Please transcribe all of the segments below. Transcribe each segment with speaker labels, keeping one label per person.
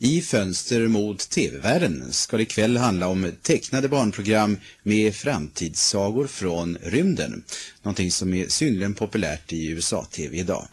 Speaker 1: I Fönster mot TV-världen ska det ikväll handla om tecknade barnprogram med framtidssagor från rymden. Någonting som är synnerligen populärt i USA-TV idag.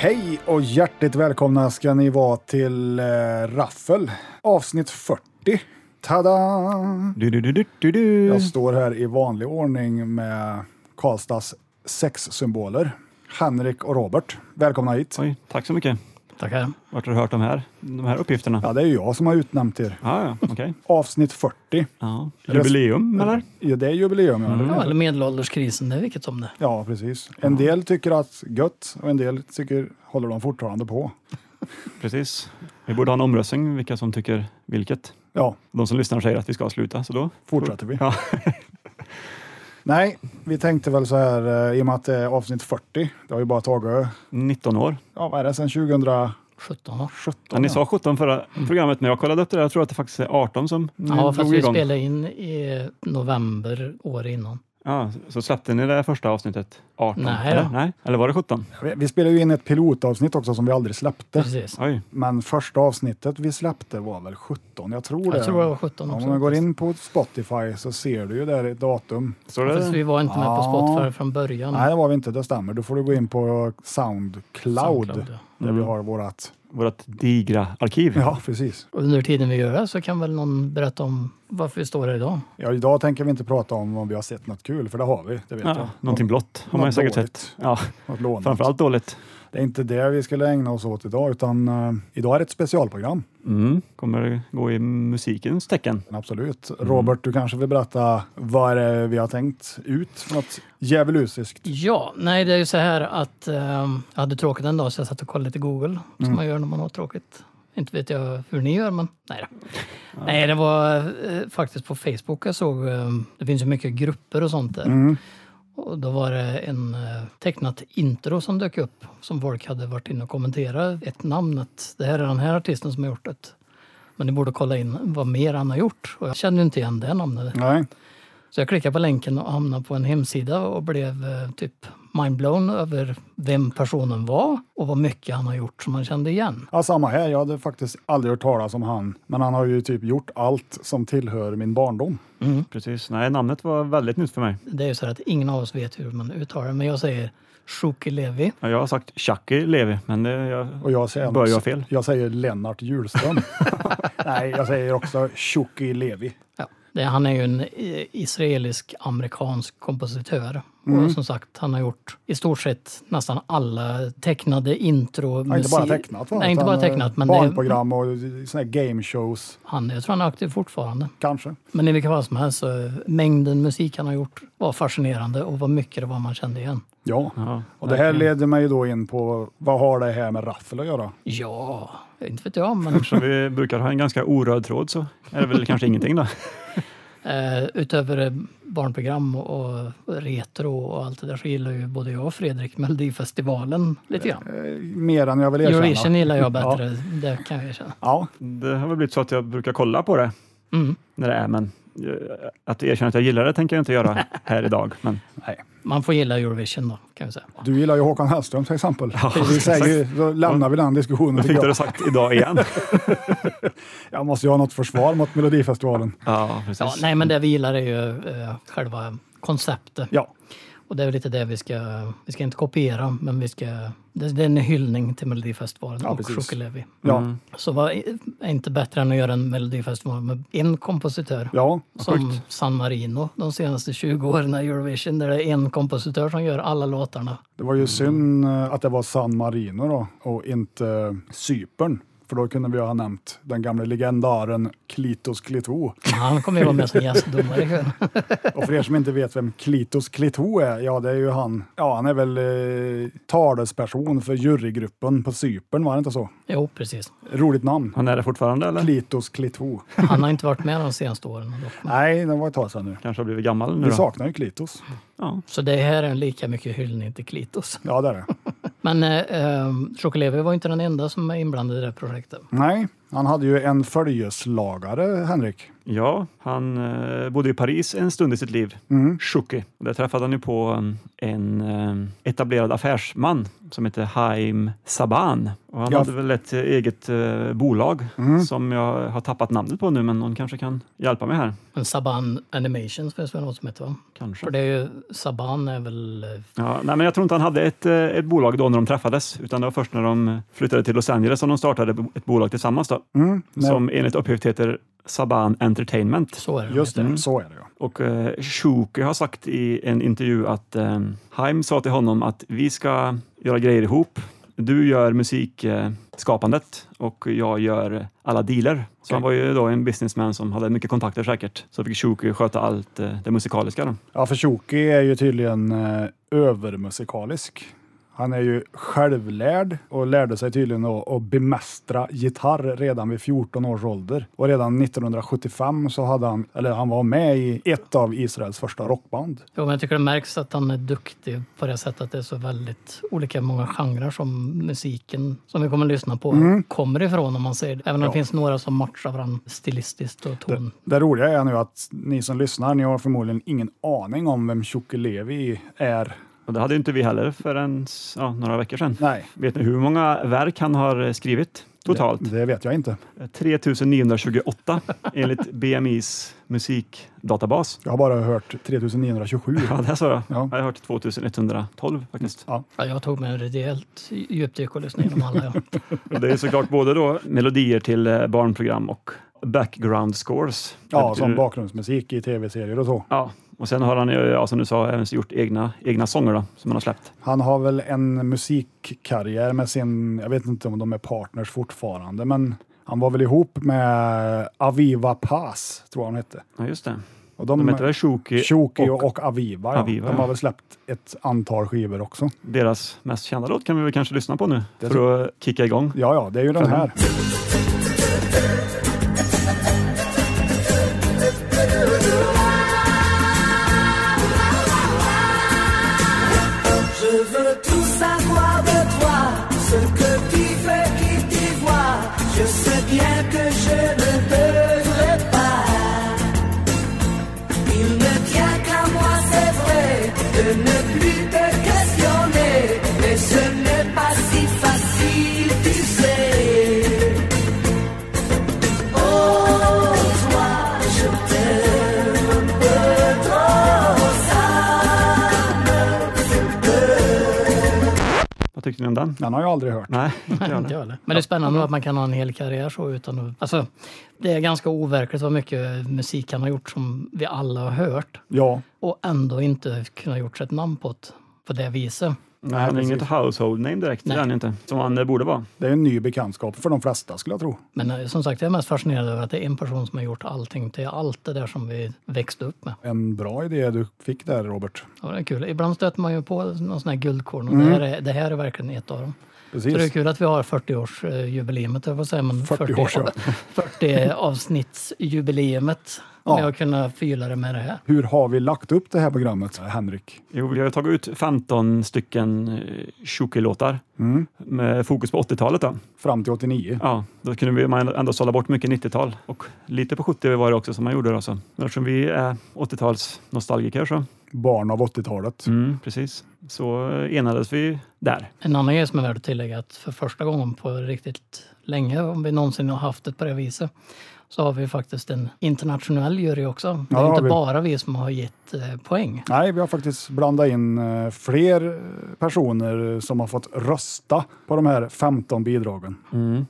Speaker 2: Hej och hjärtligt välkomna ska ni vara till eh, Raffel, avsnitt 40. Tada!
Speaker 3: Du, du, du, du, du, du.
Speaker 2: Jag står här i vanlig ordning med Karlstads sexsymboler. Henrik och Robert, välkomna hit.
Speaker 3: Oj, tack så mycket.
Speaker 2: Mm.
Speaker 4: Tackar.
Speaker 3: Vart har du hört de här, de här uppgifterna? Ja,
Speaker 2: Ja, det är ju jag som har utnämnt er.
Speaker 3: ja, okej.
Speaker 2: Avsnitt 40.
Speaker 3: Ja. Jubileum, eller?
Speaker 2: Ja, det är jubileum. ja.
Speaker 4: Ja, eller medelålderskrisen, det är vilket som det
Speaker 2: Ja, precis. En del tycker att gött och en del tycker håller de fortfarande på.
Speaker 3: Precis. Vi borde ha en omröstning vilka som tycker vilket.
Speaker 2: Ja,
Speaker 3: De som lyssnar säger att vi ska sluta, så då...
Speaker 2: fortsätter vi.
Speaker 3: Ja.
Speaker 2: Nej, vi tänkte väl så här eh, i och med att det är avsnitt 40. Det har ju bara tagit,
Speaker 3: 19 år.
Speaker 2: ja vad är det, sedan 2017?
Speaker 4: 17 år.
Speaker 3: Ja, ni sa 17 förra programmet, men jag kollade upp det där. Jag tror att det faktiskt är 18 som ni
Speaker 2: Mm,
Speaker 4: Ja, fast
Speaker 3: drog
Speaker 4: vi
Speaker 3: igång.
Speaker 4: spelade in i november året innan.
Speaker 3: Ja, så släppte ni det här första avsnittet 18?
Speaker 4: Nej
Speaker 3: eller?
Speaker 4: då.
Speaker 3: Nej. eller var det 17?
Speaker 2: Vi- Vi spelade ju in ett pilotavsnitt också som vi aldrig släppte.
Speaker 4: Precis.
Speaker 3: Oj,
Speaker 2: Men första avsnittet vi släppte var väl 17, jag tror det.
Speaker 4: Jag tror det var 17
Speaker 2: Om
Speaker 4: också.
Speaker 2: man går in på Spotify så ser du ju där ett datum.
Speaker 3: står
Speaker 4: Fast
Speaker 3: det
Speaker 4: vi var inte med på
Speaker 2: Ja.
Speaker 4: Spotify från början.
Speaker 2: Nej, det var vi inte, det stämmer. Då får du gå in på Soundcloud,
Speaker 4: Soundcloud, ja.
Speaker 2: där
Speaker 3: Mm.
Speaker 2: vi har vårat...
Speaker 3: vårt digra arkiv?
Speaker 2: Ja, precis.
Speaker 4: Och under tiden vi gör det så kan väl någon berätta om varför vi står här idag.
Speaker 2: Ja, idag tänker vi inte prata om om vi har sett något kul, för det har vi. Det vet
Speaker 3: Ja, någonting blått har man ju
Speaker 2: Något
Speaker 3: säkert
Speaker 2: dåligt.
Speaker 3: sett. Ja,
Speaker 2: jag. Något lånat.
Speaker 3: framförallt dåligt.
Speaker 2: Det är inte det vi skulle ägna oss åt idag, utan eh, idag är det ett specialprogram.
Speaker 3: Mm. Kommer det gå i musikens tecken?
Speaker 2: Absolut.
Speaker 4: Mm.
Speaker 2: Robert, du kanske vill berätta vad det är vi har tänkt ut för något djävulusiskt?
Speaker 4: Ja, nej det är ju så här att ehm, jag hade tråkigt en dag så jag satt och kollade lite Google, som man gör när man har tråkigt. Inte vet jag hur ni gör, men nej då. Nej, det var eh, faktiskt på Facebook jag såg, eh, det finns ju mycket grupper och sånt där. Och då var det en eh, tecknat intro som dök upp som folk hade varit inne och kommenterat. Ett namn, att det här är den här artisten som har gjort det. Men ni borde kolla in vad mer han har gjort. Och jag kände ju inte igen det namnet.
Speaker 2: Nej.
Speaker 4: Så jag klickade på länken och hamnade på en hemsida och blev eh, typ mindblown över vem personen var och vad mycket han har gjort som man kände igen.
Speaker 2: Ja, samma här. Jag hade faktiskt aldrig hört talas om han, men han har ju typ gjort allt som tillhör min barndom.
Speaker 3: Precis. Nej, namnet var väldigt nytt för mig.
Speaker 4: Det är ju så här att ingen av oss vet hur man uttalar det, men jag säger Shuki Levi.
Speaker 3: Ja, Jag har sagt Chucky Levi, men det, jag,
Speaker 2: Och jag säger, alltså-
Speaker 3: Bör jag fel?
Speaker 2: jag säger Lennart Hjulström. Nej, jag säger också Tjocki Levi.
Speaker 4: Ja. Det, han är ju en eh, israelisk-amerikansk kompositör.
Speaker 2: Mm.
Speaker 4: Och som sagt, han har gjort i stort sett nästan alla tecknade intro.
Speaker 2: Ja, inte bara
Speaker 4: musik-
Speaker 2: tecknat va?
Speaker 4: Nej, inte bara
Speaker 2: Utan, eh,
Speaker 4: tecknat. Men det är,
Speaker 2: Barnprogram och såna här game shows,
Speaker 4: han, jag tror han är aktiv fortfarande.
Speaker 2: kanske.
Speaker 4: Men i vilket fall som helst, så, eh, mängden musik han har gjort var fascinerande och vad mycket det var man kände igen.
Speaker 2: Ja.
Speaker 3: ja,
Speaker 2: Och det här leder mig då in på vad har det här med raffel att göra?
Speaker 4: Ja, inte vet jag, men
Speaker 3: så vi brukar ha en ganska oröd tråd så är det väl kanske ingenting då.
Speaker 4: eh, utöver eh, barnprogram och retro och allt det där så gillar ju både jag och Fredrik Melodifestivalen lite grann.
Speaker 2: Eh, Mer än jag vill erkänna.
Speaker 4: Eurovision gillar jag
Speaker 2: Ja.
Speaker 4: bättre, det kan jag erkänna.
Speaker 2: Ja,
Speaker 3: Det har väl blivit så att jag brukar kolla på det
Speaker 4: Mm.
Speaker 3: när det är, men eh, att erkänna att jag gillar det tänker jag inte göra här idag. Men
Speaker 2: nej.
Speaker 4: Man får gilla Eurovision då, kan vi säga.
Speaker 2: Du gillar ju Håkan Hellström till exempel. vi säger, ju- då lämnar vi den diskussionen.
Speaker 3: fick
Speaker 2: tycker
Speaker 3: du det
Speaker 2: Jag.
Speaker 3: sagt idag igen?
Speaker 2: jag måste ju ha något försvar mot Melodifestivalen.
Speaker 3: Ja, precis.
Speaker 4: Ja, nej, men det vi gillar är ju eh, själva konceptet.
Speaker 2: Ja,
Speaker 4: Och det är väl lite det vi ska, vi ska inte kopiera, men vi ska, det, det är en hyllning till Melodifestivalen
Speaker 2: Ja,
Speaker 4: och
Speaker 2: precis.
Speaker 4: Chocolevi.
Speaker 2: Ja,
Speaker 4: Så vad är inte bättre än att göra en Melodifestival med en kompositör?
Speaker 2: ja,
Speaker 4: Som San Marino de senaste 20 åren i Eurovision, där det är en kompositör som gör alla låtarna.
Speaker 2: det var ju synd eh, att det var San Marino då och inte Cypern. För då kunde vi ha nämnt den gamla legendaren Klitos Klito.
Speaker 4: Men Han kommer ju vara med som gästdomare ikväll.
Speaker 2: Och för er som inte vet vem Klitos Klito är, ja det är ju han. Ja, han är väl eh, talesperson för jurygruppen på Cypern, var det inte så?
Speaker 4: Jo, precis.
Speaker 2: Roligt namn.
Speaker 3: Han är det fortfarande eller?
Speaker 2: Klitos Klito.
Speaker 4: Han har inte varit med de senaste åren. Dock.
Speaker 2: Nej, det var ett tag sedan nu.
Speaker 3: Kanske har blivit gammal nu
Speaker 2: Vi
Speaker 3: då?
Speaker 2: saknar ju Klitos.
Speaker 3: Ja.
Speaker 4: Så det här är en lika mycket hyllning till Klitos.
Speaker 2: Ja, det är det.
Speaker 4: Men eh, eh, Chocolevi var inte den enda som är inblandad i det här projektet.
Speaker 2: Nej, han hade ju en följeslagare, Henrik.
Speaker 3: ja, han eh, bodde i Paris en stund i sitt liv.
Speaker 2: Mm,
Speaker 3: Schucki. Och Där träffade han ju på um, en um, etablerad affärsman som heter Haim Saban. Och han
Speaker 2: Ja.
Speaker 3: hade väl ett eh, eget eh, bolag som jag har tappat namnet på nu, men någon kanske kan hjälpa mig här.
Speaker 4: Men Saban Animations finns väl något som heter va?
Speaker 3: Kanske.
Speaker 4: För det är ju, Saban är väl... eh,
Speaker 3: Ja, nej, men jag tror inte han hade ett, eh, ett bolag då när de träffades, utan det var först när de flyttade till Los Angeles som de startade bo- ett bolag tillsammans då,
Speaker 2: nej.
Speaker 3: som enligt uppgift heter Saban Entertainment.
Speaker 4: Så är det.
Speaker 2: Just det,
Speaker 4: heter.
Speaker 3: Mm.
Speaker 2: så är det ja.
Speaker 3: Och eh, Schuke har sagt i en intervju att eh, Haim sa till honom att vi ska göra grejer ihop. Du gör musikskapandet eh, skapandet och jag gör alla dealer. Så han var ju då en businessman som hade mycket kontakter säkert. Så fick Schuke sköta allt eh, det musikaliska. Då.
Speaker 2: Ja, för Shoki är ju tydligen eh, övermusikalisk. Han är ju självlärd och lärde sig tydligen att, att bemästra gitarr redan vid 14 års ålder. Och redan 1975 så hade han, eller han var med i ett av Israels första rockband.
Speaker 4: Jo, men jag tycker det märks att han är duktig på det sättet att det är så väldigt olika många genrer som musiken som vi kommer att lyssna på kommer ifrån om man säger det. Även om det finns några som matchar varandra stilistiskt och ton.
Speaker 2: Det roliga är nu att ni som lyssnar, ni har förmodligen ingen aning om vem Shoki Levi är.
Speaker 3: Och det hade ju inte vi heller förrän ja, några veckor sedan.
Speaker 2: Nej,
Speaker 3: Vet ni hur många verk han har eh, skrivit totalt? Eh,
Speaker 2: det vet jag inte.
Speaker 3: 3928 enligt BMIs musikdatabas.
Speaker 2: Jag har bara hört 3927.
Speaker 3: Ja, det sa jag.
Speaker 2: Ja.
Speaker 3: Jag har hört 2112 faktiskt.
Speaker 4: Ja, jag tog mig en rejält djupdyk och lyssnade igenom alla. Ja.
Speaker 3: Och det är såklart både då melodier till eh, barnprogram och background scores.
Speaker 2: Ja,
Speaker 3: Att
Speaker 2: som
Speaker 3: du-
Speaker 2: bakgrundsmusik i tv-serier och så.
Speaker 3: Ja, och sen har han ju, ja, som du sa, även gjort egna, egna sånger då, som han har släppt.
Speaker 2: Han har väl en musikkarriär med sin, jag vet inte om de är partners fortfarande, men han var väl ihop med Aviva Paz, tror jag hon hette.
Speaker 3: Ja, just det.
Speaker 2: Och
Speaker 3: De heter väl Shoki
Speaker 2: Shoki
Speaker 3: Mm. och
Speaker 2: och, Aviva,
Speaker 3: Aviva,
Speaker 2: ja. De har
Speaker 3: ja.
Speaker 2: väl släppt ett antal skivor också.
Speaker 3: deras mest kända låt kan vi väl kanske lyssna på nu för att kicka igång.
Speaker 2: Ja, ja, det är ju den här.
Speaker 5: Je veux tout savoir de toi, ce que tu fais, qui tu vois. Je sais bien que je ne devrais pas. Il ne tient qu'à moi, c'est vrai, de ne plus te questionner. Mais ce n'est pas si facile, tu sais. Oh, toi, je t'aime un peu trop, ça
Speaker 3: Vad tyckte ni om den?
Speaker 2: Den har jag aldrig hört.
Speaker 3: Nej, inte jag.
Speaker 4: Inte jag heller. Men det är spännande att man kan ha en hel karriär så utan att... Alltså, det är ganska overkligt vad mycket musik han har gjort som vi alla har hört
Speaker 2: Ja,
Speaker 4: och ändå inte kunnat gjort sig ett namn på det, på det viset.
Speaker 3: Nej, han är inget household name direkt, det är han inte. Som han eh, borde vara.
Speaker 2: det är en ny bekantskap för de flesta skulle jag tro.
Speaker 4: Men eh, som sagt, jag är mest fascinerad över att det är en person som har gjort allting till allt det där som vi växte upp med.
Speaker 2: En bra idé du fick där Robert.
Speaker 4: Ja, det är kul. Ibland stöter man ju på någon sån här guldkorn och
Speaker 2: Mm.
Speaker 4: det, här är, det här är verkligen ett av dem. Så det är
Speaker 2: Precis.
Speaker 4: kul att vi har 40-årsjubileumet, jag får säga, men
Speaker 2: 40 års, ja.
Speaker 4: 40 avsnittsjubileumet.
Speaker 2: Ja.
Speaker 4: Om jag kunde fylla det med det här.
Speaker 2: Hur har vi lagt upp det här programmet, Henrik?
Speaker 3: Jo, vi har tagit ut 15 stycken Shoki-låtar med fokus på 80-talet. Då.
Speaker 2: Fram till 89?
Speaker 3: Ja, då kunde vi man ändå sålla bort mycket 90-tal och lite på 70 var det också som man gjorde. Då, så. Men Eftersom vi är 80-tals nostalgiker så.
Speaker 2: Barn av 80-talet.
Speaker 3: Mm, precis. så enades vi där.
Speaker 4: En annan grej som är värd att tillägga är att för första gången på riktigt länge, om vi någonsin har haft det på det viset, så har vi faktiskt en internationell jury också. Det
Speaker 2: Ja,
Speaker 4: är
Speaker 2: det har
Speaker 4: inte
Speaker 2: vi.
Speaker 4: bara vi som har gett eh, poäng.
Speaker 2: Nej, vi har faktiskt blandat in eh, fler eh, personer som har fått rösta på de här 15 bidragen.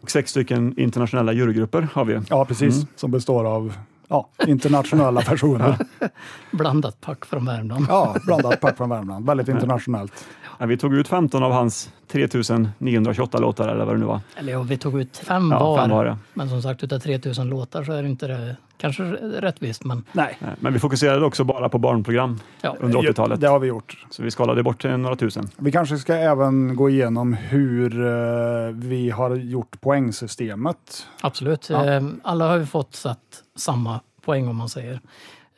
Speaker 3: Och sex stycken internationella jurygrupper har vi.
Speaker 2: Ja, precis. Som består av ja, internationella personer.
Speaker 4: Blandat pack från Värmland.
Speaker 2: Ja, blandat pack från Värmland. Väldigt internationellt.
Speaker 3: Ja, vi tog ut 15 av hans 3928 låtar eller vad det nu var.
Speaker 4: Eller ja, vi tog ut fem
Speaker 3: Ja,
Speaker 4: var.
Speaker 3: fem var det.
Speaker 4: Men som sagt, utav 3000 låtar så är det inte det, kanske rättvist, men
Speaker 2: Nej,
Speaker 3: Nej, Men vi fokuserade också bara på barnprogram
Speaker 4: ja.
Speaker 3: under 80-talet.
Speaker 2: det har vi gjort.
Speaker 3: Så vi skalade bort eh, några tusen.
Speaker 2: Vi kanske ska även gå igenom hur eh, vi har gjort poängsystemet.
Speaker 4: Absolut.
Speaker 2: Ja.
Speaker 4: Eh, Alla har ju fått satt samma poäng om man säger.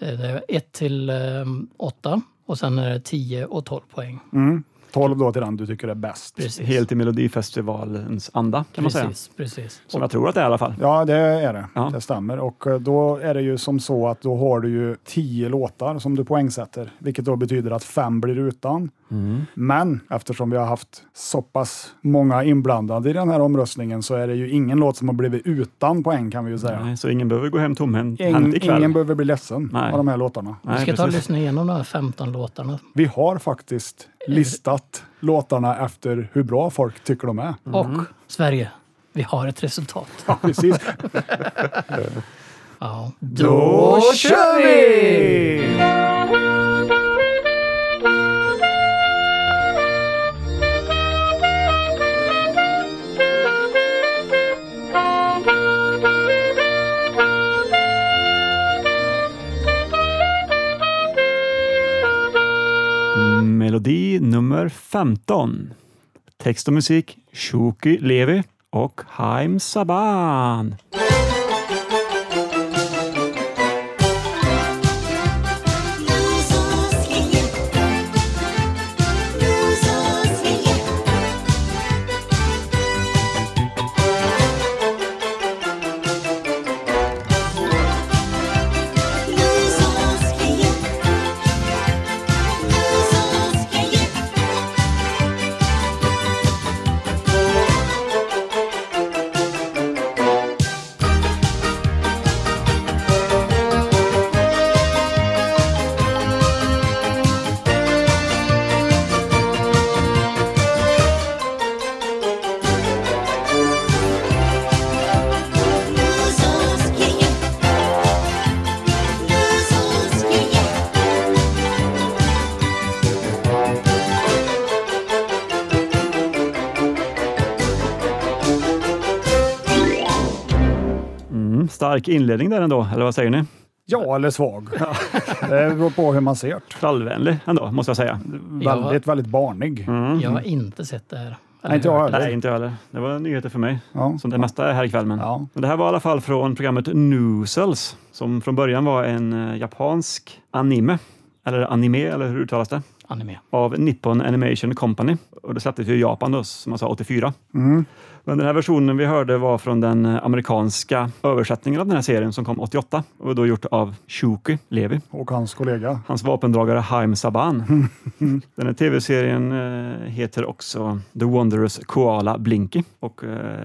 Speaker 4: Eh, Det är 1 till 8 och sen är det 10 och 12 poäng.
Speaker 2: Mm. 12 då till den du tycker är bäst.
Speaker 4: Precis.
Speaker 3: Helt i Melodifestivalens anda kan man säga.
Speaker 4: precis, precis.
Speaker 3: Som jag tror att det är i alla fall.
Speaker 2: Ja, det är det.
Speaker 3: Ja.
Speaker 2: Det stämmer. Och eh, då är det ju som så att då har du ju tio låtar som du poängsätter, vilket då betyder att fem blir utan.
Speaker 3: Mm.
Speaker 2: Men eftersom vi har haft så pass många inblandade i den här omröstningen så är det ju ingen låt som har blivit utan poäng kan vi ju säga.
Speaker 3: Nej, så ingen behöver gå hem tomhänt
Speaker 2: Ingen,
Speaker 3: ikväll.
Speaker 2: ingen behöver bli ledsen
Speaker 3: Nej.
Speaker 2: av de här låtarna.
Speaker 4: Vi
Speaker 3: Nej,
Speaker 4: ska ta och
Speaker 3: precis.
Speaker 4: lyssna igenom de här 15 låtarna.
Speaker 2: Vi har faktiskt listat låtarna efter hur bra folk tycker de är.
Speaker 3: Mm.
Speaker 4: Och Sverige, vi har ett resultat.
Speaker 2: Precis.
Speaker 4: Ja.
Speaker 2: Då kör vi!
Speaker 3: Melodi nummer 15. Text och musik Shuki Levi och Haim Saban. Mm, stark inledning där ändå, eller vad säger ni?
Speaker 2: Ja, eller svag. Det beror på hur man ser det.
Speaker 3: Trallvänlig ändå, måste jag säga.
Speaker 4: Ja.
Speaker 2: Väldigt, väldigt barnig.
Speaker 3: Mm.
Speaker 4: Jag har inte sett det här.
Speaker 2: Nej, inte jag
Speaker 4: hört.
Speaker 2: heller.
Speaker 3: Nej, inte jag heller. Det var nyheter för mig,
Speaker 2: Ja.
Speaker 3: som det mesta är här ikväll. Men.
Speaker 2: Ja.
Speaker 3: Men det här var i alla fall från programmet Noozles, som från början var en eh, japansk anime, eller anime, eller hur uttalas det?
Speaker 4: Anime.
Speaker 3: av Nippon Animation Company. Och det släpptes ju i Japan då, som jag sa, 84.
Speaker 2: Mm.
Speaker 3: Men den här versionen vi hörde var från den eh, amerikanska översättningen av den här serien som kom 88 och då gjort av Shuki Levi,
Speaker 2: Och hans kollega.
Speaker 3: hans vapendragare Haim Saban. den här tv-serien eh, heter också The Wondrous Koala Blinky och eh,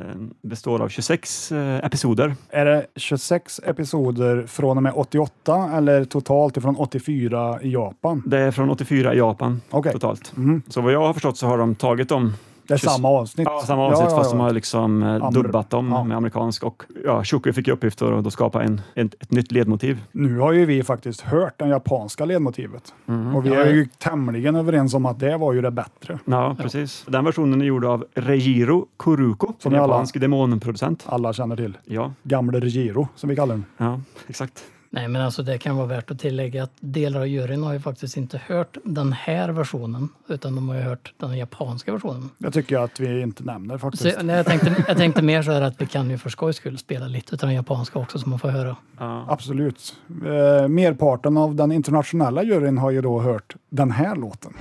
Speaker 3: består av 26 eh, episoder.
Speaker 2: Är det 26 episoder från och med 88 eller totalt ifrån 84 i Japan?
Speaker 3: Det är från 84 i Japan
Speaker 2: Okej.
Speaker 3: totalt. Så vad jag har förstått så har de tagit dem
Speaker 2: Det är
Speaker 3: 20
Speaker 2: samma avsnitt?
Speaker 3: Ja, samma avsnitt
Speaker 2: Ja, ja,
Speaker 3: fast de
Speaker 2: ja.
Speaker 3: har liksom eh,
Speaker 2: Amber-
Speaker 3: dubbat dem
Speaker 2: ja.
Speaker 3: med amerikansk. Och ja, Shuki fick i uppgift att då skapa en, en, ett nytt ledmotiv.
Speaker 2: Nu har ju vi faktiskt hört det japanska ledmotivet
Speaker 3: Mhm.
Speaker 2: och vi
Speaker 4: Ja,
Speaker 2: är
Speaker 4: ja.
Speaker 2: ju tämligen överens om att det var ju det bättre.
Speaker 3: Ja, precis. Den versionen är gjord av Reijiro Kuruko,
Speaker 2: Som
Speaker 3: som
Speaker 2: vi alla-
Speaker 3: japansk demonproducent.
Speaker 2: Alla känner till
Speaker 3: Ja,
Speaker 2: Gamle Regiro som vi kallar den.
Speaker 3: ja, exakt.
Speaker 4: Nej, men alltså det kan vara värt att tillägga att delar av juryn har ju faktiskt inte hört den här versionen, utan de har ju hört den japanska versionen.
Speaker 2: Det tycker jag att vi inte nämner faktiskt.
Speaker 4: Så, nej, jag, tänkte, jag tänkte mer så här att vi kan ju för skojs skull spela lite utav den japanska också som man får höra.
Speaker 3: Ja.
Speaker 2: Absolut. Eh, merparten av den internationella juryn har ju då hört den här låten.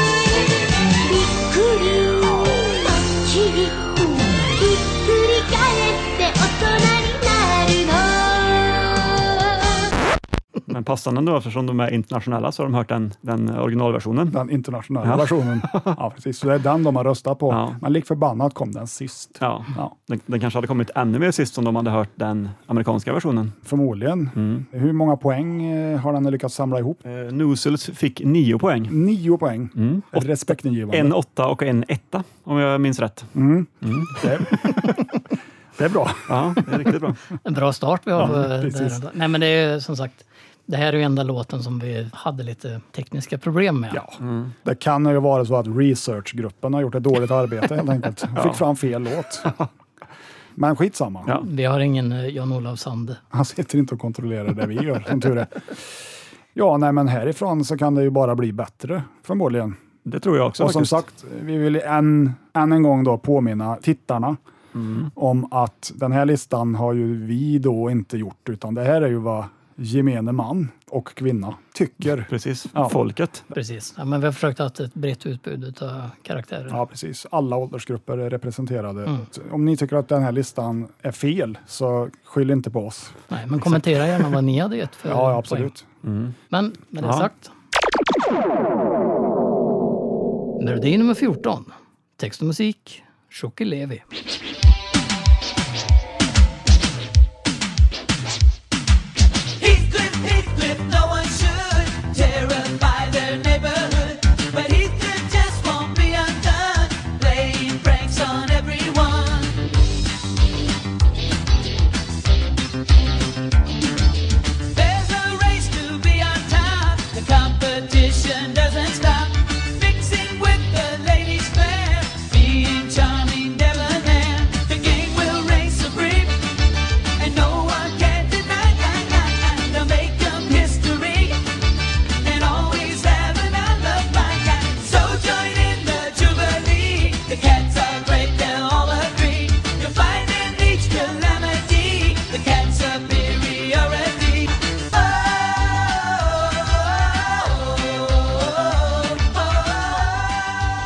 Speaker 6: Miracle, c'est possible.
Speaker 3: Men passande då, eftersom de är internationella så har de hört den, den originalversionen.
Speaker 2: Den internationella
Speaker 3: Ja.
Speaker 2: versionen. Ja, precis. Så det är den de har röstat på.
Speaker 3: Ja.
Speaker 2: Men lik förbannat kom den sist.
Speaker 3: Ja.
Speaker 2: Ja,
Speaker 3: Den, den kanske hade kommit ännu mer sist om de hade hört den amerikanska versionen.
Speaker 2: förmodligen.
Speaker 3: Mm.
Speaker 2: Hur många poäng eh, har den lyckats samla ihop?
Speaker 3: Eh, Nusels fick nio poäng.
Speaker 2: Nio poäng.
Speaker 3: Mm. Och
Speaker 2: Respektingivande.
Speaker 3: en åtta och en etta, om jag minns rätt.
Speaker 2: Det, det är bra.
Speaker 3: Ja, det är riktigt bra.
Speaker 4: En bra start vi har. på det
Speaker 2: precis.
Speaker 4: här. Nej, men det är ju som sagt, det här är ju enda låten som vi hade lite tekniska problem med.
Speaker 2: Ja. Mm. Det kan ju vara så att researchgruppen har gjort ett dåligt arbete helt enkelt. Fick fram fel låt. Men skitsamma.
Speaker 3: Ja.
Speaker 4: Vi har ingen eh, Jan-Olav Sand.
Speaker 2: Han sitter inte och kontrollerar det vi gör, som tur är. Ja, nej, men härifrån så kan det ju bara bli bättre, förmodligen.
Speaker 3: Det tror jag också
Speaker 2: och som
Speaker 3: faktiskt.
Speaker 2: sagt, vi vill än, än en gång då påminna tittarna om att den här listan har ju vi då inte gjort, utan det här är ju vad gemene man och kvinna tycker.
Speaker 3: Precis,
Speaker 2: Ja.
Speaker 3: folket.
Speaker 4: Precis. Ja, men vi har försökt att ha ett brett utbud av karaktärer.
Speaker 2: Ja, precis. Alla åldersgrupper är representerade. Om ni tycker att den här listan är fel, så skyll inte på oss.
Speaker 4: Nej, men kommentera gärna vad ni hade gett för
Speaker 2: Ja, ja,
Speaker 4: poäng.
Speaker 2: absolut.
Speaker 4: Men med det
Speaker 3: Ja.
Speaker 4: sagt. Melodi nummer 14. Text och musik. Shoki Levi.
Speaker 5: Heathcliff, Heathcliff, no one should terrify their neighborhood. But Heathcliff just won't be undone, playing pranks on everyone. There's a race to be on top, the competition doesn't stop. Mixing with the ladies fair, being charming, debonair. The game will race a brick. And no one can deny They'll make them history And always have another fight So join in the jubilee The cats are great, they'll all agree You'll find in each calamity The cat's superiority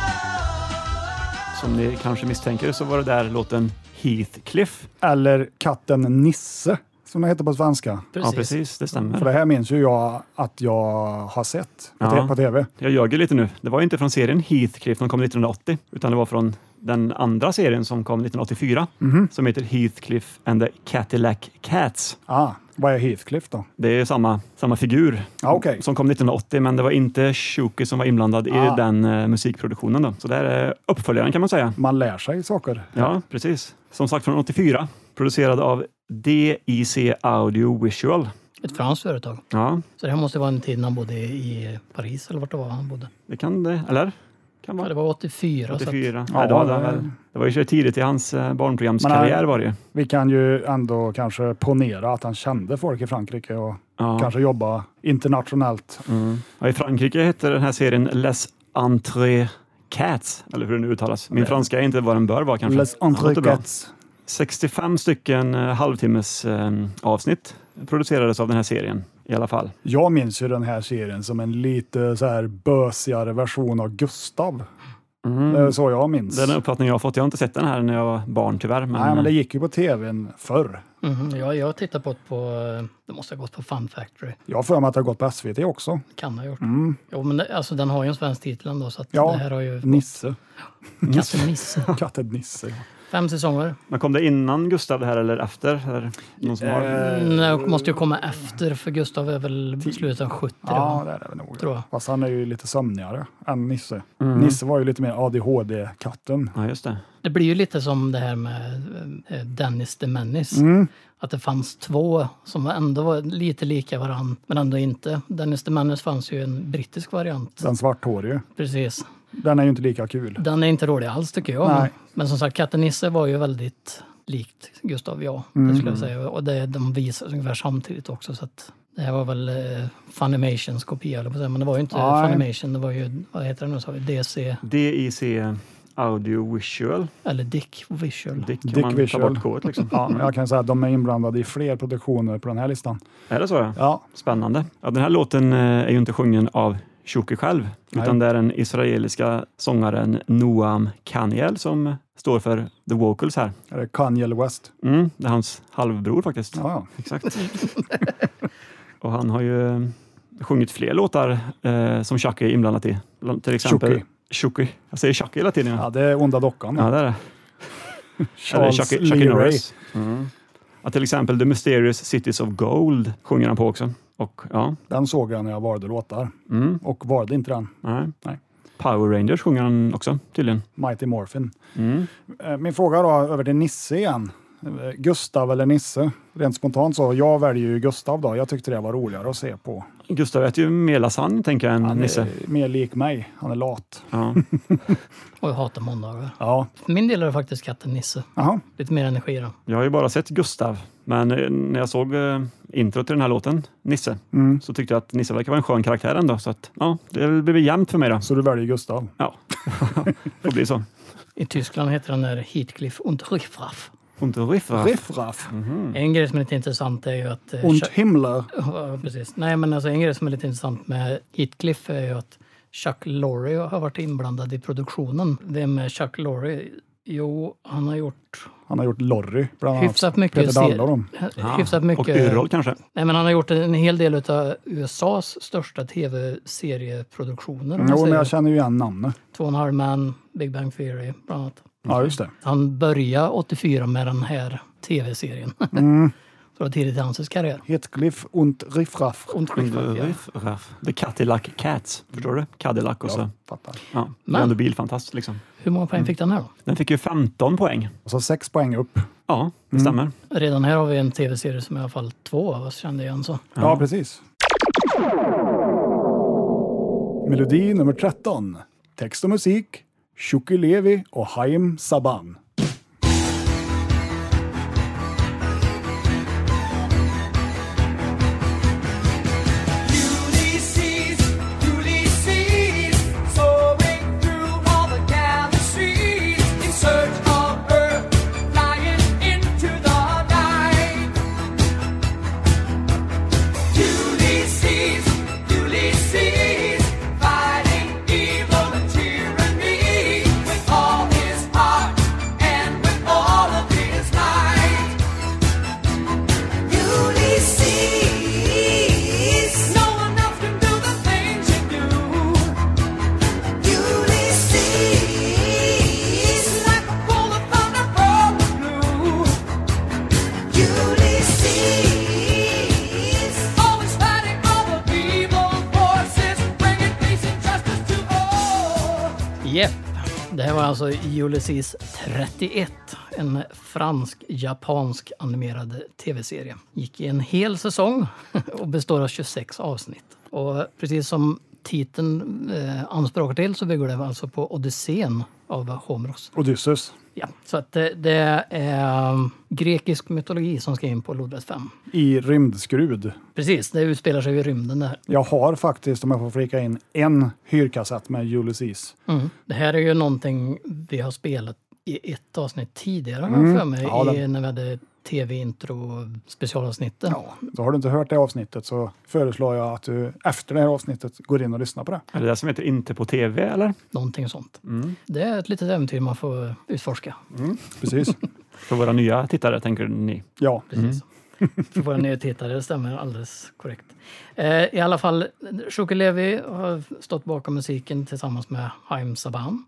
Speaker 5: Oh
Speaker 3: Som ni kanske misstänker så var det där låten Heathcliff.
Speaker 2: Eller katten Nisse, som den heter på svenska.
Speaker 4: Precis.
Speaker 3: Ja, precis, det
Speaker 2: För
Speaker 3: stämmer.
Speaker 2: det här minns ju jag att jag har sett på,
Speaker 3: Ja.
Speaker 2: te- på tv.
Speaker 3: Jag ljög ju lite nu. Det var ju inte från serien Heathcliff som kom 1980, utan det var från den andra serien som kom 1984,
Speaker 4: Mhm.
Speaker 3: som heter Heathcliff and the Cadillac Cats.
Speaker 2: Ah, vad är Heathcliff då?
Speaker 3: Det är samma, samma figur
Speaker 2: Ah, Okej,
Speaker 3: som kom 1980, men det var inte Shuki som var inblandad
Speaker 2: Ah.
Speaker 3: i den eh, musikproduktionen. Då. Så det här är uppföljaren kan man säga.
Speaker 2: man lär sig saker.
Speaker 3: Ja, precis. Som sagt från 84, producerad av DIC Audio Visual.
Speaker 4: Ett franskt företag.
Speaker 3: Ja,
Speaker 4: Så det här måste vara en tid när han bodde i Paris eller vart det var han bodde.
Speaker 3: det kan det, eller? Kan
Speaker 4: Ja, det
Speaker 3: vara.
Speaker 4: var 84. Så
Speaker 3: 84.
Speaker 2: Ja,
Speaker 3: Nej, det, var det,
Speaker 2: det-
Speaker 3: väl. det var ju så tidigt i hans eh, barnprogramskarriär var det ju.
Speaker 2: Vi kan ju ändå kanske ponera att han kände folk i Frankrike och
Speaker 3: Ja.
Speaker 2: kanske jobba internationellt.
Speaker 4: Mm,
Speaker 3: Ja, I Frankrike hette den här serien Les Entrées Cats, eller hur den nu uttalas. Min franska är inte vad den bör vara kanske.
Speaker 2: Les
Speaker 3: Ja, det låter bra.
Speaker 2: entrequettes.
Speaker 3: 65 stycken eh, halvtimmes eh, avsnitt producerades av den här serien i alla fall.
Speaker 2: Jag minns ju den här serien som en lite så här bösigare version av Gustav.
Speaker 4: Mm.
Speaker 2: Det är så jag minns.
Speaker 3: Det är den uppfattning jag har fått. Jag har inte sett den här när jag var barn tyvärr. Men,
Speaker 2: Nej, men det gick ju på tvn förr.
Speaker 4: att, Mhm, ja, jag tittar på ett på, det måste ha gått på Fun Factory.
Speaker 2: Jag har för mig att det har gått på SVT också.
Speaker 4: Kan ha gjort. Jo, men det, alltså, den har ju en svensk titel ändå så att
Speaker 2: Ja,
Speaker 4: det här har ju
Speaker 2: Nisse.
Speaker 4: Katten Nisse.
Speaker 2: Katten Nisse.
Speaker 4: Fem säsonger.
Speaker 3: eh, Men kom det innan Gustav det här eller efter? Eller någon som har...
Speaker 2: Eh.
Speaker 4: Nej, det måste ju komma efter för Gustav är väl slutet av 70.
Speaker 2: Ja,
Speaker 4: va?
Speaker 2: det är det nog.
Speaker 4: Tror jag. Mm.
Speaker 2: Fast han är ju lite sömnigare än Nisse. Nisse var ju lite mer ADHD-katten.
Speaker 3: Ja, just det.
Speaker 4: Det blir ju lite som det här med eh, Dennis the Menace.
Speaker 2: Mm.
Speaker 4: Att det fanns två som ändå var lite lika varann, men ändå inte. Dennis the Menace fanns ju en brittisk variant.
Speaker 2: Den svarthårige.
Speaker 4: Precis.
Speaker 2: Den är ju inte lika kul.
Speaker 4: Den är inte rolig alls tycker jag. Men,
Speaker 2: Nej.
Speaker 4: men som sagt, Katten Nisse var ju väldigt likt Gustav ja,
Speaker 2: Mm.
Speaker 4: det skulle jag säga. Och det, de visades ungefär samtidigt också. Så att det här var väl eh, Funimations kopia, eller på att säga. men det var ju inte
Speaker 2: Nej.
Speaker 4: Funimation, det var ju, vad heter det nu, sa vi, DC
Speaker 3: DIC Audio Visual.
Speaker 4: eller Dick Visual.
Speaker 3: Dick kan
Speaker 2: Dick
Speaker 3: man
Speaker 2: Visual.
Speaker 3: ta bort K liksom.
Speaker 2: Ja, jag kan säga att de är inblandade i fler produktioner på den här listan.
Speaker 3: Är det så? Ja.
Speaker 2: Ja,
Speaker 3: Spännande. Ja, den här låten eh, är ju inte sjungen av Shuki själv, utan det är den israeliska sångaren Noam Kaniel som står för the vocals här.
Speaker 2: är det Kanye West?
Speaker 3: Mm, det är hans halvbror faktiskt.
Speaker 2: Ja, ja.
Speaker 3: Exakt. Och han har ju eh, sjungit fler låtar eh, som Chucky är inblandat i. Bland- Till exempel
Speaker 2: Chucky.
Speaker 3: Chucky. Jag säger Chucky hela tiden. Ja,
Speaker 2: Ja, det är onda dockan.
Speaker 3: ja det är det.
Speaker 2: Charles
Speaker 3: Eller Chucky, Chucky
Speaker 2: Leroy.
Speaker 3: E Norris. Ja, till exempel The Mysterious Cities of Gold sjunger han på också. Och ja,
Speaker 2: Den såg jag när jag valde låtar
Speaker 3: mm,
Speaker 2: och valde inte den.
Speaker 3: nej.
Speaker 2: Nej.
Speaker 3: Power Rangers sjunger han också tydligen.
Speaker 2: Mighty Morphin.
Speaker 3: Mm.
Speaker 2: Eh, Min fråga då över till Nisse igen. Eh, Gustav eller Nisse? Rent spontant så, jag väljer ju Gustav då. Jag tyckte det var roligare att se på.
Speaker 3: Gustav äter ju mer lasagne tänker jag än
Speaker 2: Han är
Speaker 3: Nisse.
Speaker 2: mer lik mig. Han är lat.
Speaker 3: Ja.
Speaker 4: Och jag hatar måndagar.
Speaker 2: Ja,
Speaker 4: För min del är det faktiskt katten Nisse.
Speaker 2: Jaha.
Speaker 4: Lite mer energi då.
Speaker 3: Jag har ju bara sett Gustav, men eh, när jag såg eh, introt till den här låten, Nisse,
Speaker 2: Mm.
Speaker 3: så tyckte jag att Nisse verkar vara en skön karaktär ändå. Så att, ja, det blev jämnt för mig då.
Speaker 2: Så du väljer Gustav?
Speaker 3: Ja, får bli så.
Speaker 4: I Tyskland heter den där Heathcliff und Rückfraff.
Speaker 3: Und Riffer.
Speaker 2: Riffraff.
Speaker 3: Mm.
Speaker 4: En grej som är lite intressant är ju att... eh,
Speaker 2: Mm. Und
Speaker 4: Chuck-
Speaker 2: Himmler.
Speaker 4: Ja, precis. Nej, men alltså en grej som är lite intressant med Heathcliff är ju att Chuck Lorre har varit inblandad i produktionen. Vem är Chuck Lorre? Jo, han har gjort
Speaker 2: Han har gjort Lorry, bland annat.
Speaker 4: hyfsat mycket... Mm,
Speaker 2: Peter Dalle och dem.
Speaker 3: Ja,
Speaker 4: hyfsat mycket...
Speaker 3: Ah, Och Yrrol kanske.
Speaker 4: Nej, men han har gjort en hel del av USAs största tv-serieproduktioner. om man
Speaker 2: Mm, Jo, men
Speaker 4: säger.
Speaker 2: jag känner ju igen namnet.
Speaker 4: Två och en halv man, Big Bang Theory bland annat.
Speaker 2: Ja, just det.
Speaker 4: Han började 84 med den här tv-serien. Så det var tidigt i hans karriär.
Speaker 2: Heathcliff und Riffraff.
Speaker 4: Und
Speaker 3: Und
Speaker 4: Clifford, ja.
Speaker 3: Riffer. The Cadillac Cats. Förstår du? Cadillac och så.
Speaker 2: Jag fattar.
Speaker 3: Ja. Det
Speaker 4: Men-
Speaker 3: är ändå bilfantast liksom.
Speaker 4: Hur många poäng fick den här då?
Speaker 3: Den fick ju 15 poäng.
Speaker 2: Och så sex poäng upp.
Speaker 3: Ja,
Speaker 2: Mm.
Speaker 3: det stämmer.
Speaker 4: Redan här har vi en tv-serie som i alla fall två av oss kände igen. Så.
Speaker 2: Ja, precis. Melodi nummer 13. Text och musik, Shuki Levi och Haim Saban.
Speaker 5: Ulysses, Ulysses, soaring through all the galaxies in search of Earth, flying into the night. Ulysses, Ulysses, fighting evil and tyranny with all his heart and with all of his might. Ulysses. No one else can do the things you do. Ulysses. Like a bolt of thunder from the blue. Ulysses. Always fighting all the evil forces, bringing peace and justice to all.
Speaker 4: Yep. Det här var alltså Ulysses 31, en fransk-japansk animerad tv-serie. Gick i en hel säsong och består av 26 avsnitt. Och precis som titeln eh, anspråkar till så bygger den alltså på Odysseen av Homeros.
Speaker 2: Odysseus.
Speaker 4: Ja, så att det, det är um, grekisk mytologi som ska in på Lodrätt 5.
Speaker 2: I rymdskrud.
Speaker 4: Precis, det utspelar sig i rymden det här.
Speaker 2: Jag har faktiskt, om jag får flika in, en hyrkassett med Ulysses.
Speaker 4: Mm. Det här är ju någonting vi har spelat i ett avsnitt tidigare har jag för mig,
Speaker 2: Ja,
Speaker 4: i, när vi hade tv-intro specialavsnittet.
Speaker 2: Så har du inte hört det avsnittet så föreslår jag att du efter det här avsnittet går in och lyssnar på det.
Speaker 3: Är det det som heter Inte på TV eller?
Speaker 4: Någonting sånt. Det är ett litet äventyr man får utforska.
Speaker 2: Precis.
Speaker 3: För våra nya tittare tänker ni.
Speaker 2: Ja.
Speaker 4: Precis. För våra nya tittare, det stämmer alldeles korrekt. Eh, I alla fall, Shuki Levi har stått bakom musiken tillsammans med Haim Saban,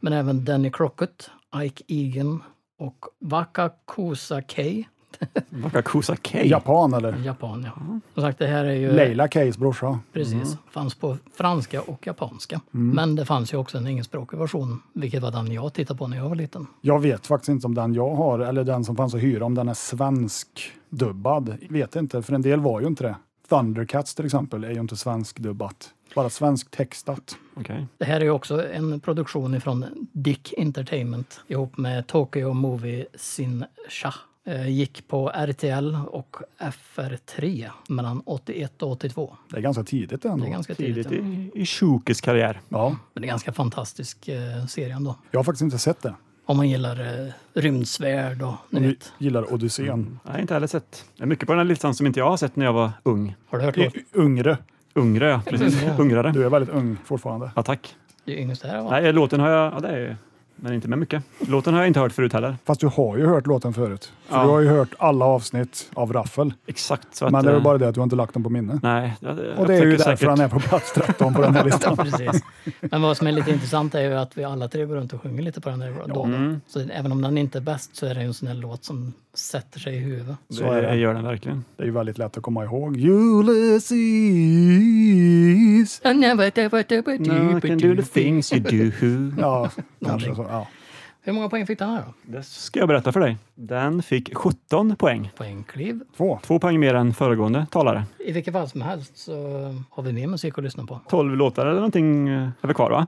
Speaker 4: men även Danny Crockett, Ike Egan och Waka Kusa Kei,
Speaker 3: Wakakusa K.
Speaker 2: Japan eller?
Speaker 4: Japan. Ja. Som sagt, det här är ju...
Speaker 2: Leila Keys brorsa.
Speaker 4: Precis. Fanns på franska och japanska. Men det fanns ju också en engelskspråkig version, vilket var den jag tittade på när jag var liten.
Speaker 2: Jag vet faktiskt inte om den jag har, eller den som fanns att hyra, om den är svenskdubbad. Vet inte, för en del var ju inte det. Thundercats till exempel är ju inte svenskdubbat. Bara svensktextat.
Speaker 3: Okej.
Speaker 4: Det här är ju också en produktion ifrån Dick Entertainment ihop med Tokyo Movie Sinsha. Eh, Gick på RTL och FR3 mellan 81 och 82.
Speaker 2: Det är ganska tidigt ändå.
Speaker 4: Det är ganska tidigt.
Speaker 3: Tidigt
Speaker 4: ja.
Speaker 3: i, i Shukes karriär.
Speaker 2: Ja,
Speaker 4: Men det är ganska fantastisk eh, serie ändå.
Speaker 2: jag har faktiskt inte sett det.
Speaker 4: Om man gillar eh, rymdsvärd och ni
Speaker 2: Om du
Speaker 4: vet.
Speaker 2: gillar Odysseen.
Speaker 3: Jag har inte heller sett. Det är mycket på den här listan som inte jag har sett när jag var ung.
Speaker 4: Har du hört
Speaker 2: I-
Speaker 4: låten?
Speaker 2: i- Ungre.
Speaker 3: Ungre, ja. Precis.
Speaker 4: Ungre.
Speaker 3: Ungrare.
Speaker 2: Du är väldigt ung fortfarande.
Speaker 3: Ja, tack.
Speaker 4: Det är yngst här va?
Speaker 3: Nej, låten har jag... Ja, det är men inte med mycket. Låten har jag inte hört förut heller.
Speaker 2: Fast du har ju hört låten förut. För
Speaker 3: Ja.
Speaker 2: Du har ju hört alla avsnitt av Raffel.
Speaker 3: Exakt. Så att,
Speaker 2: Men det är
Speaker 3: eh,
Speaker 2: väl bara det att du har inte lagt dem på minne.
Speaker 3: Nej, jag, jag
Speaker 2: Och det är ju
Speaker 3: försöker
Speaker 2: därför
Speaker 3: säkert-
Speaker 2: han är på plats 13 på den här listan.
Speaker 4: Ja, precis. Men vad som är lite intressant är ju att vi alla tre går runt och sjunger lite på den där låten. Så även om den inte är bäst så är det ju en sån här låt som sätter sig i huvudet.
Speaker 2: Så är det.
Speaker 3: det gör den verkligen.
Speaker 2: Det är ju väldigt lätt att komma ihåg. Ulysses.
Speaker 3: No, I can do the things you do.
Speaker 2: Typ Ja, kanske så. Ja.
Speaker 4: Hur många poäng fick den här då?
Speaker 3: Det ska jag berätta för dig. Den fick 17 poäng.
Speaker 4: Poängkliv.
Speaker 2: Två.
Speaker 3: Två poäng mer än föregående talare.
Speaker 4: I vilket fall som helst så har vi mer musik att lyssna på.
Speaker 3: 12 låtar eller någonting eh, är vi kvar va?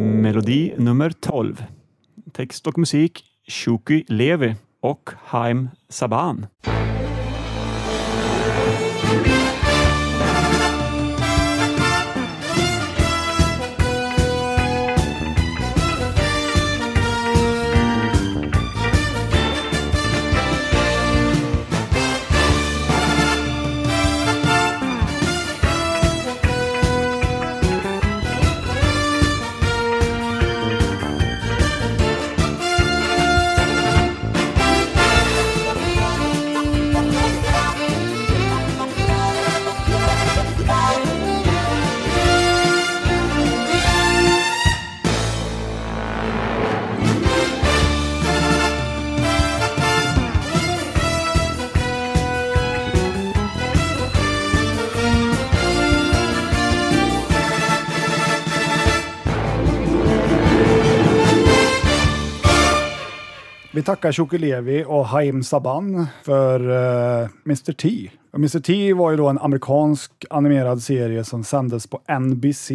Speaker 3: Melodi nummer 12. Text och musik Shuki Levi och Haim Saban.
Speaker 2: Vi tackar Shoki Levi och Haim Saban för eh, Mr T. Och Mr T var ju då en amerikansk animerad serie som sändes på NBC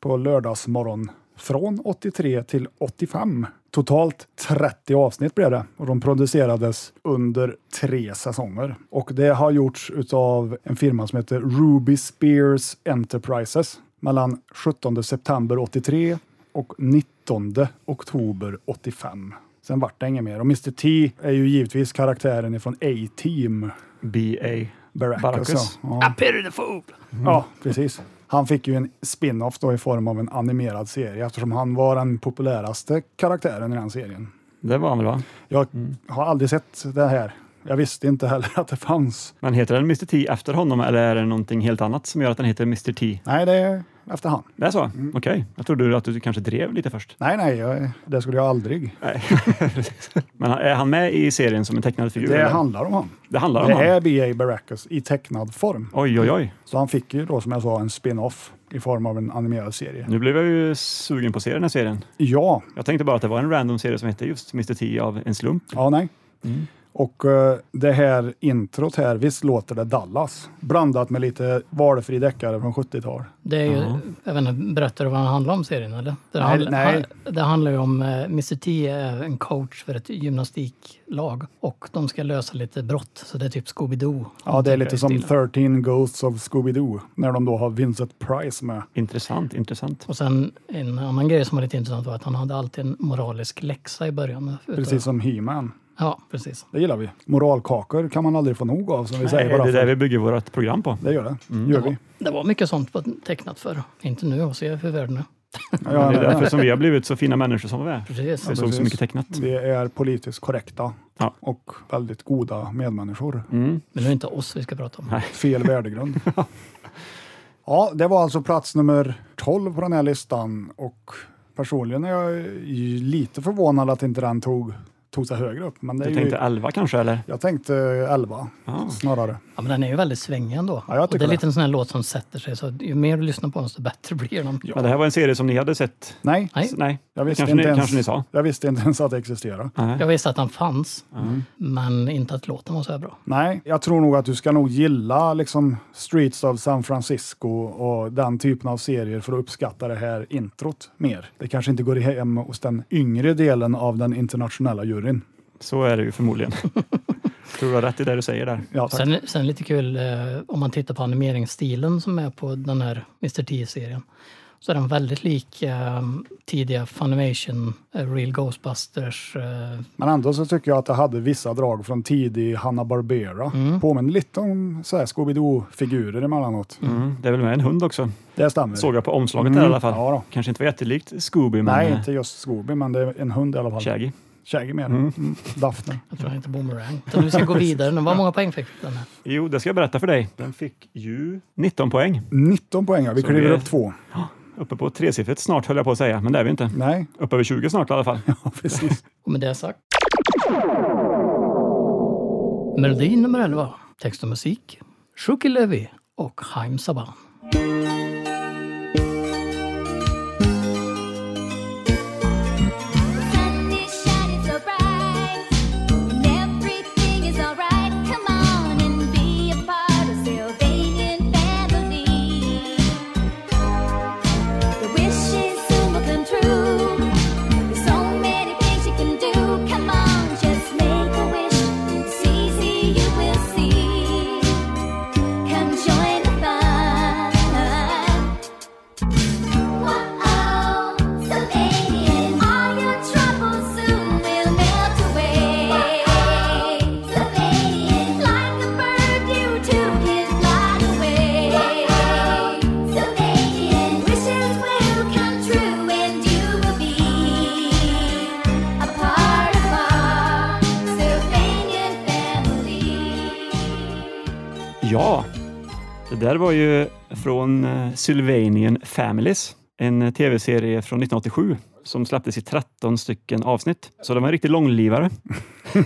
Speaker 2: på lördagsmorgon från 83 till 85. Totalt 30 avsnitt blev det och de producerades under tre säsonger. Och det har gjorts utav en firma som heter Ruby Spears Enterprises mellan 17 september 83 och 19 oktober 85. Sen vart det inget mer. Och Mr T är ju givetvis karaktären ifrån A-Team.
Speaker 3: B.A.
Speaker 2: Baracus.
Speaker 3: Baracus.
Speaker 2: Ja. Mm.
Speaker 4: I pity the fool!
Speaker 2: ja, precis. Han fick ju en spin-off då i form av en animerad serie eftersom han var den populäraste karaktären i den serien.
Speaker 3: Det var han väl va?
Speaker 2: Jag har aldrig sett det här. Jag visste inte heller att det fanns.
Speaker 3: Men heter den Mr T efter honom eller är det någonting helt annat som gör att den heter Mr T?
Speaker 2: Nej, det är efter han.
Speaker 3: Det är så?
Speaker 2: Mm.
Speaker 3: Okej. Jag trodde att du kanske drev lite först.
Speaker 2: Nej, nej, jag, det skulle jag aldrig.
Speaker 3: Nej. Men är han med i serien som en tecknad figur?
Speaker 2: Det
Speaker 3: eller?
Speaker 2: handlar om han.
Speaker 3: det handlar om
Speaker 2: Det
Speaker 3: han.
Speaker 2: är B.A. Baracus i tecknad form.
Speaker 3: Oj, oj, oj.
Speaker 2: Så han fick ju då, som jag sa, en spin-off i form av en animerad serie.
Speaker 3: Nu blev jag ju sugen på att se den här serien.
Speaker 2: Ja,
Speaker 3: Jag tänkte bara att det var en random serie som hette just Mr T av en slump.
Speaker 2: Ja, nej.
Speaker 3: Mm.
Speaker 2: Och eh, det här introt här, visst låter det Dallas? Blandat med lite valfri deckare från 70-tal.
Speaker 4: Det är ju, jag vet inte, berättar du vad den handlar om serien eller? Det,
Speaker 2: Nej,
Speaker 4: handl-
Speaker 2: nej.
Speaker 4: ha- det handlar ju om eh, Mr T är en coach för ett gymnastiklag och de ska lösa lite brott. Så det är typ Scooby-Doo. Typ.
Speaker 2: Ja, det är lite
Speaker 4: Tycker
Speaker 2: som
Speaker 4: jag
Speaker 2: 13 Ghosts of Scooby-Doo, när de då har Vincent Price med.
Speaker 3: Intressant, intressant.
Speaker 4: Och sen en annan grej som var lite intressant var att han hade alltid en moralisk läxa i början. Utav-
Speaker 2: Precis som He-Man.
Speaker 4: Ja, precis.
Speaker 2: Det gillar vi. Moralkakor kan man aldrig få nog av, som vi
Speaker 3: Nej,
Speaker 2: säger
Speaker 3: det Mm.
Speaker 2: bara.
Speaker 3: är
Speaker 2: Det,
Speaker 3: det vi bygger vårt program på.
Speaker 2: det gör det. gör vi.
Speaker 4: Det var mycket sånt på tecknat för. Inte nu och se hur världen är.
Speaker 2: Ja, jag
Speaker 3: Det är
Speaker 2: menar
Speaker 3: därför som vi har blivit så fina människor som vi är.
Speaker 4: Precis.
Speaker 3: Vi såg
Speaker 2: precis.
Speaker 3: så mycket tecknat.
Speaker 2: Vi är politiskt korrekta
Speaker 3: Ja.
Speaker 2: och väldigt goda medmänniskor.
Speaker 4: Men det är inte oss vi ska prata om.
Speaker 2: Fel värdegrund. ja, det var alltså plats nummer 12 på den här listan och personligen är jag ju lite förvånad att inte den tog, tog sig högre upp. Men det är
Speaker 3: Du
Speaker 2: ju,
Speaker 3: tänkte Ah. 11 kanske, eller?
Speaker 2: Jag tänkte 11 snarare.
Speaker 4: Ja, men den är ju väldigt svängig ändå.
Speaker 2: Ja, jag
Speaker 4: och det
Speaker 2: tycker
Speaker 4: är
Speaker 2: det.
Speaker 4: lite en sån här låt som sätter sig. Så ju mer du lyssnar på den, så bättre blir den.
Speaker 3: Men det här var en serie som ni hade sett?
Speaker 2: Nej,
Speaker 4: Nej,
Speaker 3: Så, nej,
Speaker 2: jag visste,
Speaker 3: kanske,
Speaker 2: inte
Speaker 3: ni,
Speaker 2: ens,
Speaker 3: kanske ni sa. Ah.
Speaker 2: jag visste inte ens att det existerade.
Speaker 4: jag visste att den fanns,
Speaker 2: Mm.
Speaker 4: men inte att låten var så här bra.
Speaker 2: Nej, jag tror nog att du ska nog gilla liksom Streets of San Francisco och den typen av serier för att uppskatta det här introt mer. Det kanske inte går hem hos den yngre delen av den internationella juryn.
Speaker 3: Så är det ju förmodligen. tror du har rätt i det du säger där.
Speaker 2: Ja, tack.
Speaker 4: Sen, sen lite kul eh, om man tittar på animeringsstilen som är på den här Mr. T-serien. så är den väldigt lik eh, tidiga Funimation, eh, Real Ghostbusters. Eh,
Speaker 2: Men ändå så tycker jag att det hade vissa drag från tidig Hanna-Barbera. Påminner lite om så här Scooby-Doo-figurer emellanåt.
Speaker 3: Mm, det är väl med en hund också.
Speaker 2: Det stämmer.
Speaker 3: Såg jag på omslaget
Speaker 2: Mm,
Speaker 3: där i alla fall.
Speaker 2: ja då.
Speaker 3: Kanske inte var jättelikt Scooby, men
Speaker 2: Nej,
Speaker 3: eh,
Speaker 2: inte just Scooby, men det är en hund i alla fall.
Speaker 3: Shaggy.
Speaker 2: Shaggy mer. Mm. Daphne.
Speaker 4: jag tror den heter Boomerang. Så nu ska vi gå vidare. nu. Vad många poäng fick den här?
Speaker 3: Jo, det ska jag berätta för dig. Den fick ju 19 poäng.
Speaker 2: Mm. 19 poäng, ja. vi
Speaker 3: Så
Speaker 2: kliver
Speaker 3: vi är-
Speaker 2: upp två.
Speaker 3: Uppe på tresiffrigt snart höll jag på att säga, men det är vi inte.
Speaker 2: Nej,
Speaker 3: Upp över 20 snart i alla fall.
Speaker 2: ja, precis.
Speaker 4: Och med det sagt. Melodi nummer 11. Text och musik. Shuki Levy och Haim Saban.
Speaker 7: Sun is shining so bright, and everything is alright. Come on and be a part of Sylvanian family. The wishes soon will come true. There's so many things you can do. Come on, just make a wish. It's easy, you will see. Come join the fun. Whoa, Sylvanian, all your troubles soon will melt away. Sylvanian, like a bird, you too can fly away. Sylvanian, wishes will come true, and you will be a part of our Sylvanian family.
Speaker 3: Ja, det där var ju från eh, Sylvanian Families, en eh, tv-serie från 1987 som släpptes i 13 stycken avsnitt. Så det var en riktigt långlivare. Mm.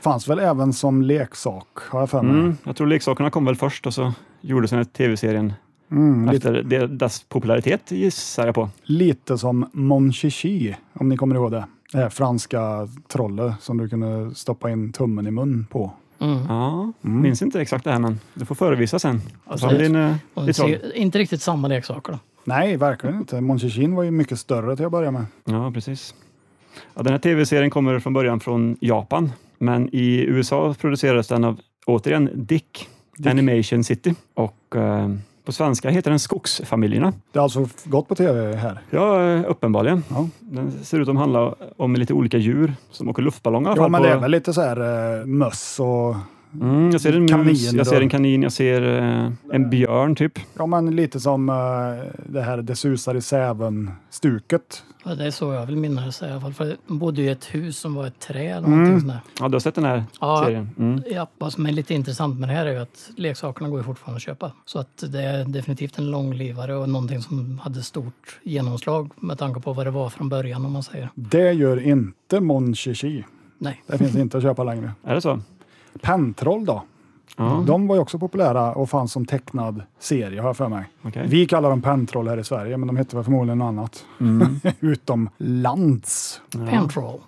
Speaker 2: Fanns väl även som leksak, har jag för mig.
Speaker 3: Mm, jag tror leksakerna kom väl först och så gjorde sen tv-serien
Speaker 2: Mm, lite,
Speaker 3: efter de- dess popularitet gissar jag på.
Speaker 2: lite som Mon Chichi, om ni kommer ihåg det. Det här franska trollet som du kunde stoppa in tummen i mun på.
Speaker 3: Ja, Mm. minns inte exakt det här men du får förevisa sen.
Speaker 4: Alltså,
Speaker 3: Ta din, eh,
Speaker 4: Och
Speaker 3: ditt roll.
Speaker 4: ser, inte riktigt samma leksaker. Då.
Speaker 2: Nej, verkligen inte. Mon Chichi var ju mycket större till att börja med.
Speaker 3: Ja, precis. Ja, den här tv-serien kommer från början från Japan, men i USA producerades den av, återigen, Dick, Animation City. Och eh, på svenska heter den Skogsfamiljerna.
Speaker 2: Det har alltså gått på tv här.
Speaker 3: Ja, eh, uppenbarligen.
Speaker 2: Ja.
Speaker 3: Den ser ut att handla om lite olika djur som åker luftballong i alla
Speaker 2: Ja,
Speaker 3: fall.
Speaker 2: men
Speaker 3: på,
Speaker 2: det är väl lite så här eh, möss och
Speaker 3: mm, jag ser en mus,
Speaker 2: kaniner
Speaker 3: jag ser
Speaker 2: då?
Speaker 3: en kanin, jag ser eh, en björn typ.
Speaker 2: ja, men lite som eh, det här Det susar i säven-stuket.
Speaker 4: Ja, Det är så jag vill minnas det i alla fall. För de bodde ju i ett hus som var ett trä eller någonting sånt där.
Speaker 3: Ja, du har sett den här
Speaker 4: Ja.
Speaker 3: serien? Mm.
Speaker 4: Ja, vad som är lite intressant med det här är ju att leksakerna går ju fortfarande att köpa. Så att det är definitivt en långlivare och någonting som hade stort genomslag med tanke på vad det var från början om man säger.
Speaker 2: Det gör inte Mon Chichi.
Speaker 4: Nej.
Speaker 2: Det finns inte att köpa längre.
Speaker 3: Är det så?
Speaker 2: Pentroll då? De var ju också populära och fanns som tecknad serie, har jag för mig.
Speaker 3: Okej.
Speaker 2: Vi kallar dem pentroll här i Sverige, men de hette väl förmodligen något annat.
Speaker 3: Mm.
Speaker 2: Utomlands.
Speaker 4: Pantroll.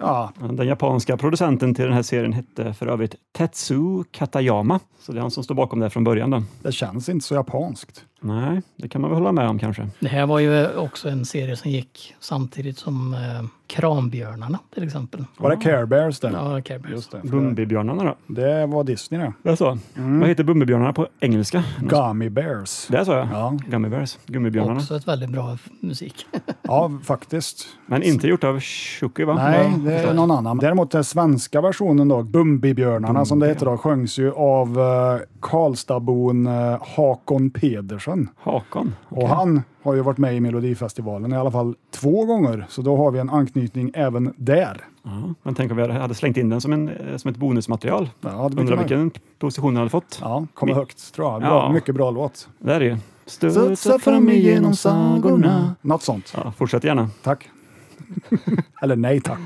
Speaker 2: Ja,
Speaker 3: Den japanska producenten till den här serien hette för övrigt Tetsu Katayama. Så det är han som står bakom det här från början. Då.
Speaker 2: det känns inte så japanskt.
Speaker 3: Nej, det kan man väl hålla med om kanske.
Speaker 4: Det här var ju också en serie som gick samtidigt som eh, Kranbjörnarna till exempel.
Speaker 2: Var det Care Bears det?
Speaker 4: Ja, Care Bears.
Speaker 2: Just det.
Speaker 3: Bumbibjörnarna då?
Speaker 2: Det var Disney det.
Speaker 3: Det är så.
Speaker 2: Mm.
Speaker 3: Vad heter Bumbibjörnarna på engelska?
Speaker 2: Gummy Bears.
Speaker 3: Det är så ja.
Speaker 2: Ja.
Speaker 3: Gummy Bears, gummibjörnarna.
Speaker 4: Också ett väldigt bra f- musik.
Speaker 2: Ja, faktiskt.
Speaker 3: Men inte gjort av Shuki va?
Speaker 2: Nej,
Speaker 3: Ja.
Speaker 2: det är någon annan. Däremot den svenska versionen då, Bumbibjörnarna som det heter då, sjöngs ju av eh, Karlstadbon eh, Hakon Pedersen.
Speaker 3: Hakon.
Speaker 2: Och han har ju varit med i Melodifestivalen i alla fall två gånger, så då har vi en anknytning även där.
Speaker 3: Ja. Men tänk om vi hade slängt in den som, en, eh, som ett bonusmaterial.
Speaker 2: Ja, det blir
Speaker 3: Undrar
Speaker 2: kul.
Speaker 3: vilken position den hade fått.
Speaker 2: Ja, kommer högt tror jag. Bra,
Speaker 3: Ja.
Speaker 2: Mycket bra låt.
Speaker 3: Det är det ju. Studsa fram igenom sagorna.
Speaker 2: Något sånt.
Speaker 3: Ja, fortsätt gärna.
Speaker 2: Tack. Eller nej tack.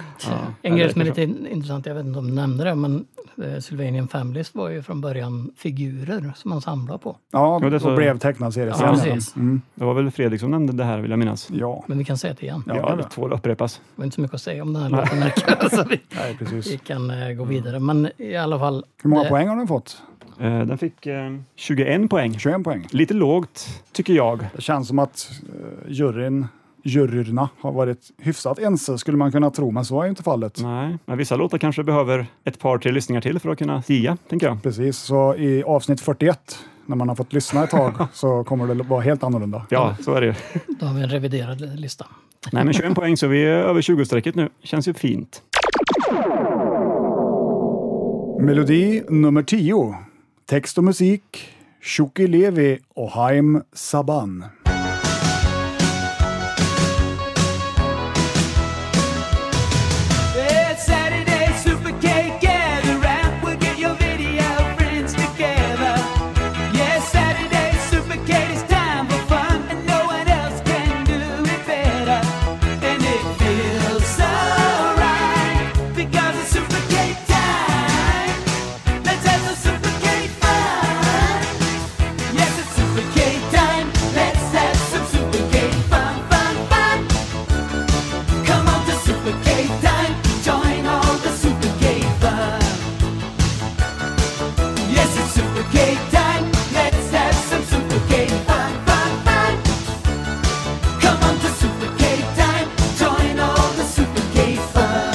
Speaker 4: En grej som är lite in- intressant, jag vet inte om du nämnde det, men eh, Sylvanian Families var ju från början figurer som man samlade på.
Speaker 2: Ja,
Speaker 3: Ja, det är så-
Speaker 2: och blev tecknarserie
Speaker 4: Ja,
Speaker 2: sen.
Speaker 4: precis.
Speaker 3: Det var väl Fredrik som nämnde det här vill jag minnas.
Speaker 2: Mm, Ja,
Speaker 4: Men vi kan säga det igen.
Speaker 2: Ja.
Speaker 3: Ja,
Speaker 2: det
Speaker 3: det
Speaker 2: var.
Speaker 3: tål att upprepas.
Speaker 4: Det var inte så mycket att säga om den här låten. verkar det som. vi,
Speaker 2: nej, precis.
Speaker 4: vi kan eh, gå vidare. Men i alla fall.
Speaker 2: Mm. Hur många
Speaker 4: det-
Speaker 2: poäng har den fått?
Speaker 3: Eh, Den fick eh, 21 poäng.
Speaker 2: 21 poäng.
Speaker 3: Lite lågt, tycker jag.
Speaker 2: Det känns som att eh, juryn, juryerna har varit hyfsat ense skulle man kunna tro, men så är ju inte fallet.
Speaker 3: Nej, men vissa låtar kanske behöver ett par, tre lyssningar till för att kunna stiga, tänker jag.
Speaker 2: Precis, så i avsnitt 41 När man har fått lyssna ett tag så kommer det vara helt annorlunda.
Speaker 3: Ja, så är det ju.
Speaker 4: Då har vi en reviderad lista.
Speaker 3: Nej, men 21 poäng så vi är över 20-strecket nu. Känns ju fint.
Speaker 2: Melodi nummer 10. Text och musik, Shuki Levi och Haim Saban.
Speaker 5: It's Saturday, super cake, gather round. We'll get your video friends together. Yes, Saturday, super cake, it's time for fun. And no one else can do it better. And it feels so right because it's super cake time. Let's have some super cake fun. Yes, it's super cake time. Let's have some super cake fun, fun, fun. Come on to Super K time. Join all the Super K fun. Yes, it's Super K time. Let's have some Super K fun, fun, fun. Come on to Super K time. Join all the Super K fun.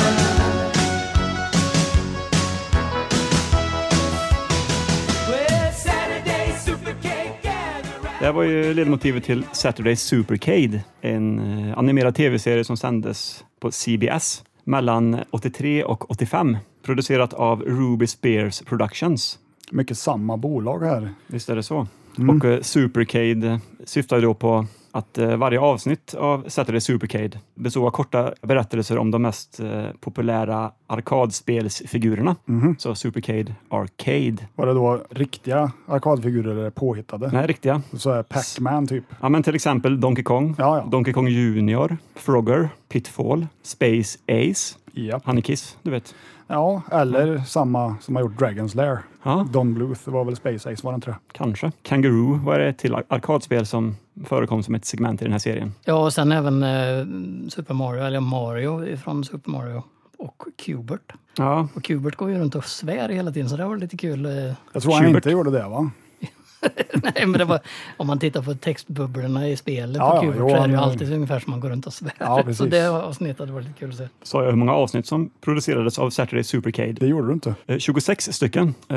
Speaker 5: Well, Saturday Super K gather round.
Speaker 3: Det här var ju ledmotivet till Saturday Supercade, en eh, animerad tv-serie som sändes på CBS mellan 83 och 85. Producerat av Ruby Spears Productions.
Speaker 2: Mycket samma bolag här.
Speaker 3: Visst är det så?
Speaker 2: Mm.
Speaker 3: Och eh, Supercade eh, syftar ju då på att eh, varje avsnitt av Saturday Supercade bestod av korta berättelser om de mest eh, populära arkadspelsfigurerna.
Speaker 2: Mhm.
Speaker 3: Så Supercade Arcade.
Speaker 2: Var det då riktiga arkadfigurer eller påhittade?
Speaker 3: Nej, riktiga.
Speaker 2: Så här Pac-Man typ.
Speaker 3: Ja, men till exempel Donkey Kong,
Speaker 2: Ja, ja.
Speaker 3: Donkey Kong Junior, Frogger, Pitfall, Space Ace,
Speaker 2: Ja.
Speaker 3: han är Kiss, du vet.
Speaker 2: ja, eller samma som har gjort Dragon's Lair.
Speaker 3: Ja,
Speaker 2: Don Bluth var väl Space Ace, var det inte det?
Speaker 3: kanske. Kangaroo var det till ar- arkadspel som förekom som ett segment i den här serien.
Speaker 4: Ja, och sen även eh, Super Mario, eller Mario från Super Mario och Qbert.
Speaker 3: Ja,
Speaker 4: Och Qbert går ju runt och svär hela tiden, så det var lite kul. eh.
Speaker 2: Jag tror han
Speaker 3: Schubert.
Speaker 2: inte gjorde det va?
Speaker 4: Nej, men det var, om man tittar på textbubblorna i spelet
Speaker 2: Ja, ja,
Speaker 4: på Qbert
Speaker 2: jo,
Speaker 4: så är det ju
Speaker 2: han-
Speaker 4: alltid ungefär som man går runt och svär.
Speaker 2: Ja,
Speaker 4: så
Speaker 2: precis.
Speaker 4: det avsnittet hade varit lite kul att se.
Speaker 3: sa jag hur många avsnitt som producerades av Saturday Supercade.
Speaker 2: Det gjorde du inte.
Speaker 3: Eh, 26 stycken eh,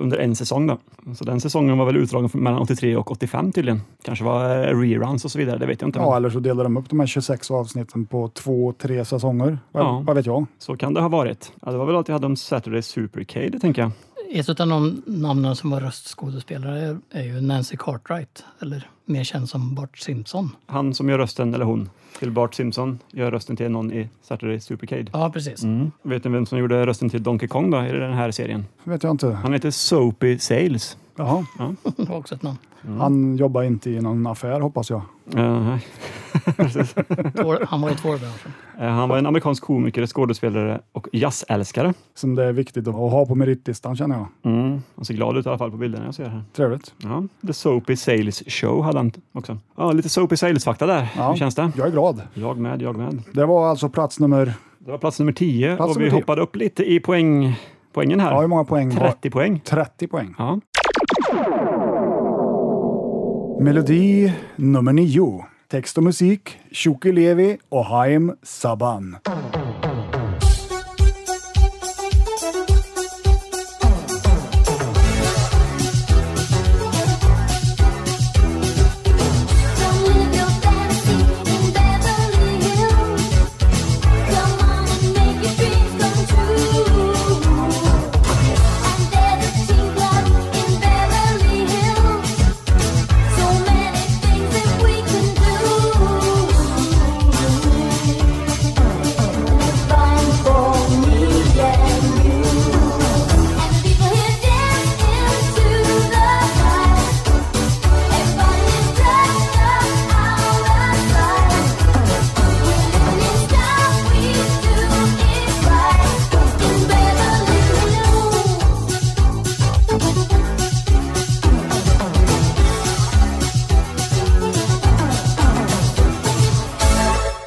Speaker 3: under en säsong. Då. Så den säsongen var väl utdragen från mellan 83 och 85 tydligen. Kanske var eh, reruns och så vidare, det vet jag inte.
Speaker 2: Ja,
Speaker 3: men
Speaker 2: eller så delar de upp de här 26 avsnitten på två, tre säsonger. Vad,
Speaker 3: Ja.
Speaker 2: vad vet jag?
Speaker 3: Så kan det ha varit. Ja, det var väl allt jag hade om Saturday Supercade, tänker jag.
Speaker 4: Ett av de namnen som var röstskådespelare är- är ju Nancy Cartwright, eller mer känd som Bart Simpson.
Speaker 3: Han som gör rösten, eller hon, till Bart Simpson gör rösten till någon i Saturday Supercade.
Speaker 4: Ja, precis.
Speaker 2: Mm.
Speaker 3: Vet ni vem som gjorde rösten till Donkey Kong då, i den här serien?
Speaker 2: Vet jag inte.
Speaker 3: Han heter Soapy Sales.
Speaker 2: Jaha.
Speaker 4: Det var också ett namn.
Speaker 3: Mm.
Speaker 2: Han jobbar inte i någon affär hoppas jag.
Speaker 3: Eh,
Speaker 4: Två- Han var i tvålbranschen.
Speaker 3: eh, han var en amerikansk komiker, skådespelare och jazzälskare.
Speaker 2: Som det är viktigt att ha på meritlistan känner jag.
Speaker 3: Mm. Han ser glad ut i alla fall på bilderna jag ser här.
Speaker 2: Trevligt.
Speaker 3: Ja, The Soapy Sales Show hade han också. Ja, lite Soapy Sales-fakta där.
Speaker 2: Ja.
Speaker 3: Hur känns det?
Speaker 2: Jag är glad.
Speaker 3: Jag med, jag med.
Speaker 2: Det var alltså plats nummer...
Speaker 3: Det var plats nummer 10
Speaker 2: Plats
Speaker 3: och vi
Speaker 2: nummer 10.
Speaker 3: hoppade upp lite i poäng, poängen här.
Speaker 2: Ja, hur många poäng? var-
Speaker 3: 30 poäng.
Speaker 2: 30 poäng.
Speaker 3: Ja.
Speaker 2: Melodi nummer 9. Text och musik, Shuki Levi och Haim Saban.
Speaker 7: Come live your fantasy in Beverly Hills. Come on and make your dreams come true. Under the teen club in Beverly Hills, so many things that we can do. Fun for me and you, and people here dance into the light. Everybody's dressed up out of We're living style, we do it right in Beverly Hills.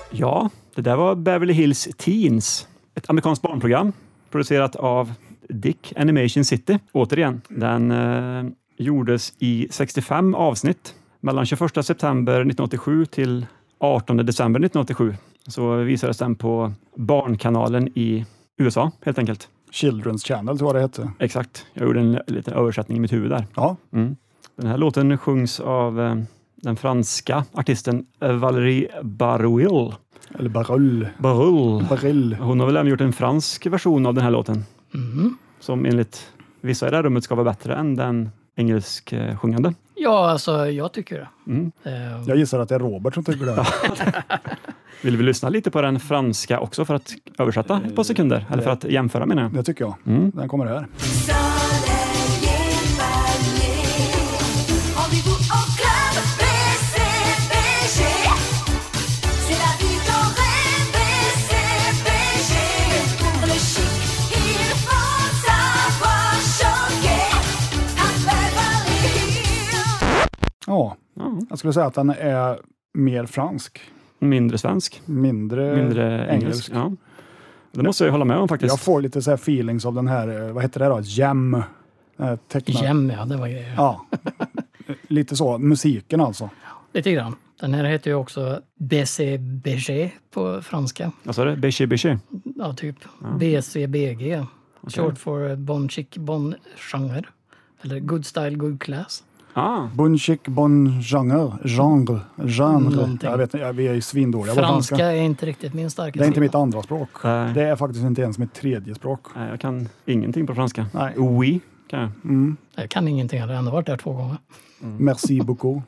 Speaker 3: ja, det där var Beverly Hills Teens. Ett amerikanskt barnprogram producerat av Dick Animation City. Återigen, den eh, gjordes i 65 avsnitt mellan 21 september 1987 till 18 december 1987. Så visades den på Barnkanalen i USA helt enkelt.
Speaker 2: Children's Channel tror jag det hette.
Speaker 3: Exakt. Jag gjorde en liten översättning i mitt huvud där.
Speaker 2: Ja,
Speaker 3: Den här låten sjungs av eh, den franska artisten eh, Valérie Baruil.
Speaker 2: Eller barull.
Speaker 3: Baruil.
Speaker 2: Barull.
Speaker 3: Hon har väl även gjort en fransk version av den här låten
Speaker 4: Mhm.
Speaker 3: som enligt vissa i det här rummet ska vara bättre än den engelsk eh, sjungande.
Speaker 4: Ja, alltså jag tycker det.
Speaker 3: Mm.
Speaker 4: Eh,
Speaker 2: Jag gissar att det är Robert som tycker det.
Speaker 3: Vill vi lyssna lite på den franska också för att översätta ett par sekunder? Eller för att jämföra menar jag.
Speaker 2: Det tycker jag.
Speaker 3: Mm.
Speaker 2: Den kommer här.
Speaker 7: Soleil et palmier. Rendez-vous au club BCBG. C'est la vie qu'on rêve, BCBG. Pour le chic, il faut savoir choquer. À Beverly Hills.
Speaker 2: Ja,
Speaker 3: Ja,
Speaker 2: jag skulle säga att den är mer fransk.
Speaker 3: mindre svensk,
Speaker 2: Mindre,
Speaker 3: mindre
Speaker 2: Eh, engelsk.
Speaker 3: engelsk. Ja. Det måste jag ju hålla med om faktiskt.
Speaker 2: Jag får lite så här feelings av den här, eh, vad heter det då, jam. Eh, tecknad-
Speaker 4: Gem, ja, det var grejer.
Speaker 2: Ja. Lite så, musiken alltså.
Speaker 4: Lite grann. Den här heter ju också BCBG på franska.
Speaker 3: Vad sa du? Beche beche.
Speaker 4: Ja, typ BCBG. Short for Bon Chic Bon Genre. Eller Good Style Good Class.
Speaker 3: Ah,
Speaker 2: Bon chic, bon genre, genre, genre.
Speaker 4: Någonting.
Speaker 2: Jag vet inte, vi är ju svindåliga på franska.
Speaker 4: Franska är inte riktigt min starka
Speaker 2: Det är inte
Speaker 4: sida.
Speaker 2: mitt andra språk.
Speaker 3: Nej.
Speaker 2: Det är faktiskt inte ens mitt tredje språk.
Speaker 3: Eh, nej, jag kan ingenting på franska.
Speaker 2: Nej.
Speaker 3: Oui, kan jag.
Speaker 4: Jag kan ingenting, jag har ändå varit där två gånger.
Speaker 2: Merci beaucoup.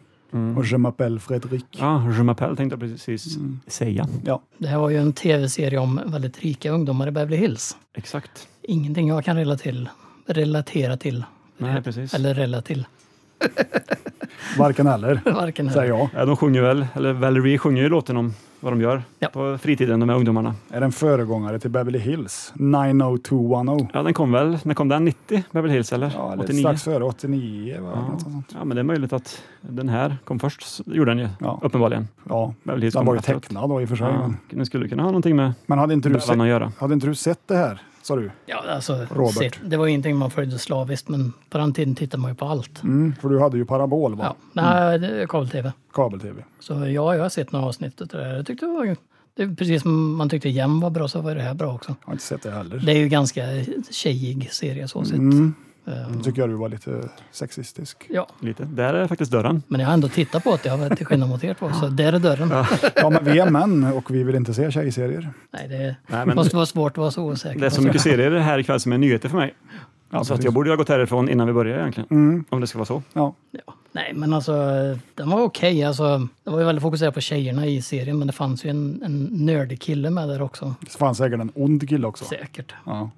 Speaker 2: Och je m'appelle Frédéric.
Speaker 3: Ah, je m'appelle tänkte jag precis säga.
Speaker 2: Ja,
Speaker 4: Det här var ju en tv-serie om väldigt rika ungdomar i Beverly Hills.
Speaker 3: Exakt.
Speaker 4: Ingenting jag kan relatera till. Relatera till.
Speaker 3: Nej, precis.
Speaker 4: Eller rela till.
Speaker 2: varken eller,
Speaker 4: Varken
Speaker 2: säger
Speaker 4: här.
Speaker 2: jag.
Speaker 3: Ja, de sjunger väl, eller Valerie sjunger ju låten om vad de gör
Speaker 4: Ja.
Speaker 3: på fritiden, de här ungdomarna.
Speaker 2: Är den föregångare till Beverly Hills? 90210.
Speaker 3: Ja, den kom väl, när kom den? 90, Beverly Hills eller?
Speaker 2: Ja, eller
Speaker 3: 89?
Speaker 2: strax före 89. Va?
Speaker 3: Ja.
Speaker 2: Något sånt.
Speaker 3: ja, men det är möjligt att den här kom först, så gjorde den ju,
Speaker 2: Ja.
Speaker 3: uppenbarligen.
Speaker 2: ja.
Speaker 3: Beverly Hills
Speaker 2: Den
Speaker 3: kom
Speaker 2: var ju
Speaker 3: efteråt.
Speaker 2: tecknad då i och för sig.
Speaker 3: Ja,
Speaker 2: Men,
Speaker 3: den skulle kunna ha någonting med
Speaker 2: men hade, inte du
Speaker 3: Bövan
Speaker 2: sett,
Speaker 3: att göra.
Speaker 2: hade inte du sett det här, sa du?
Speaker 4: Ja, alltså,
Speaker 2: Robert.
Speaker 4: Robert. Det var ju ingenting man följde slaviskt, men på den tiden tittade man ju på allt.
Speaker 2: Mm, för du hade ju parabol, va?
Speaker 4: Ja, nej, det är kabel-tv.
Speaker 2: kabel-tv.
Speaker 4: Så ja, jag har sett några avsnitt av det där. Jag tyckte det var... Det är precis som man tyckte Jäm var bra så var det här bra också.
Speaker 2: Jag har inte sett det heller.
Speaker 4: Det är ju ganska tjejig serie så sett.
Speaker 2: Mm.
Speaker 4: Eh,
Speaker 2: Då tycker jag du var lite sexistisk.
Speaker 4: Ja,
Speaker 3: Lite. Där är faktiskt dörren.
Speaker 4: men jag har ändå tittat på det, jag har till skillnad mot er två. Så där är dörren.
Speaker 2: Ja, men vi är män och vi vill inte se tjejserier.
Speaker 4: Nej, det
Speaker 3: Nej, men-
Speaker 4: måste vara svårt att vara så osäker.
Speaker 3: Det är så mycket serier här ikväll som är nyheter för mig. så att
Speaker 2: precis. Mm.
Speaker 3: jag borde ju ha gått härifrån innan vi börjar egentligen. Om det ska vara så.
Speaker 2: Ja.
Speaker 4: Ja. Nej, men alltså den var okej. Alltså, det var ju väldigt fokuserat på tjejerna i serien, men det fanns ju en, en nördig kille med där också.
Speaker 2: Det fanns säkert en ond kille också.
Speaker 4: Säkert.
Speaker 2: Ja.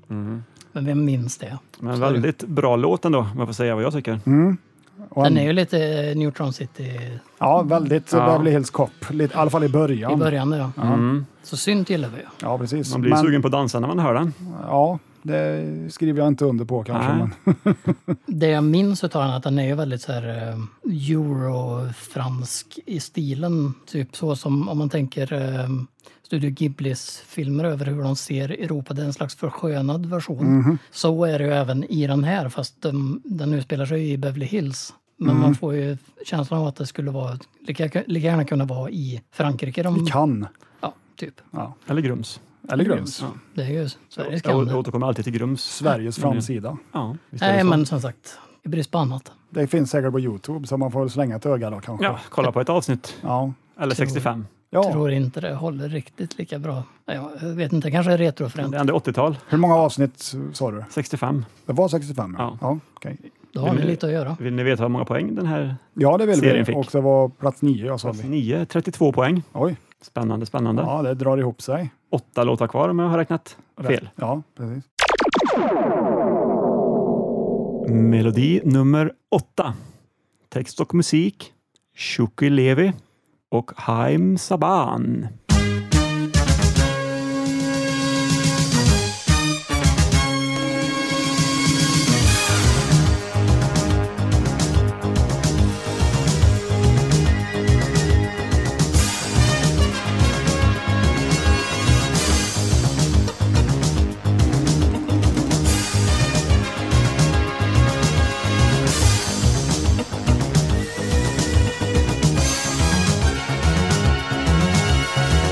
Speaker 4: Men vem minns det?
Speaker 3: Men väldigt bra låt ändå, om jag får säga vad jag tycker.
Speaker 2: Mm, Och
Speaker 4: Den
Speaker 2: en,
Speaker 4: är ju lite eh, Neutron City
Speaker 2: ja, väldigt
Speaker 3: Ja.
Speaker 2: Beverly Hills Cop. Lite, I alla fall i början.
Speaker 4: i början. Ja.
Speaker 3: Mm.
Speaker 4: Så synt gillar vi ju.
Speaker 2: Ja, precis.
Speaker 3: Man blir
Speaker 2: Men-
Speaker 3: sugen på att dansa när man hör den.
Speaker 2: Ja, det skriver jag inte under på kanske.
Speaker 3: Nej.
Speaker 2: Men,
Speaker 4: Det jag minns utav den är att den är ju väldigt så här eh, eurofransk i stilen. Typ så som om man tänker eh, Studio Ghiblis filmer över hur de ser Europa. Det är en slags förskönad version. Så är det ju även i den här fast den, den utspelar sig i Beverly Hills. Men man får ju känslan av att det skulle vara lika, lika gärna kunna vara i Frankrike. De,
Speaker 3: Mm.
Speaker 2: Vi kan.
Speaker 4: ja, typ.
Speaker 3: Eller Grums.
Speaker 2: Eller Grums.
Speaker 3: Ja.
Speaker 4: Det är ju Sveriges
Speaker 3: Jag jag
Speaker 4: kan.
Speaker 3: återkommer alltid till Grums.
Speaker 2: Sveriges
Speaker 3: Mm.
Speaker 2: framsida.
Speaker 3: Ja, visst är det
Speaker 4: Nej,
Speaker 3: så.
Speaker 4: men som sagt, i brist på annat.
Speaker 2: Det finns säkert på Youtube så man får väl slänga ett öga då kanske.
Speaker 3: Ja, kolla på ett avsnitt.
Speaker 2: Ja.
Speaker 3: Eller 65.
Speaker 2: Ja.
Speaker 4: tror inte det håller riktigt lika bra. Ja, Jag vet inte, det kanske är retrofränt.
Speaker 3: Det är ändå 80-tal.
Speaker 2: Hur många avsnitt sa du?
Speaker 3: 65.
Speaker 2: Det var 65?
Speaker 3: Ja.
Speaker 2: Ja, okej.
Speaker 4: Då har ni lite att göra.
Speaker 3: Vill ni veta hur många poäng den här
Speaker 2: ja det vill
Speaker 3: Serien
Speaker 2: vi.
Speaker 3: fick.
Speaker 2: Och det var plats nio jag sa
Speaker 3: Plats
Speaker 2: vi.
Speaker 3: nio, 32 poäng.
Speaker 2: Oj,
Speaker 3: Spännande, spännande.
Speaker 2: ja det drar ihop sig.
Speaker 3: Åtta låtar kvar om jag har räknat fel.
Speaker 2: Ja, precis.
Speaker 3: Melodi nummer åtta. Text och musik, Shuki Levi och Haim Saban.
Speaker 7: Melodi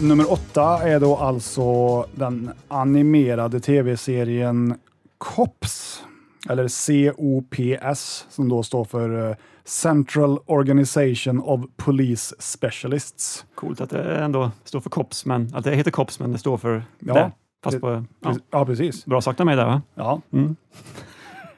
Speaker 2: Nummer åtta är då alltså den animerade tv-serien COPS, eller COPS, som då står för eh, Central Organization of Police Specialists.
Speaker 3: Coolt att det ändå står för COPS, men att det heter COPS, men det står för
Speaker 2: Ja,
Speaker 3: det. Fast
Speaker 2: det-
Speaker 3: på, ja,
Speaker 2: Pre- Ja, precis.
Speaker 3: bra sagt av mig där va?
Speaker 2: Ja.
Speaker 3: Mm.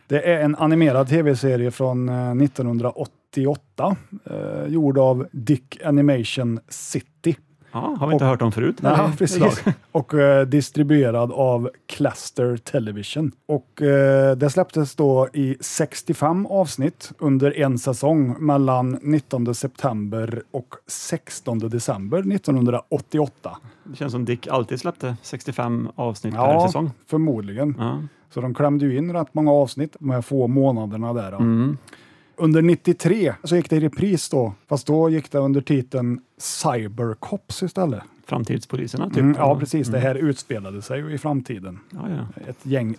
Speaker 2: Det är en animerad tv-serie från eh, 1988, eh, gjord av Dick Animation City.
Speaker 3: Ja, har vi inte
Speaker 2: Och-
Speaker 3: hört om förut?
Speaker 2: Ja,
Speaker 3: eller? Idag.
Speaker 2: precis. Och eh, distribuerad av Cluster Television. Och eh, det släpptes då i 65 avsnitt under en säsong mellan 19 september och 16 december 1988.
Speaker 3: Det känns som Dick alltid släppte 65 avsnitt per
Speaker 2: Ja,
Speaker 3: säsong.
Speaker 2: förmodligen.
Speaker 3: Ja.
Speaker 2: Så de klämde ju in rätt många avsnitt de här få månaderna där. Då.
Speaker 3: Mm.
Speaker 2: Under 93 så gick det i repris då, fast då gick det under titeln Cybercops istället.
Speaker 3: Framtidspoliserna typ.
Speaker 2: Mm, ja,
Speaker 3: eller?
Speaker 2: precis. Det här utspelade sig ju i framtiden.
Speaker 3: Ja, ja.
Speaker 2: ett gäng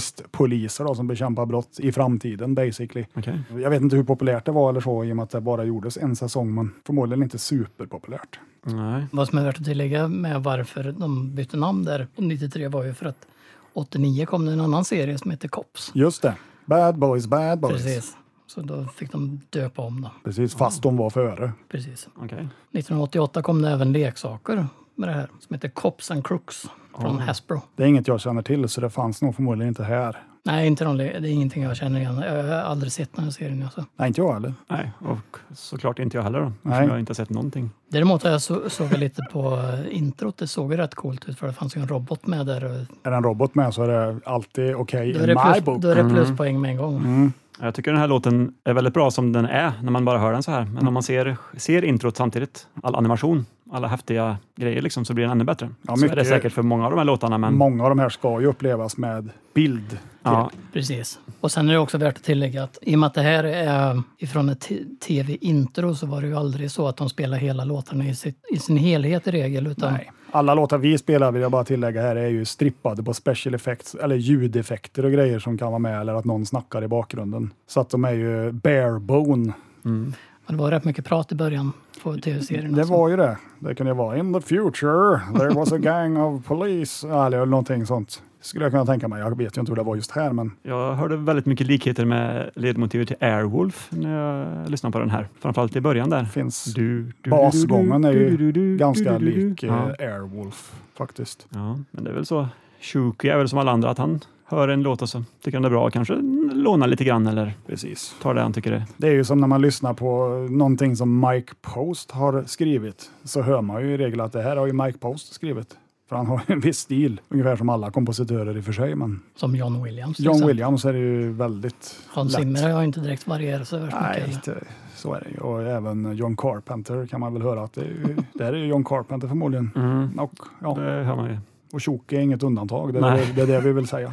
Speaker 2: specialistpoliser då, som bekämpar brott i framtiden basically.
Speaker 3: Okej.
Speaker 2: Jag vet inte hur populärt det var eller så i och med att det bara gjordes en säsong, men förmodligen inte superpopulärt.
Speaker 3: Nej.
Speaker 4: Vad som är värt att tillägga med varför de bytte namn där 93 var ju för att 89 kom det en annan serie som heter Cops.
Speaker 2: Just det. Bad boys, bad boys.
Speaker 4: Precis. Så då fick de döpa om då.
Speaker 2: Precis, fast de var före.
Speaker 4: Precis.
Speaker 3: Okej.
Speaker 4: 1988 kom det även leksaker med det här som heter Cops and Crooks från Hasbro.
Speaker 2: Det är inget jag känner till, så det fanns nog förmodligen inte här.
Speaker 4: Nej, inte någon, le- det är ingenting jag känner igen. Jag har aldrig sett den här serien. Alltså.
Speaker 2: Nej, inte jag heller.
Speaker 3: Nej, och såklart inte jag heller då. eftersom
Speaker 2: Nej.
Speaker 3: Jag har inte sett någonting.
Speaker 4: Däremot har jag så, såg jag lite på eh, introt. Det såg ju rätt coolt ut för det fanns ju en robot med där. och
Speaker 2: Är det en robot med så är det alltid okej
Speaker 4: Då
Speaker 2: in
Speaker 4: är det,
Speaker 2: my
Speaker 4: plus,
Speaker 2: book. Mm.
Speaker 4: då är det pluspoäng med en gång.
Speaker 3: Jag tycker den här låten är väldigt bra som den är när man bara hör den så här. Men om man ser, ser introt samtidigt, all animation, alla häftiga grejer liksom, så blir den ännu bättre.
Speaker 2: Ja,
Speaker 3: så är det
Speaker 2: mycket-
Speaker 3: säkert för många av de här låtarna, men
Speaker 2: Många av de här ska ju upplevas med bild.
Speaker 3: ja,
Speaker 4: Precis. Och sen är det också värt att tillägga att i och med att det här är eh, ifrån ett t- tv-intro så var det ju aldrig så att de spelade hela låtarna i, sitt, i sin helhet i regel. Utan
Speaker 2: Nej. Alla låtar vi spelar, vill jag bara tillägga här, är ju strippade på special effects, eller ljudeffekter och grejer som kan vara med, eller att någon snackar i bakgrunden. Så att de är ju bare bone.
Speaker 4: Men det var rätt mycket prat i början på tv-serien.
Speaker 2: Det
Speaker 4: alltså.
Speaker 2: var ju det. Det kunde ju vara in the future, there was a gang of police, eller någonting sånt. Skulle jag kunna tänka mig. Jag vet ju inte hur det var just här, men
Speaker 3: jag hörde väldigt mycket likheter med ledmotivet till Airwolf när jag lyssnade på den här. Framförallt i början där.
Speaker 2: finns...
Speaker 3: Du, du,
Speaker 2: Basgången är
Speaker 3: du, du,
Speaker 2: ju
Speaker 3: du, du,
Speaker 2: ganska
Speaker 3: du, du, du, du.
Speaker 2: lik eh,
Speaker 3: Ja.
Speaker 2: Airwolf faktiskt.
Speaker 3: ja, men det är väl så. Shuki är väl som alla andra, att han hör en låt och så tycker han det är bra och kanske mm, lånar lite grann eller
Speaker 2: Precis.
Speaker 3: tar det han tycker är
Speaker 2: Det är ju som när man lyssnar på någonting som Mike Post har skrivit, så hör man ju i regel att det här har ju Mike Post skrivit. För han har ju en viss stil, ungefär som alla kompositörer i och för sig. Men
Speaker 4: Som John Williams. till
Speaker 2: John
Speaker 4: exempel.
Speaker 2: Williams är ju väldigt
Speaker 4: Hans
Speaker 2: lätt.
Speaker 4: Zimmer har jag inte direkt varierat så värst mycket.
Speaker 2: Nej,
Speaker 4: heller.
Speaker 2: inte. så är det ju. Och även John Carpenter kan man väl höra att det är ju, det här är ju John Carpenter förmodligen. Och, ja,
Speaker 3: Det hör man ju.
Speaker 2: och Tjoke är inget undantag, det är,
Speaker 3: Nej.
Speaker 2: det, det är det vi vill säga.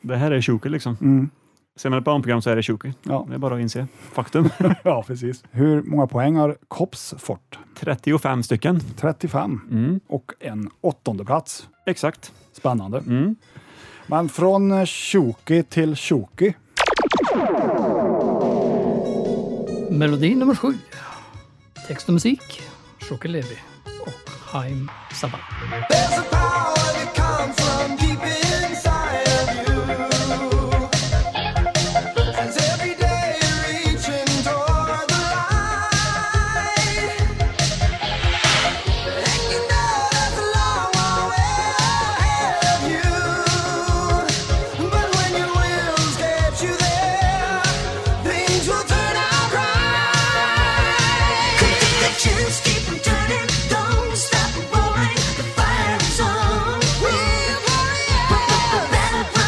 Speaker 3: Det här är Shuki liksom.
Speaker 2: Mm.
Speaker 3: Ser man ett barnprogram så är det Shuki.
Speaker 2: Ja.
Speaker 3: Det är bara att inse faktum.
Speaker 2: ja, precis. Hur många poäng har Kops fått?
Speaker 3: 35 stycken.
Speaker 2: 35 och en åttonde plats.
Speaker 3: Exakt.
Speaker 2: Spännande. Men från eh, Shoki till Shoki.
Speaker 4: Melodi nummer sju. Text och musik, Shoki Levy och Haim Sabah.
Speaker 5: There's a power that comes from deep inside of you. As every day you're reaching toward the light. And you know that's a long, long way ahead of you. But when your wills get you there, things will turn out right.
Speaker 7: Just keep them turning, don't stop rolling. The fire is on. We're warriors.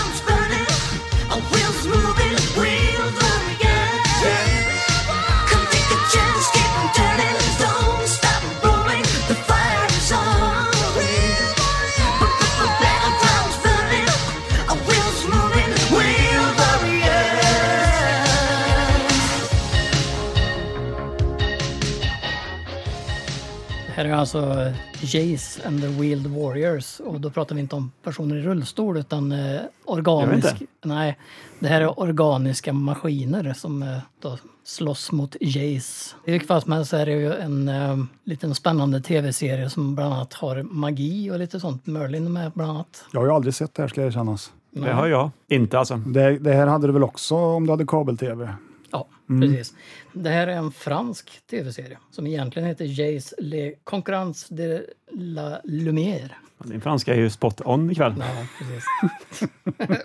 Speaker 4: Här är alltså Jace and the Wheeled Warriors och då pratar vi inte om personer i rullstol utan eh,
Speaker 3: Gör
Speaker 4: organisk.
Speaker 3: vi
Speaker 4: Nej, det här är organiska maskiner som eh, då slåss mot Jace. I vilket fall som helst så är det ju en eh, liten spännande tv-serie som bland annat har magi och lite sånt. Merlin är med bland annat.
Speaker 2: Jag har ju aldrig sett det här ska erkännas.
Speaker 3: Det har jag. Inte alltså.
Speaker 2: Det, det här hade du väl också om du hade kabel-tv?
Speaker 4: Ja,
Speaker 3: Mm.
Speaker 4: precis. Det här är en fransk tv-serie som egentligen heter Jace Le Concurrence de la Lumière.
Speaker 3: Din franska är ju spot on ikväll.
Speaker 4: Ja, precis.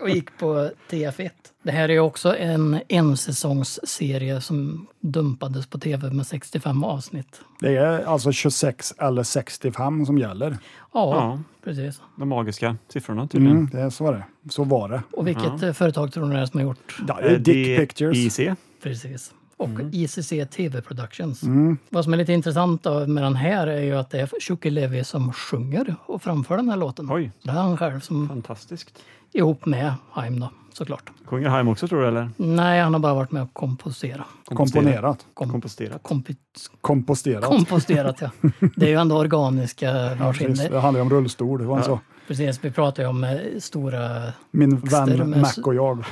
Speaker 4: och gick på TF1. Det här är också en ensäsongsserie som dumpades på tv med 65 avsnitt.
Speaker 2: Det är alltså 26 eller 65 som gäller.
Speaker 4: Ja,
Speaker 3: Ja.
Speaker 4: precis.
Speaker 3: De magiska siffrorna tydligen.
Speaker 2: Mm, det är så var det. Så var det.
Speaker 4: Och vilket eh, företag tror ni det är som har gjort?
Speaker 2: Ja, det är Dick
Speaker 3: Eh,
Speaker 2: Pictures.
Speaker 3: IC.
Speaker 4: Precis. Och ICC TV Productions. Vad som är lite intressant då med den här är ju att det är Tjocke Levi som sjunger och framför den här låten.
Speaker 3: Oj.
Speaker 4: Det är han själv som
Speaker 3: Fantastiskt.
Speaker 4: ihop med Haim då, såklart.
Speaker 3: Sjunger Haim också tror du eller?
Speaker 4: Nej, han har bara varit med och komposera.
Speaker 2: Komponerat.
Speaker 4: Kom-
Speaker 3: Komposterat.
Speaker 4: kompit-
Speaker 2: Komposterat.
Speaker 4: Komposterat, ja. Det är ju ändå organiska
Speaker 2: Ja, precis.
Speaker 4: maskiner.
Speaker 2: det handlar ju om rullstol. Det var en så.
Speaker 4: Precis, vi pratar ju om eh, stora...
Speaker 2: Min
Speaker 4: Växter
Speaker 2: vän
Speaker 4: med
Speaker 2: Mac
Speaker 4: s-
Speaker 2: och jag.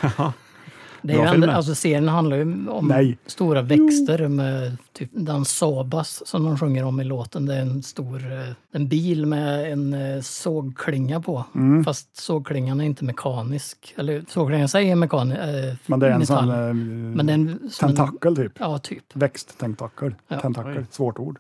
Speaker 4: Det är ju
Speaker 3: Bra
Speaker 4: ändå,
Speaker 3: filmer.
Speaker 4: alltså serien handlar ju om
Speaker 2: Nej.
Speaker 4: stora växter med typ den Sabas som de sjunger om i låten. Det är en stor eh, en bil med en eh, sågklinga på.
Speaker 2: Mm.
Speaker 4: Fast sågklingan är inte mekanisk. Eller sågklingan i sig är mekanisk.
Speaker 2: Men det är en sån eh,
Speaker 4: Men det är en, som en-
Speaker 2: tentakel typ.
Speaker 4: Ja, typ.
Speaker 2: Växttentakel.
Speaker 4: Ja.
Speaker 2: Tentakel. Svårt ord.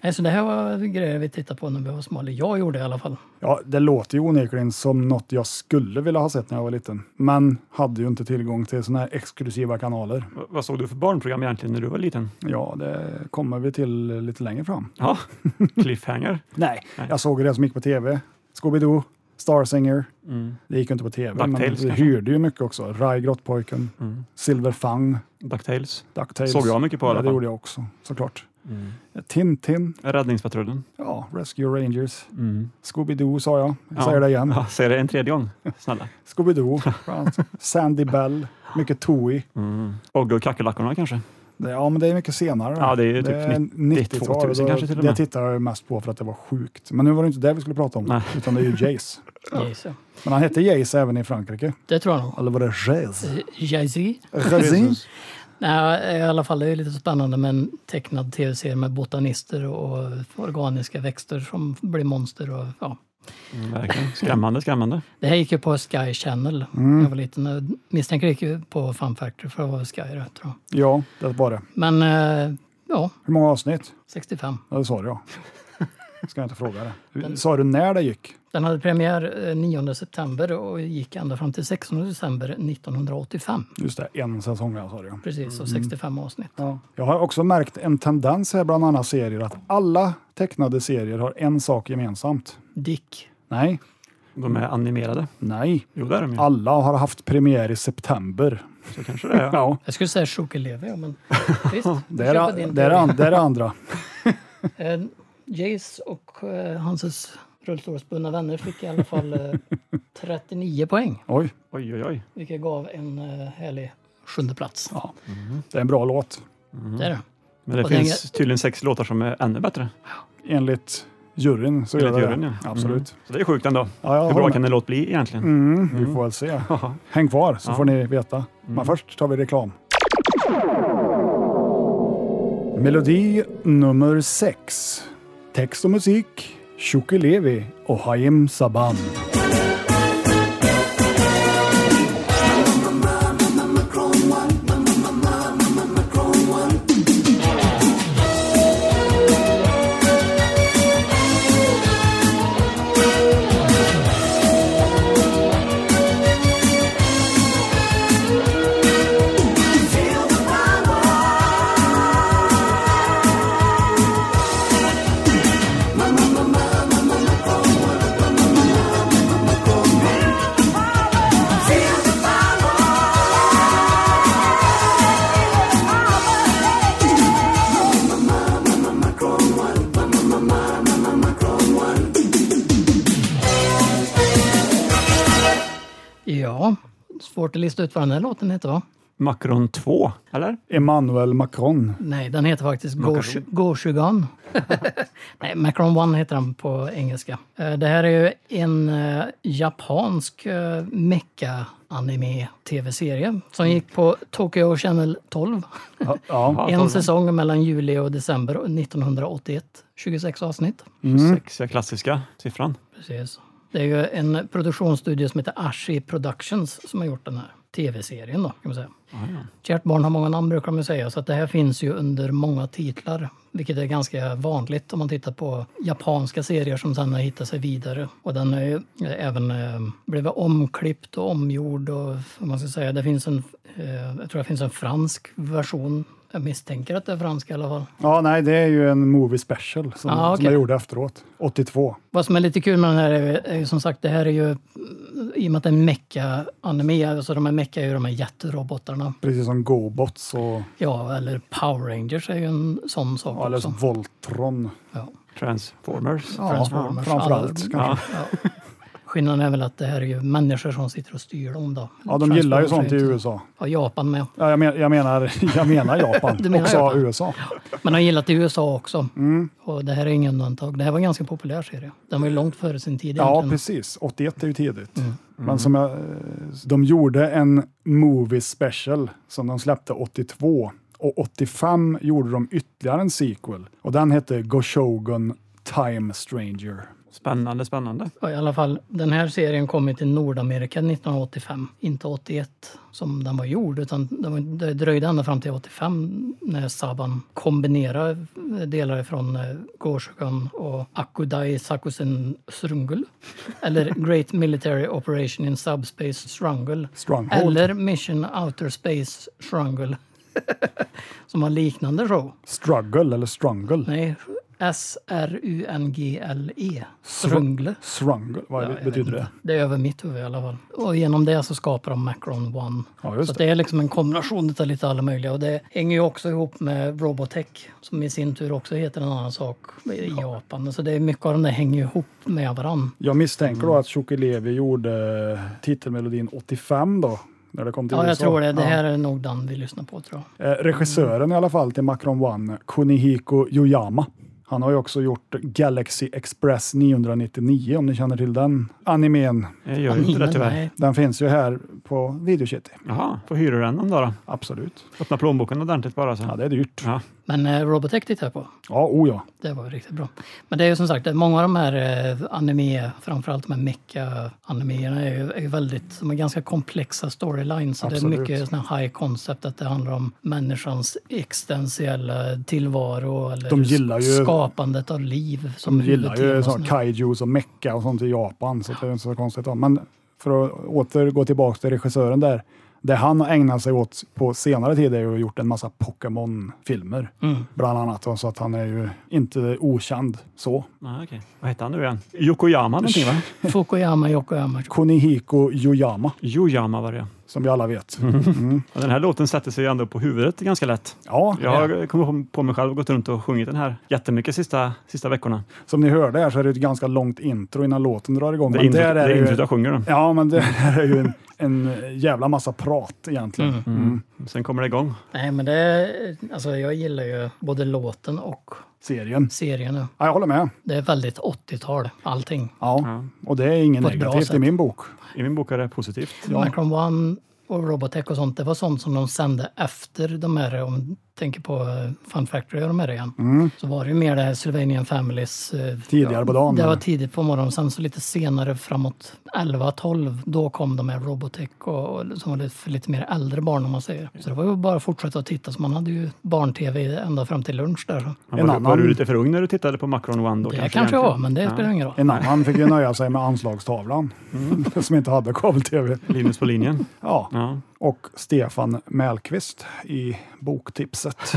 Speaker 4: Nej, så det här var grejer vi tittade på när vi var små. Eller jag gjorde i alla fall.
Speaker 2: Ja, det låter ju onekligen som något jag skulle vilja ha sett när jag var liten. Men hade ju inte tillgång till såna här exklusiva kanaler.
Speaker 3: V- Vad såg du för barnprogram egentligen när du var liten?
Speaker 2: Ja, det kommer vi till lite längre fram.
Speaker 3: Ja, cliffhanger.
Speaker 2: Nej, jag såg det som gick på tv. Scooby-Doo, Star Singer. Det gick ju inte på tv, men
Speaker 3: DuckTales
Speaker 2: vi
Speaker 3: kanske?
Speaker 2: hyrde ju mycket också. Rai Grottpojken, Silverfang,
Speaker 3: Ducktails.
Speaker 2: mm. DuckTales.
Speaker 3: Såg jag mycket på i alla
Speaker 2: Ja, det
Speaker 3: fall. Mm.
Speaker 2: gjorde jag också, såklart. Tintin,
Speaker 3: Räddningspatrullen.
Speaker 2: ja, Rescue Rangers, Scooby-Doo sa jag. Jag säger det igen.
Speaker 3: Ja, säg det en tredje gång. Snälla.
Speaker 2: Scooby-Doo, bland annat. Sandy Bell, mycket Tui.
Speaker 3: Ogge Mm. och kackerlackorna kanske?
Speaker 2: Det- Ja, men det är mycket senare.
Speaker 3: Ja, det är ju typ
Speaker 2: 90-tal,
Speaker 3: 2000 kanske till och med.
Speaker 2: Det tittar jag ju mest på för att det var sjukt. Men nu var det inte det vi skulle prata om,
Speaker 3: Nej.
Speaker 2: utan det är ju Jace.
Speaker 4: Jace, ja.
Speaker 2: Men han hette Jace även i Frankrike.
Speaker 4: Det tror jag nog.
Speaker 2: Eller var det Jace?
Speaker 4: Jay-Z.
Speaker 2: Raisin?
Speaker 4: Nej, i alla fall det är lite spännande med en tecknad tv-serie med botanister och organiska växter som blir monster. Och, ja.
Speaker 3: Mm, verkligen. Skrämmande, skrämmande.
Speaker 4: Det här gick ju på Sky Channel
Speaker 2: Mm.
Speaker 4: när jag var liten. Jag misstänker det gick ju på Fun Factory för det var Sky det, tror jag.
Speaker 2: Ja, det var det.
Speaker 4: Men eh, ja,
Speaker 2: Hur många avsnitt?
Speaker 4: 65.
Speaker 2: Ja, det sa du ja. Ska jag inte fråga det. Sa du när det gick?
Speaker 4: Den hade premiär eh, 9 september och gick ända fram till 16 december 1985.
Speaker 2: Just det, en säsong jag sa det ja.
Speaker 4: Precis, och 65 avsnitt.
Speaker 2: Mm. ja. Jag har också märkt en tendens här bland andra serier att alla tecknade serier har en sak gemensamt.
Speaker 4: Dick.
Speaker 2: Nej,
Speaker 3: De är animerade.
Speaker 2: nej.
Speaker 3: Jo, det är de ju.
Speaker 2: Alla har haft premiär i september.
Speaker 3: Så kanske det är.
Speaker 2: Ja,
Speaker 4: Jag skulle säga Shoke Levi, ja, men visst.
Speaker 2: det
Speaker 4: kör på
Speaker 2: är,
Speaker 4: din
Speaker 2: det är,
Speaker 4: teori.
Speaker 2: an- det är det andra.
Speaker 4: Eh, Jace och eh, hans rullstolsbundna vänner fick i alla fall eh, 39 poäng,
Speaker 2: Oj,
Speaker 3: Oj, oj, oj.
Speaker 4: vilket gav en eh, härlig sjunde plats. Mm.
Speaker 2: Ja. det är en bra låt.
Speaker 4: Det är det.
Speaker 3: Men det
Speaker 4: Och
Speaker 3: finns tydligen sex låtar som är ännu bättre.
Speaker 2: Enligt juryn så
Speaker 3: Enligt
Speaker 2: gör det
Speaker 3: juryn,
Speaker 2: det.
Speaker 3: ja.
Speaker 2: Absolut.
Speaker 3: Så det är sjukt ändå.
Speaker 2: Ja, jag
Speaker 3: Hur
Speaker 2: håller
Speaker 3: bra
Speaker 2: med.
Speaker 3: kan en låt bli egentligen?
Speaker 2: Mm, vi får väl se. Häng kvar så får ni veta. Men först tar vi reklam. Melodi nummer sex. Text och musik, Tjocke Levi och Haim Saban.
Speaker 4: Ja, svårt att lista ut vad den här låten heter va?
Speaker 3: Macron 2, eller?
Speaker 2: Emmanuel Macron.
Speaker 4: Nej, den heter faktiskt Go- Go-Shugan. Nej, Macron One heter den på engelska. Eh, Det här är ju en eh, japansk eh, mecka-anime-tv-serie som gick på Tokyo Channel 12.
Speaker 2: Ja, ja.
Speaker 3: Ja,
Speaker 4: en
Speaker 3: 12.
Speaker 4: säsong mellan juli och december 1981. 26 avsnitt.
Speaker 2: Mm.
Speaker 3: Sexiga klassiska siffran.
Speaker 4: Precis. Det är ju en produktionsstudio som heter Ashi Productions som har gjort den här tv-serien. Då, kan man säga. Kärt barn har många namn brukar man ju säga, så att det här finns ju under många titlar. Vilket är ganska vanligt om man tittar på japanska serier som sen har hittat sig vidare. Och den är ju eh, även eh, blivit omklippt och omgjord. Och, vad man ska säga, det finns en, eh, jag tror det finns en fransk version. Jag misstänker att det är fransk i alla fall.
Speaker 2: ja, nej, det är ju en movie special som,
Speaker 4: Ja,
Speaker 2: som
Speaker 4: okej.
Speaker 2: jag gjorde efteråt. 82.
Speaker 4: Vad som är lite kul med den här är, är ju som sagt, det här är ju i och med att det är en mecka-anime, alltså de här mecka är ju de här jätterobotarna.
Speaker 2: Precis som GoBots och
Speaker 4: Ja, eller Power Rangers är ju en sån sak
Speaker 2: ja, eller
Speaker 4: också.
Speaker 2: Voltron.
Speaker 4: Ja.
Speaker 3: Transformers.
Speaker 4: Transformers.
Speaker 2: Ja, framförallt
Speaker 4: Alla-
Speaker 2: kanske.
Speaker 3: Ja.
Speaker 4: Ja. Skillnaden är väl att det här är ju människor som sitter och styr dem då.
Speaker 2: Ja, de gillar ju sånt i
Speaker 4: Transformers är inte-
Speaker 2: USA.
Speaker 4: Ja, Japan med.
Speaker 2: Ja, jag, men, jag, menar, jag menar Japan
Speaker 4: Du menar
Speaker 2: och sa
Speaker 4: Japan.
Speaker 2: USA.
Speaker 4: Men de gillat i USA också.
Speaker 2: Mm.
Speaker 4: Och det här är ingen undantag. Det här var en ganska populär serie. Den var ju långt före sin tid
Speaker 2: Ja,
Speaker 4: egentligen. Mm.
Speaker 2: precis. 81 är ju tidigt. Men som jag, eh, de gjorde en movie special som de släppte 82 och 85 gjorde de ytterligare en sequel och den hette Goshogun Time Stranger.
Speaker 3: Spännande, spännande.
Speaker 4: Ja, I alla fall, den här serien kom ju till Nordamerika 1985, inte 81 som den var gjord, utan det var- det dröjde ända fram till 85 när Saban kombinerade delar från eh, Gorshukan och Akudai Sakusen Srungul, eller Great Military Operation in Subspace Srungul,
Speaker 2: Stronghold.
Speaker 4: eller Mission Outer Space Srungul, som har liknande show.
Speaker 2: Struggle eller Strungle.
Speaker 4: Nej, S-R-U-N-G-L-E, E, Srungle.
Speaker 2: Strungle, vad
Speaker 4: Ja, jag
Speaker 2: betyder det?
Speaker 4: vet inte. Det är över mitt huvud i alla fall. Och genom det så skapar de Macron One.
Speaker 2: Ja, just
Speaker 4: så att
Speaker 2: det.
Speaker 4: det är liksom en kombination av lite alla möjliga. Och det hänger ju också ihop med Robotech som i sin tur också heter en annan sak i Japan. Så det är mycket av dem där hänger ihop med varann.
Speaker 2: Jag misstänker
Speaker 4: Mm.
Speaker 2: då att Tjockilevi gjorde titelmelodin 85 då, när det kom till
Speaker 4: Ja, jag
Speaker 2: USA.
Speaker 4: tror det. Det
Speaker 2: Ja.
Speaker 4: här är nog den vi lyssnar på tror jag.
Speaker 2: Eh, regissören i alla fall till Macron One, Kunihiko Yoyama. Han har ju också gjort Galaxy Express 999 om ni känner till den animen.
Speaker 3: Jag gör ju inte det
Speaker 4: Anime,
Speaker 3: tyvärr.
Speaker 4: nej.
Speaker 2: Den finns ju här på Videokitty.
Speaker 3: Jaha, får hyra den ändå då.
Speaker 2: Absolut.
Speaker 3: Öppna plånboken ordentligt bara så.
Speaker 2: Ja, det är dyrt.
Speaker 3: Ja.
Speaker 4: Men eh, Robotech tittar jag på.
Speaker 2: Ja, oh ja.
Speaker 4: Det var ju riktigt bra. Men det är ju som sagt, många av de här eh, anime, framförallt de här mecha-animerna, är ju är ju väldigt, de är ganska komplexa storylines. Så det är
Speaker 2: Absolut.
Speaker 4: mycket sån här high concept, att det handlar om människans existentiella tillvaro eller
Speaker 2: De gillar ju-
Speaker 4: skapandet av liv. Som
Speaker 2: De gillar ju
Speaker 4: huvudtema
Speaker 2: såna
Speaker 4: såna.
Speaker 2: kaijus och mecka och sånt i Japan, så det är inte så konstigt. om. Men för att åter gå tillbaka till regissören där. Det han har ägnat sig åt på senare tid är ju att gjort en massa Pokémon-filmer, bland annat. Så att han är ju inte okänd så.
Speaker 3: Ah, okay. Vad heter han nu igen? Yokoyama någonting va?
Speaker 4: Fukuyama, Yokoyama.
Speaker 2: Kunihiko Yoyama,
Speaker 3: Yoyama var det ja.
Speaker 2: som vi alla vet.
Speaker 3: Mhm. Ja, Den här låten sätter sig ändå på huvudet ganska lätt.
Speaker 2: Ja,
Speaker 3: Jag har kommit på mig själv och gått runt och sjungit den här jättemycket sista, sista veckorna.
Speaker 2: som ni hörde här så är det ett ganska långt intro innan låten drar igång.
Speaker 3: Det är
Speaker 2: men
Speaker 3: introt
Speaker 2: där är
Speaker 3: det är
Speaker 2: ju-
Speaker 3: introt jag sjunger då.
Speaker 2: Ja, men det här är ju en, en jävla massa prat egentligen.
Speaker 3: Mm. Sen kommer det igång.
Speaker 4: Nej, men det är, alltså jag gillar ju både låten och
Speaker 2: Serien.
Speaker 4: serien nu.
Speaker 2: Ja, jag håller med.
Speaker 4: Det är väldigt 80-tal, allting.
Speaker 2: Ja. Och det är inget
Speaker 4: På ett bra
Speaker 2: negativt i
Speaker 4: sätt.
Speaker 2: min bok.
Speaker 3: I min bok är det positivt.
Speaker 2: Ja.
Speaker 4: Macron One och Robotech och sånt, det var sånt som de sände efter de här, om du tänker på eh, Fun Factory och de här igen. Så var det ju mer det här Sylvanian Families. eh,
Speaker 2: Mm. Tidigare på dagen.
Speaker 4: Det var
Speaker 2: eller?
Speaker 4: tidigt på morgonen, sen så lite senare framåt 11-12, då kom de här Robotech och, och som var lite, för lite mer äldre barn om man säger. Så det var ju bara att fortsätta att titta, så man hade ju barn-tv ända fram till lunch där. så.
Speaker 3: Var,
Speaker 2: En
Speaker 3: du- var
Speaker 2: annan-
Speaker 3: du lite för ung när du tittade på Macron One då?
Speaker 4: Det kanske jag var, men det
Speaker 3: Ja.
Speaker 4: spelar ingen roll.
Speaker 2: En annan fick ju nöja sig med anslagstavlan som inte hade kabel-tv.
Speaker 3: Linus på linjen.
Speaker 2: Ja.
Speaker 3: Mm. Ja.
Speaker 2: Och Stefan Mellqvist i boktipset.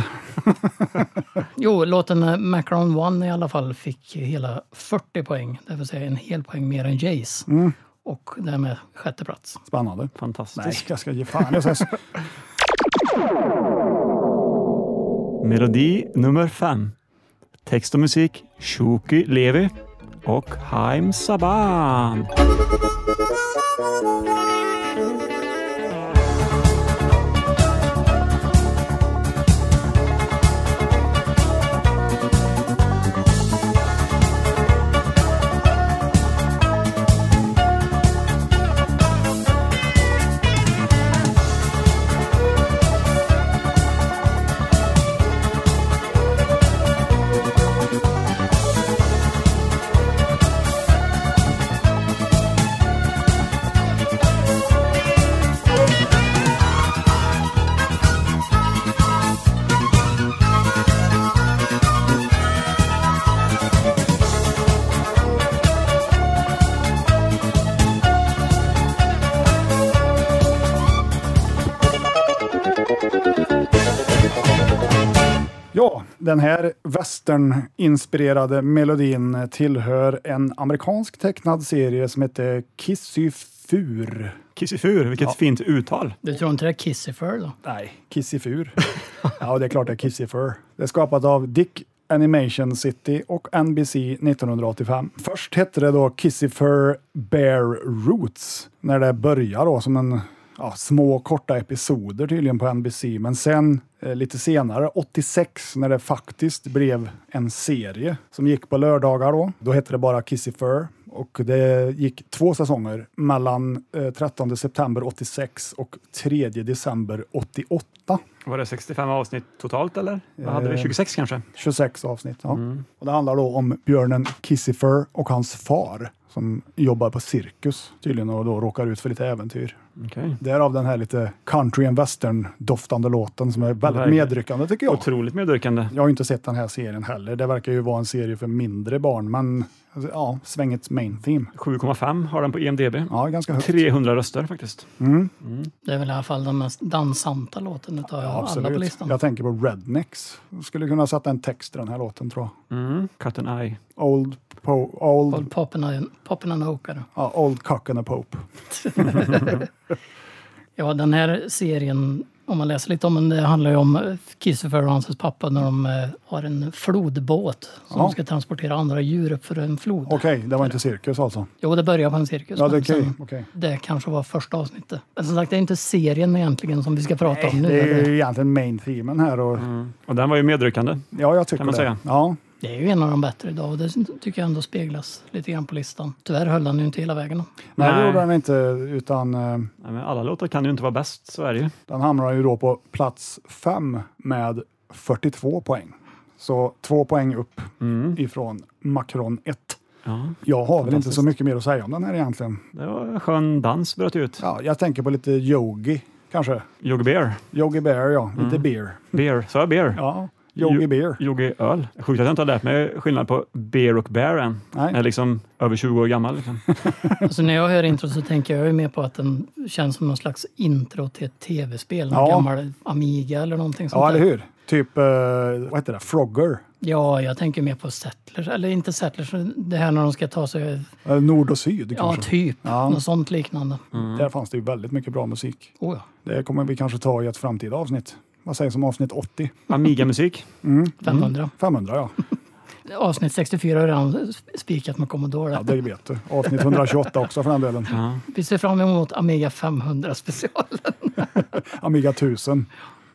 Speaker 4: Jo, låten eh, Macron One i alla fall fick hela 40 poäng, det vill säga en hel poäng mer än Jays.
Speaker 2: Mm.
Speaker 4: Och därmed sjätte plats.
Speaker 2: Spännande. Nej,
Speaker 3: Fantastiskt.
Speaker 2: jag ska ge fan. Jag ska...
Speaker 3: Melodi nummer fem. Text och musik Shuki Levi och Haim Saban.
Speaker 7: Thank
Speaker 2: Den här western-inspirerade melodin tillhör en amerikansk tecknad serie som heter Kissifur.
Speaker 3: Kissifur, vilket fint uttal.
Speaker 4: Du tror inte det är Kissifur då?
Speaker 2: Nej, Kissifur. ja, det är klart det är Kissifur. Det är skapat av Dick Animation City och NBC 1985. Först hette det då Kissifur Bear Roots när det börjar då som en Ja, små korta episoder tydligen på NBC, men sen eh, lite senare, 86, när det faktiskt blev en serie som gick på lördagar då. Då hette det bara Kissifur och det gick två säsonger mellan eh, 13 september 86 och 3 december 88.
Speaker 3: Var det 65 avsnitt totalt eller? Vad hade vi?
Speaker 2: Eh.
Speaker 3: 26 kanske?
Speaker 2: 26 avsnitt. Ja. Och det handlar då om björnen Kissifur och hans far som jobbar på cirkus tydligen och då råkar ut för lite äventyr.
Speaker 3: Okej.
Speaker 2: Därav den här lite country and western doftande låten som är väldigt
Speaker 3: Verkligen.
Speaker 2: medryckande tycker jag.
Speaker 3: Otroligt medryckande.
Speaker 2: Jag har inte sett den här serien heller. Det verkar ju vara en serie för mindre barn, men alltså, ja, svängets main theme.
Speaker 3: 7,5 har den på E EMDB.
Speaker 2: Ja, ganska högt.
Speaker 3: 300 röster faktiskt.
Speaker 4: Det är väl i alla fall den mest dansanta låten utav
Speaker 2: Ja,
Speaker 4: alla på
Speaker 2: absolut.
Speaker 4: listan.
Speaker 2: Jag tänker på Rednecks. Jag skulle kunna sätta en text till den här låten tror jag.
Speaker 3: Mm. Cut and Eye.
Speaker 2: Old, po- old,
Speaker 4: Håll poppen och åkare.
Speaker 2: ja, old cock and a pope.
Speaker 4: Ja, den här serien, om man läser lite om den, det handlar ju om Kissefur och hans pappa när de eh, har en flodbåt som
Speaker 2: Ja.
Speaker 4: ska transportera andra djur upp för en flod.
Speaker 2: Okej, det var inte cirkus alltså?
Speaker 4: Jo, det börjar på en cirkus.
Speaker 2: Ja, det,
Speaker 4: men
Speaker 2: är okej.
Speaker 4: sen-
Speaker 2: Liksom. okej.
Speaker 4: det kanske var första avsnittet. Men som sagt, det är inte serien egentligen som vi ska prata om nu.
Speaker 2: Det är
Speaker 4: eller?
Speaker 2: ju egentligen main themen här. Och,
Speaker 3: Och den var ju medryckande.
Speaker 2: Ja, jag tycker
Speaker 3: Mm. Kan man
Speaker 2: det.
Speaker 3: säga.
Speaker 2: Ja,
Speaker 4: Det är ju en av de bättre idag och det tycker jag ändå speglas lite grann på listan. Tyvärr höll den ju inte hela vägen.
Speaker 2: nej, det
Speaker 3: Nej.
Speaker 2: gjorde den inte, utan eh,
Speaker 3: Nej, men alla låtar kan ju inte vara bäst, så är det ju.
Speaker 2: den hamnar ju då på plats fem med 42 poäng. Så två poäng upp
Speaker 3: Mm.
Speaker 2: ifrån Macron 1.
Speaker 3: Ja,
Speaker 2: Jag har väl inte så
Speaker 3: Fantastiskt.
Speaker 2: mycket mer att säga om den här egentligen.
Speaker 3: det var en skön dans bröt ut.
Speaker 2: Ja, jag tänker på lite yogi, kanske.
Speaker 3: Yogi Bear.
Speaker 2: Yogi Bear, ja.
Speaker 3: Mm.
Speaker 2: Lite beer.
Speaker 3: Bear. Sa jag Bear?
Speaker 2: Ja, yogi
Speaker 3: Jo-
Speaker 2: beer.
Speaker 3: Yogi Öl. Sjukt att jag inte har lärt mig skillnad på Bear och Bear än.
Speaker 2: Nej.
Speaker 3: Jag är liksom över 20 år gammal. Liksom.
Speaker 4: Alltså när jag hör intro så tänker jag ju mer på att den känns som någon slags intro till ett tv-spel. Någon
Speaker 2: Ja.
Speaker 4: gammal Amiga eller någonting sånt
Speaker 2: Ja,
Speaker 4: där.
Speaker 2: eller hur? Typ, eh, vad heter det? Frogger.
Speaker 4: Ja, jag tänker mer på Settlers. Eller inte Settlers, det här när de ska ta sig...
Speaker 2: Eh, Nord och syd
Speaker 4: Ja,
Speaker 2: kanske.
Speaker 4: typ.
Speaker 2: Ja. Mm.
Speaker 4: Något sånt liknande.
Speaker 3: Mm.
Speaker 2: Där fanns det ju väldigt mycket bra musik.
Speaker 4: Oh, ja.
Speaker 2: Det kommer vi kanske ta i ett framtida avsnitt. Vad sägs om avsnitt 80?
Speaker 3: Amiga-musik.
Speaker 4: 500.
Speaker 2: 500 ja,
Speaker 4: Avsnitt 64 har redan spikat med Commodore.
Speaker 2: Mm. ja det vet du. Avsnitt 128 också för den delen.
Speaker 4: Vi ser fram emot Amiga 500 special.
Speaker 2: Amiga 1000.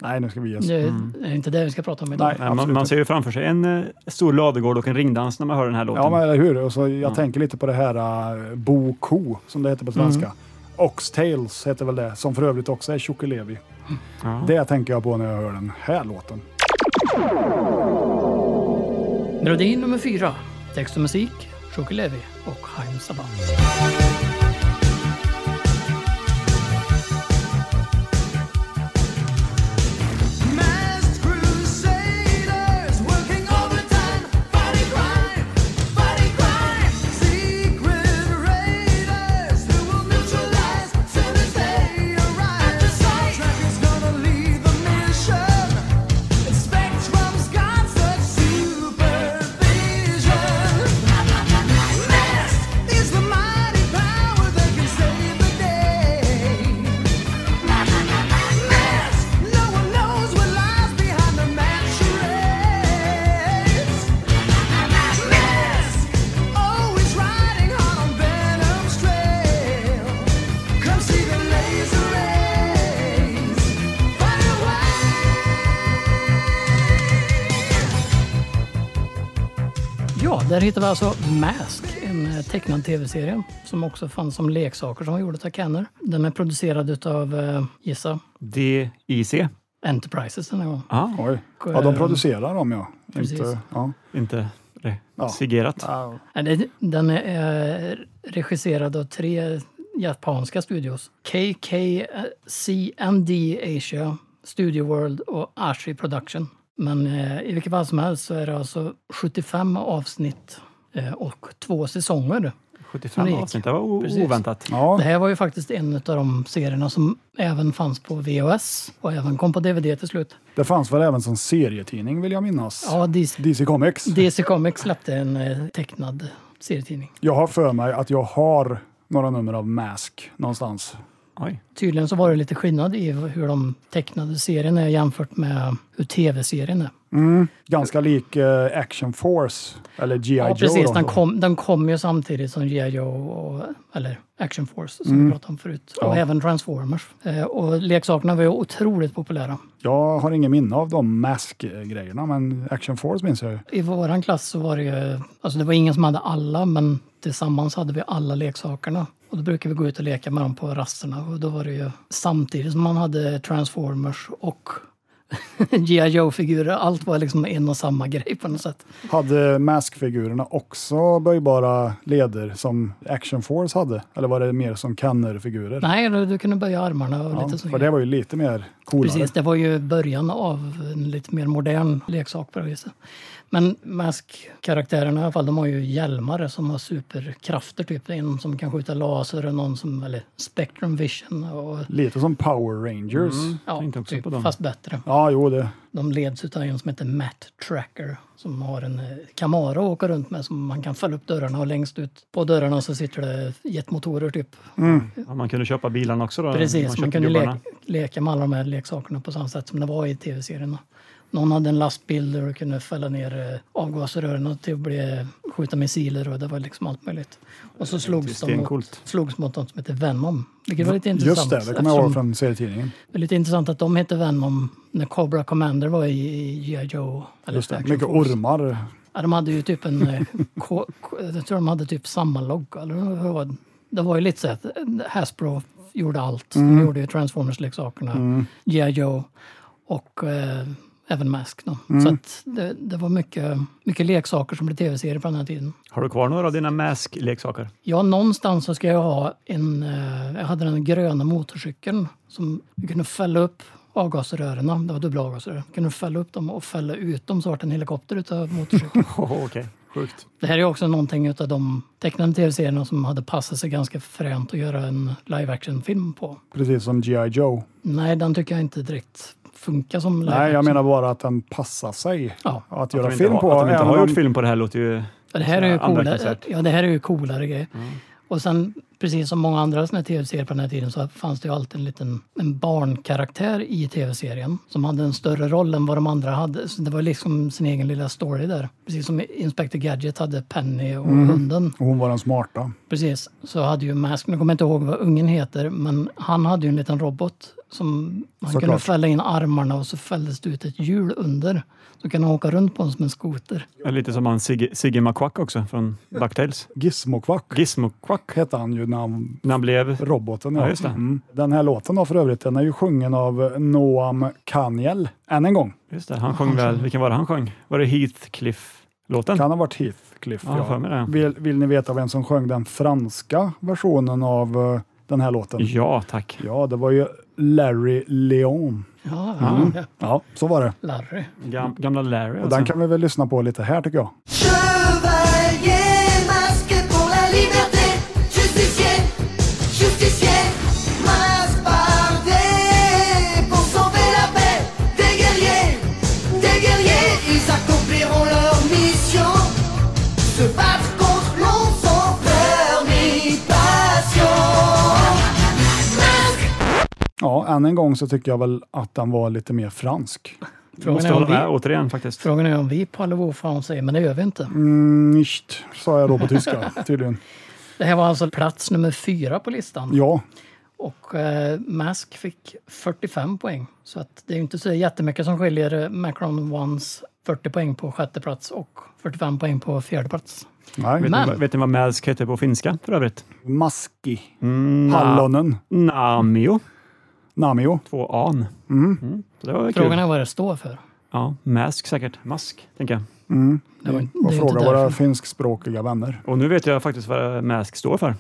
Speaker 2: Nej, nu ska vi ge oss.
Speaker 4: Det är inte det vi ska prata om idag.
Speaker 2: Nej,
Speaker 3: Nej, Man, man
Speaker 2: absolut.
Speaker 3: ser ju framför sig en eh, stor ladugård och en ringdans när man hör den här låten.
Speaker 2: Ja, men eller hur? Och så jag tänker lite på det här uh, Bo Ko, som det heter på svenska. Oxtails heter väl det, som för övrigt också är Tjockelevi.
Speaker 3: Ja.
Speaker 2: Det tänker jag på när jag hör den här låten.
Speaker 4: Melodi nummer fyra. Text och musik, Shuki Levi och Haim Saban.
Speaker 5: Masked crusaders working overtime, fighting crime, fighting crime. Secret raiders who will neutralize soon as they arrive. Tracker's gonna lead the mission. Spectrum's got such supervision. Masked is the mighty power that can save the day. No one knows what lies behind the masquerades. Mask, always riding hard on venom's trail. Come see the laser rays fly away.
Speaker 4: Ja, där hittar vi alltså Mask, en eh, tecknad tv-serie som också fanns som leksaker som var gjorda av Kenner. Den är producerad utav, eh, gissa,
Speaker 3: DIC.
Speaker 4: Enterprises den här gången.
Speaker 3: Ja,
Speaker 2: Oj. Ja, de producerar dem ja.
Speaker 4: Precis.
Speaker 2: Inte, ja.
Speaker 3: inte eh, re-
Speaker 2: Ja.
Speaker 3: Sigerat.
Speaker 4: Nej, det- Den är eh, regisserad av tre japanska studios. KKCND Asia, Studio World och Ashi Production. Men eh, i vilket fall som helst så är det alltså 75 avsnitt eh, och två säsonger.
Speaker 3: 75
Speaker 4: Det gick.
Speaker 3: avsnitt, det var o-
Speaker 4: Precis.
Speaker 3: oväntat.
Speaker 2: Ja,
Speaker 4: Det här var ju faktiskt en av de serierna som även fanns på VHS och även kom på DVD till slut.
Speaker 2: det fanns väl även som serietidning vill jag minnas.
Speaker 4: Ja, DC,
Speaker 2: DC Comics.
Speaker 4: DC Comics släppte en eh, tecknad serietidning.
Speaker 2: Jag har för mig att jag har några nummer av Mask någonstans.
Speaker 3: Oj.
Speaker 4: Tydligen så var det lite skillnad i hur de tecknade serien är jämfört med hur tv-serien är.
Speaker 2: Ganska lik eh, Action Force, eller G.I.
Speaker 4: Ja,
Speaker 2: Joe.
Speaker 4: precis.
Speaker 2: då.
Speaker 4: Den kom, den kom ju samtidigt som G.I. Joe och, eller Action Force som vi pratade om förut. Och även Transformers. Eh, och leksakerna var ju otroligt populära.
Speaker 2: Jag har ingen minne av de Mask-grejerna, men Action Force minns jag ju.
Speaker 4: I våran klass så var det ju, alltså det var ingen som hade alla, men tillsammans hade vi alla leksakerna. Och då brukade vi gå ut och leka med dem på rasterna och då var det ju samtidigt som man hade Transformers och G.I. Joe-figurer. Allt var liksom en och samma grej på något sätt.
Speaker 2: Hade Mask-figurerna också böjbara leder som Action Force hade? Eller var det mer som Kenner-figurer?
Speaker 4: Nej, du, du kunde böja armarna och
Speaker 2: Ja,
Speaker 4: lite sånt.
Speaker 2: för det var ju lite mer coolare.
Speaker 4: Precis, det var ju början av en lite mer modern leksak på det viset. Men Mask-karaktärerna i alla fall, de har ju hjälmar som har superkrafter. Typ. En som kan skjuta laser och någon som, eller Spectrum Vision. Och,
Speaker 2: Lite som Power Rangers.
Speaker 4: ja,
Speaker 3: tänkte också
Speaker 4: typ,
Speaker 3: på dem.
Speaker 4: fast bättre.
Speaker 2: Ja, jo det.
Speaker 4: De leds utav en som heter Matt Tracker som har en eh, Camaro att åka runt med som man kan fälla upp dörrarna och längst ut på dörrarna så sitter det jetmotorer typ.
Speaker 3: Ja, man kunde köpa bilarna också då?
Speaker 4: Precis, man,
Speaker 3: köpte
Speaker 4: kunde
Speaker 3: gubbarna.
Speaker 4: leka, leka med alla de här leksakerna på samma sätt som det var i tv-serierna. Någon hade en lastbil där du kunde fälla ner eh, avgasrören till att bli, eh, skjuta missiler och det var liksom allt möjligt. Och så slogs de mot,
Speaker 3: stencoolt.
Speaker 4: slogs mot något som heter Venom. Vilket var lite intressant.
Speaker 2: Just det, det kommer jag ihåg
Speaker 4: eftersom-
Speaker 2: från serietidningen.
Speaker 4: det är lite intressant att de hette Venom när Cobra Commander var i i G.I. Joe. Eller
Speaker 2: Just det.
Speaker 4: Action
Speaker 2: Mycket
Speaker 4: Force.
Speaker 2: ormar.
Speaker 4: Ja, de hade ju typ en... eh, ko, ko, jag tror de hade typ samma logga. Eller hur var det? det var ju lite så att Hasbro gjorde allt. De gjorde ju Transformers-leksakerna, G.I. Joe och eh, även Mask. Då. Så att det, det var mycket, mycket leksaker som blev tv-serier på den här tiden.
Speaker 3: Har du kvar några av dina Mask-leksaker?
Speaker 4: Ja, någonstans så ska jag ha en... Eh, jag hade den gröna motorcykeln som du kunde fälla upp avgasrören. Det var dubbla avgasrör. Kunde du fälla upp dem och fälla ut dem så vart det en helikopter utav motorcykeln.
Speaker 3: Oh, Okej, sjukt.
Speaker 4: Det här är också någonting utav de tecknade tv-serierna som hade passat sig ganska fränt att göra en live action-film på.
Speaker 2: Precis som G.I. Joe.
Speaker 4: Nej, den tycker jag inte direkt funkar som live
Speaker 2: Nej, jag
Speaker 4: action.
Speaker 2: menar bara att den passar sig
Speaker 4: Ja.
Speaker 2: att
Speaker 3: liksom. Att
Speaker 2: göra
Speaker 3: de inte,
Speaker 2: film
Speaker 3: har,
Speaker 2: på.
Speaker 3: att de inte
Speaker 2: även
Speaker 3: har
Speaker 2: om-
Speaker 3: gjort film på det här låter ju...
Speaker 4: Ja, det här är ju
Speaker 3: Så
Speaker 4: coolare,
Speaker 3: anmärkningsvärt.
Speaker 4: ja, det här är ju coolare grejer.
Speaker 2: Mm.
Speaker 4: Och sen, precis som många andra såna här tv-serier på den här tiden, så fanns det ju alltid en liten en barnkaraktär i tv-serien som hade en större roll än vad de andra hade. Så det var liksom sin egen lilla story där. Precis som Inspector Gadget hade Penny och
Speaker 2: Mm.
Speaker 4: hunden.
Speaker 2: Och Hon var den smarta.
Speaker 4: Precis, så hade ju Mask, nu kommer jag inte ihåg vad ungen heter, men han hade ju en liten robot som man
Speaker 2: Såklart.
Speaker 4: kunde fälla in armarna och så fälldes det ut ett hjul under. Så kunde han åka runt på den som en skoter.
Speaker 3: Lite som han Sigge, Sigge McQuack också från DuckTales.
Speaker 2: Gizmokvack
Speaker 3: Gizmo Quack
Speaker 2: hette han ju när han
Speaker 3: när han blev...
Speaker 2: roboten. Mm.
Speaker 3: Ja, just det.
Speaker 2: Den här låten då för övrigt, den är ju sjungen av Noam Kaniel, än en gång.
Speaker 3: Just det, han sjöng väl... Vilken var det han sjöng? Var det Heathcliff-låten?
Speaker 2: Kan ha varit Heathcliff.
Speaker 3: Ja, för mig det.
Speaker 2: Vill, vill ni veta vem som sjöng den franska versionen av eh, den här låten?
Speaker 3: Ja, tack.
Speaker 2: Ja, det var ju Larry Leon.
Speaker 4: Ja, ja.
Speaker 2: Ja, så var det.
Speaker 4: Larry.
Speaker 3: Gam, gamla Larry
Speaker 2: Och den
Speaker 3: alltså.
Speaker 2: kan vi väl lyssna på lite här tycker jag.
Speaker 5: Chevalier masqué pour la liberté, justicier, justicier, masqué pour sauver la paix, des guerriers, des guerriers, ils accompliront leur mission, se battre contre l'ombre sans peur ni passion. Masque
Speaker 2: Ja, än en gång så tycker jag väl att den var lite mer fransk.
Speaker 4: Frågan
Speaker 3: Måste
Speaker 4: är, om
Speaker 3: hålla med
Speaker 4: vi,
Speaker 3: återigen faktiskt.
Speaker 4: frågan är om vi Palle fan säger, men det gör vi inte.
Speaker 2: Nicht, sa jag då på tyska tydligen.
Speaker 4: Det här var alltså plats nummer fyra på listan.
Speaker 2: Ja,
Speaker 4: Och eh, Mask fick 45 poäng. Så att det är ju inte så jättemycket som skiljer eh, Macron Ones 40 poäng på sjätte plats och 45 poäng på fjärde plats.
Speaker 2: nej.
Speaker 4: Men-
Speaker 3: Vet ni vad Mask heter på finska för övrigt?
Speaker 2: Maski.
Speaker 4: Mm.
Speaker 2: Hallonen.
Speaker 3: Namio.
Speaker 2: Namio.
Speaker 3: Två an. Mm, så det var
Speaker 4: Frågan
Speaker 3: kul.
Speaker 4: är vad det står för.
Speaker 3: Ja, mask säkert. Mask, tänker jag.
Speaker 4: Det var,
Speaker 2: Och
Speaker 4: det är
Speaker 2: fråga
Speaker 4: inte
Speaker 2: våra
Speaker 4: därför.
Speaker 2: finskspråkiga vänner.
Speaker 3: Och nu vet jag faktiskt vad Mask står för.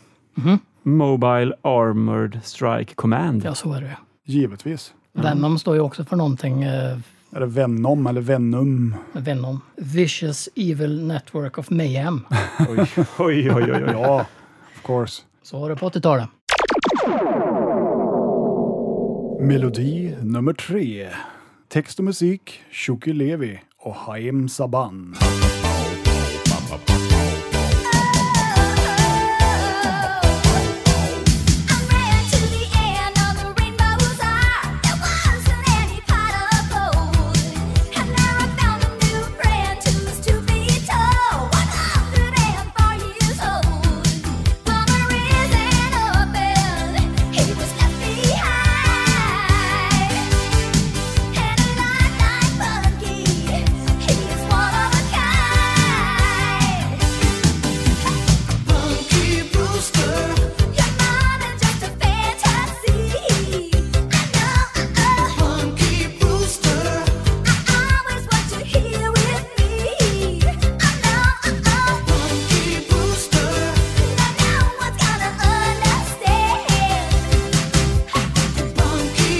Speaker 3: Mobile Armored Strike Command.
Speaker 4: Ja, så är det.
Speaker 2: Givetvis.
Speaker 4: Venom står ju också för någonting. Eh,
Speaker 2: Är det Venom eller Venom?
Speaker 4: Venom. Vicious Evil Network of Mayhem.
Speaker 3: Oj, oj, oj, oj. oj.
Speaker 2: Ja, course.
Speaker 4: Så var det på 80-talet.
Speaker 2: Melodi nummer tre. Text och musik, Shuki Levi och Haim Saban.
Speaker 7: Thank you
Speaker 5: Punky Brewster.
Speaker 7: you're not just a fantasy. I know
Speaker 5: Punky Brewster.
Speaker 7: I always want you here with me. I know
Speaker 5: Punky Brewster.
Speaker 7: that no one's gonna understand.
Speaker 5: Punky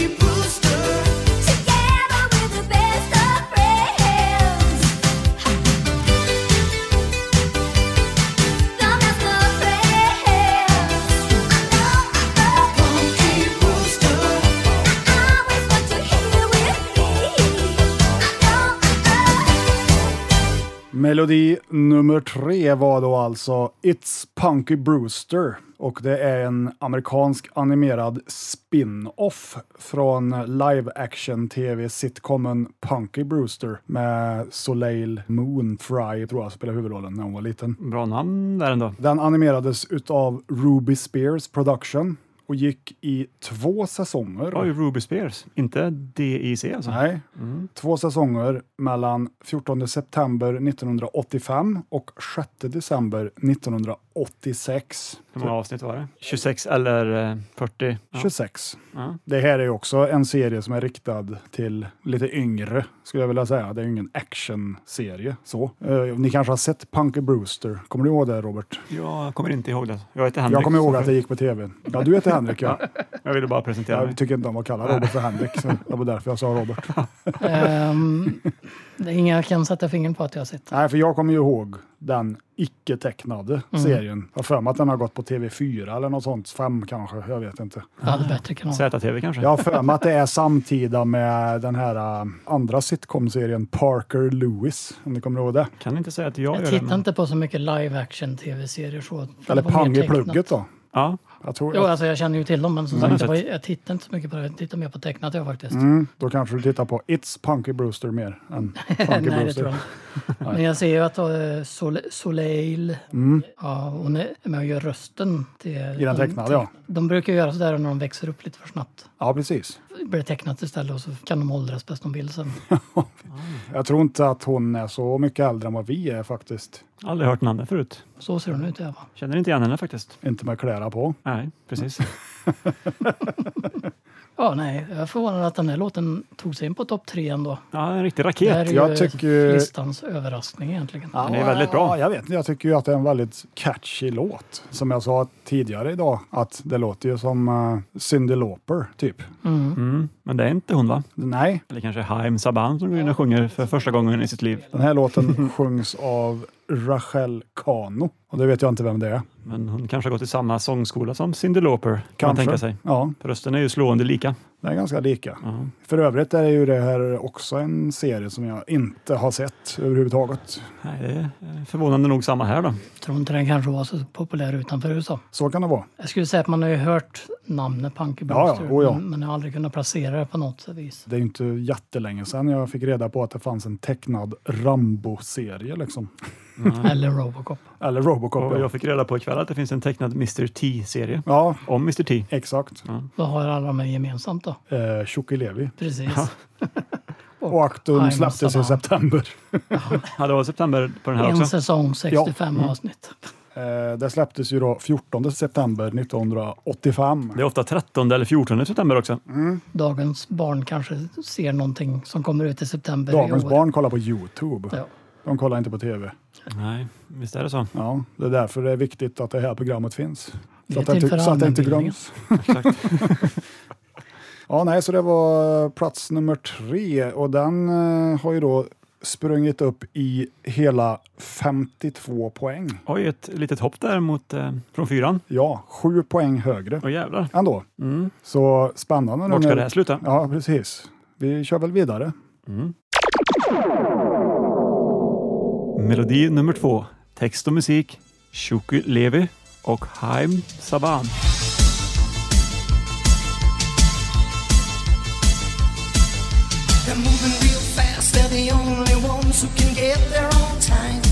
Speaker 5: Brewster.
Speaker 7: Together we're the best of friends. The best of friends.
Speaker 5: Punky Brewster.
Speaker 7: I always want you here with me. I know.
Speaker 2: Melodi nummer tre var då alltså It's Punky Brewster och det är en amerikansk animerad spin-off från live action tv-sitcomen Punky Brewster med Soleil Moon Fry, tror jag, spelade huvudrollen när hon var liten.
Speaker 3: Bra namn där ändå.
Speaker 2: Den animerades utav Ruby Spears Production och gick i två säsonger.
Speaker 3: Oj, Ruby Spears. Inte DIC alltså.
Speaker 2: Nej. Två säsonger mellan 14 september 1985 och 6 december 1986.
Speaker 3: Hur många avsnitt var det? 26 eller eh, 40? Ja.
Speaker 2: 26.
Speaker 3: Ja.
Speaker 2: Det här är ju också en serie som är riktad till lite yngre, skulle jag vilja säga. Det är ju ingen actionserie. Så. Eh, ni kanske har sett Punky Brewster? Kommer du ihåg det, Robert?
Speaker 3: Jag kommer inte ihåg det. Jag heter Henrik.
Speaker 2: Jag kommer ihåg att det gick på tv. Ja, du heter Henrik, ja.
Speaker 3: Jag ville bara presentera mig.
Speaker 2: Jag tycker inte om att kalla Robert för Henrik, så det var därför jag sa Robert.
Speaker 4: Ehm, det är inga jag kan sätta fingret på att jag har sett.
Speaker 2: Nej, för jag kommer ju ihåg den icke-tecknade
Speaker 4: Mm.
Speaker 2: serien. Jag har för mig att den har gått på TV4 eller något sånt, fem kanske, jag vet inte.
Speaker 4: Jag hade bättre kanaler.
Speaker 3: ZTV kanske?
Speaker 2: Jag har för mig att det är samtida med den här äh, andra sitcom-serien Parker Lewis, om ni kommer ihåg det.
Speaker 3: Kan inte säga att jag,
Speaker 4: Jag
Speaker 3: gör det.
Speaker 4: tittar
Speaker 3: men-
Speaker 4: inte på så mycket live action tv-serier. så. Det
Speaker 2: Eller
Speaker 4: var mer
Speaker 2: Pang i
Speaker 4: tecknat.
Speaker 2: plugget då.
Speaker 3: Ja,
Speaker 2: Jag tror,
Speaker 4: Jo, alltså jag känner ju till dem, men som
Speaker 3: Mm.
Speaker 4: sagt, det var, jag tittar inte så mycket på det. Jag tittar mer på tecknat jag faktiskt.
Speaker 2: mm, då kanske du tittar på It's Punky Brewster mer än Punky
Speaker 4: Nej, det tror jag
Speaker 2: Brewster.
Speaker 4: inte. Men jag ser ju att eh, Sole- Soleil, ja, hon är med och gör rösten. Till,
Speaker 2: I Mm. den tecknade, ja.
Speaker 4: De brukar ju göra sådär när de växer upp lite för snabbt.
Speaker 2: Ja, precis.
Speaker 4: Blir tecknat istället och så kan de åldras bäst de vill sen.
Speaker 2: Jag tror inte att hon är så mycket äldre än vad vi är faktiskt.
Speaker 3: aldrig hört namnet förut.
Speaker 4: Så ser hon ut i alla fall.
Speaker 3: Känner inte igen henne faktiskt.
Speaker 2: Inte med kläder på.
Speaker 3: Nej, precis.
Speaker 4: Ja, nej, jag är förvånad att den här låten tog sig in på topp tre ändå.
Speaker 3: Ja, en riktig
Speaker 4: Det här
Speaker 3: raket.
Speaker 4: är
Speaker 2: Jag
Speaker 4: ju
Speaker 2: tycker-
Speaker 4: listans överraskning egentligen.
Speaker 3: Den är väldigt bra.
Speaker 2: Ja, jag vet inte. Jag tycker ju att det är en väldigt catchy låt. Som jag sa tidigare idag, att det låter ju som uh, Cyndi Lauper, typ.
Speaker 3: Mm, men det är inte hon va?
Speaker 2: Nej,
Speaker 3: Eller kanske Haim Saban som går in och sjunger för första gången i sitt liv.
Speaker 2: den här låten sjungs av Rachel Cano. Och det vet jag inte vem det är.
Speaker 3: Men hon kanske har gått i samma sångskola som Cyndi Lauper, kan man
Speaker 2: Kanske.
Speaker 3: tänka sig.
Speaker 2: Ja,
Speaker 3: Rösten är ju slående lika.
Speaker 2: den är ganska lika.
Speaker 3: Ja.
Speaker 2: För övrigt är ju det här också en serie som jag inte har sett överhuvudtaget.
Speaker 3: Nej, det är förvånande nog samma här då.
Speaker 4: Tror inte den kanske var så populär utanför USA.
Speaker 2: Så kan det vara.
Speaker 4: Jag skulle säga att man har ju hört namnet Punky
Speaker 2: Ja, ja,
Speaker 4: Brewster,
Speaker 2: oh ja.
Speaker 4: men, men jag har aldrig kunnat placera det på något vis.
Speaker 2: Det är ju inte jättelänge sedan jag fick reda på att det fanns en tecknad Rambo-serie liksom.
Speaker 4: Eller Robocop.
Speaker 2: Eller Robocop.
Speaker 3: Och
Speaker 2: Ja,
Speaker 3: jag fick reda på ikväll att det finns en tecknad Mr T-serie
Speaker 2: ja
Speaker 3: om Mr T.
Speaker 2: exakt.
Speaker 4: Vad har alla de här gemensamt då?
Speaker 2: Eh, Tjocke Levi.
Speaker 4: Precis.
Speaker 2: Och Aktum
Speaker 4: I'm
Speaker 2: släpptes i
Speaker 4: Saddam.
Speaker 2: september.
Speaker 3: Ja, det var september på den här
Speaker 4: En
Speaker 3: också.
Speaker 4: säsong, 65
Speaker 2: Mm.
Speaker 4: avsnitt.
Speaker 2: Eh, det släpptes ju då 14 september 1985.
Speaker 3: Det är ofta 13 eller 14 september också.
Speaker 2: Mm.
Speaker 4: Dagens barn kanske ser någonting som kommer ut i september
Speaker 2: Dagens
Speaker 4: i år.
Speaker 2: barn kollar på Youtube.
Speaker 4: Ja.
Speaker 2: De kollar inte på TV.
Speaker 3: Nej, visst är det så.
Speaker 2: Ja, det är därför det är viktigt att det här programmet finns.
Speaker 4: Vi
Speaker 2: Så
Speaker 4: är
Speaker 2: att, det inte,
Speaker 4: till för
Speaker 2: så att det inte
Speaker 4: allmänbildningen.
Speaker 2: glöms.
Speaker 3: Exakt.
Speaker 2: Ja, nej, så det var plats nummer tre och den eh, har ju då sprungit upp i hela 52 poäng.
Speaker 3: Oj, ett litet hopp där mot, eh, från fyran.
Speaker 2: Ja, sju poäng högre
Speaker 3: Åh jävlar.
Speaker 2: ändå.
Speaker 3: Mm.
Speaker 2: Så spännande. nu
Speaker 3: Vart ska
Speaker 2: när-
Speaker 3: det här sluta?
Speaker 2: Ja, precis. Vi kör väl vidare.
Speaker 3: Melodi nummer två. Text och musik. Shuki Levi och Haim Saban.
Speaker 5: They're moving real fast, they're the only ones who can get there on time.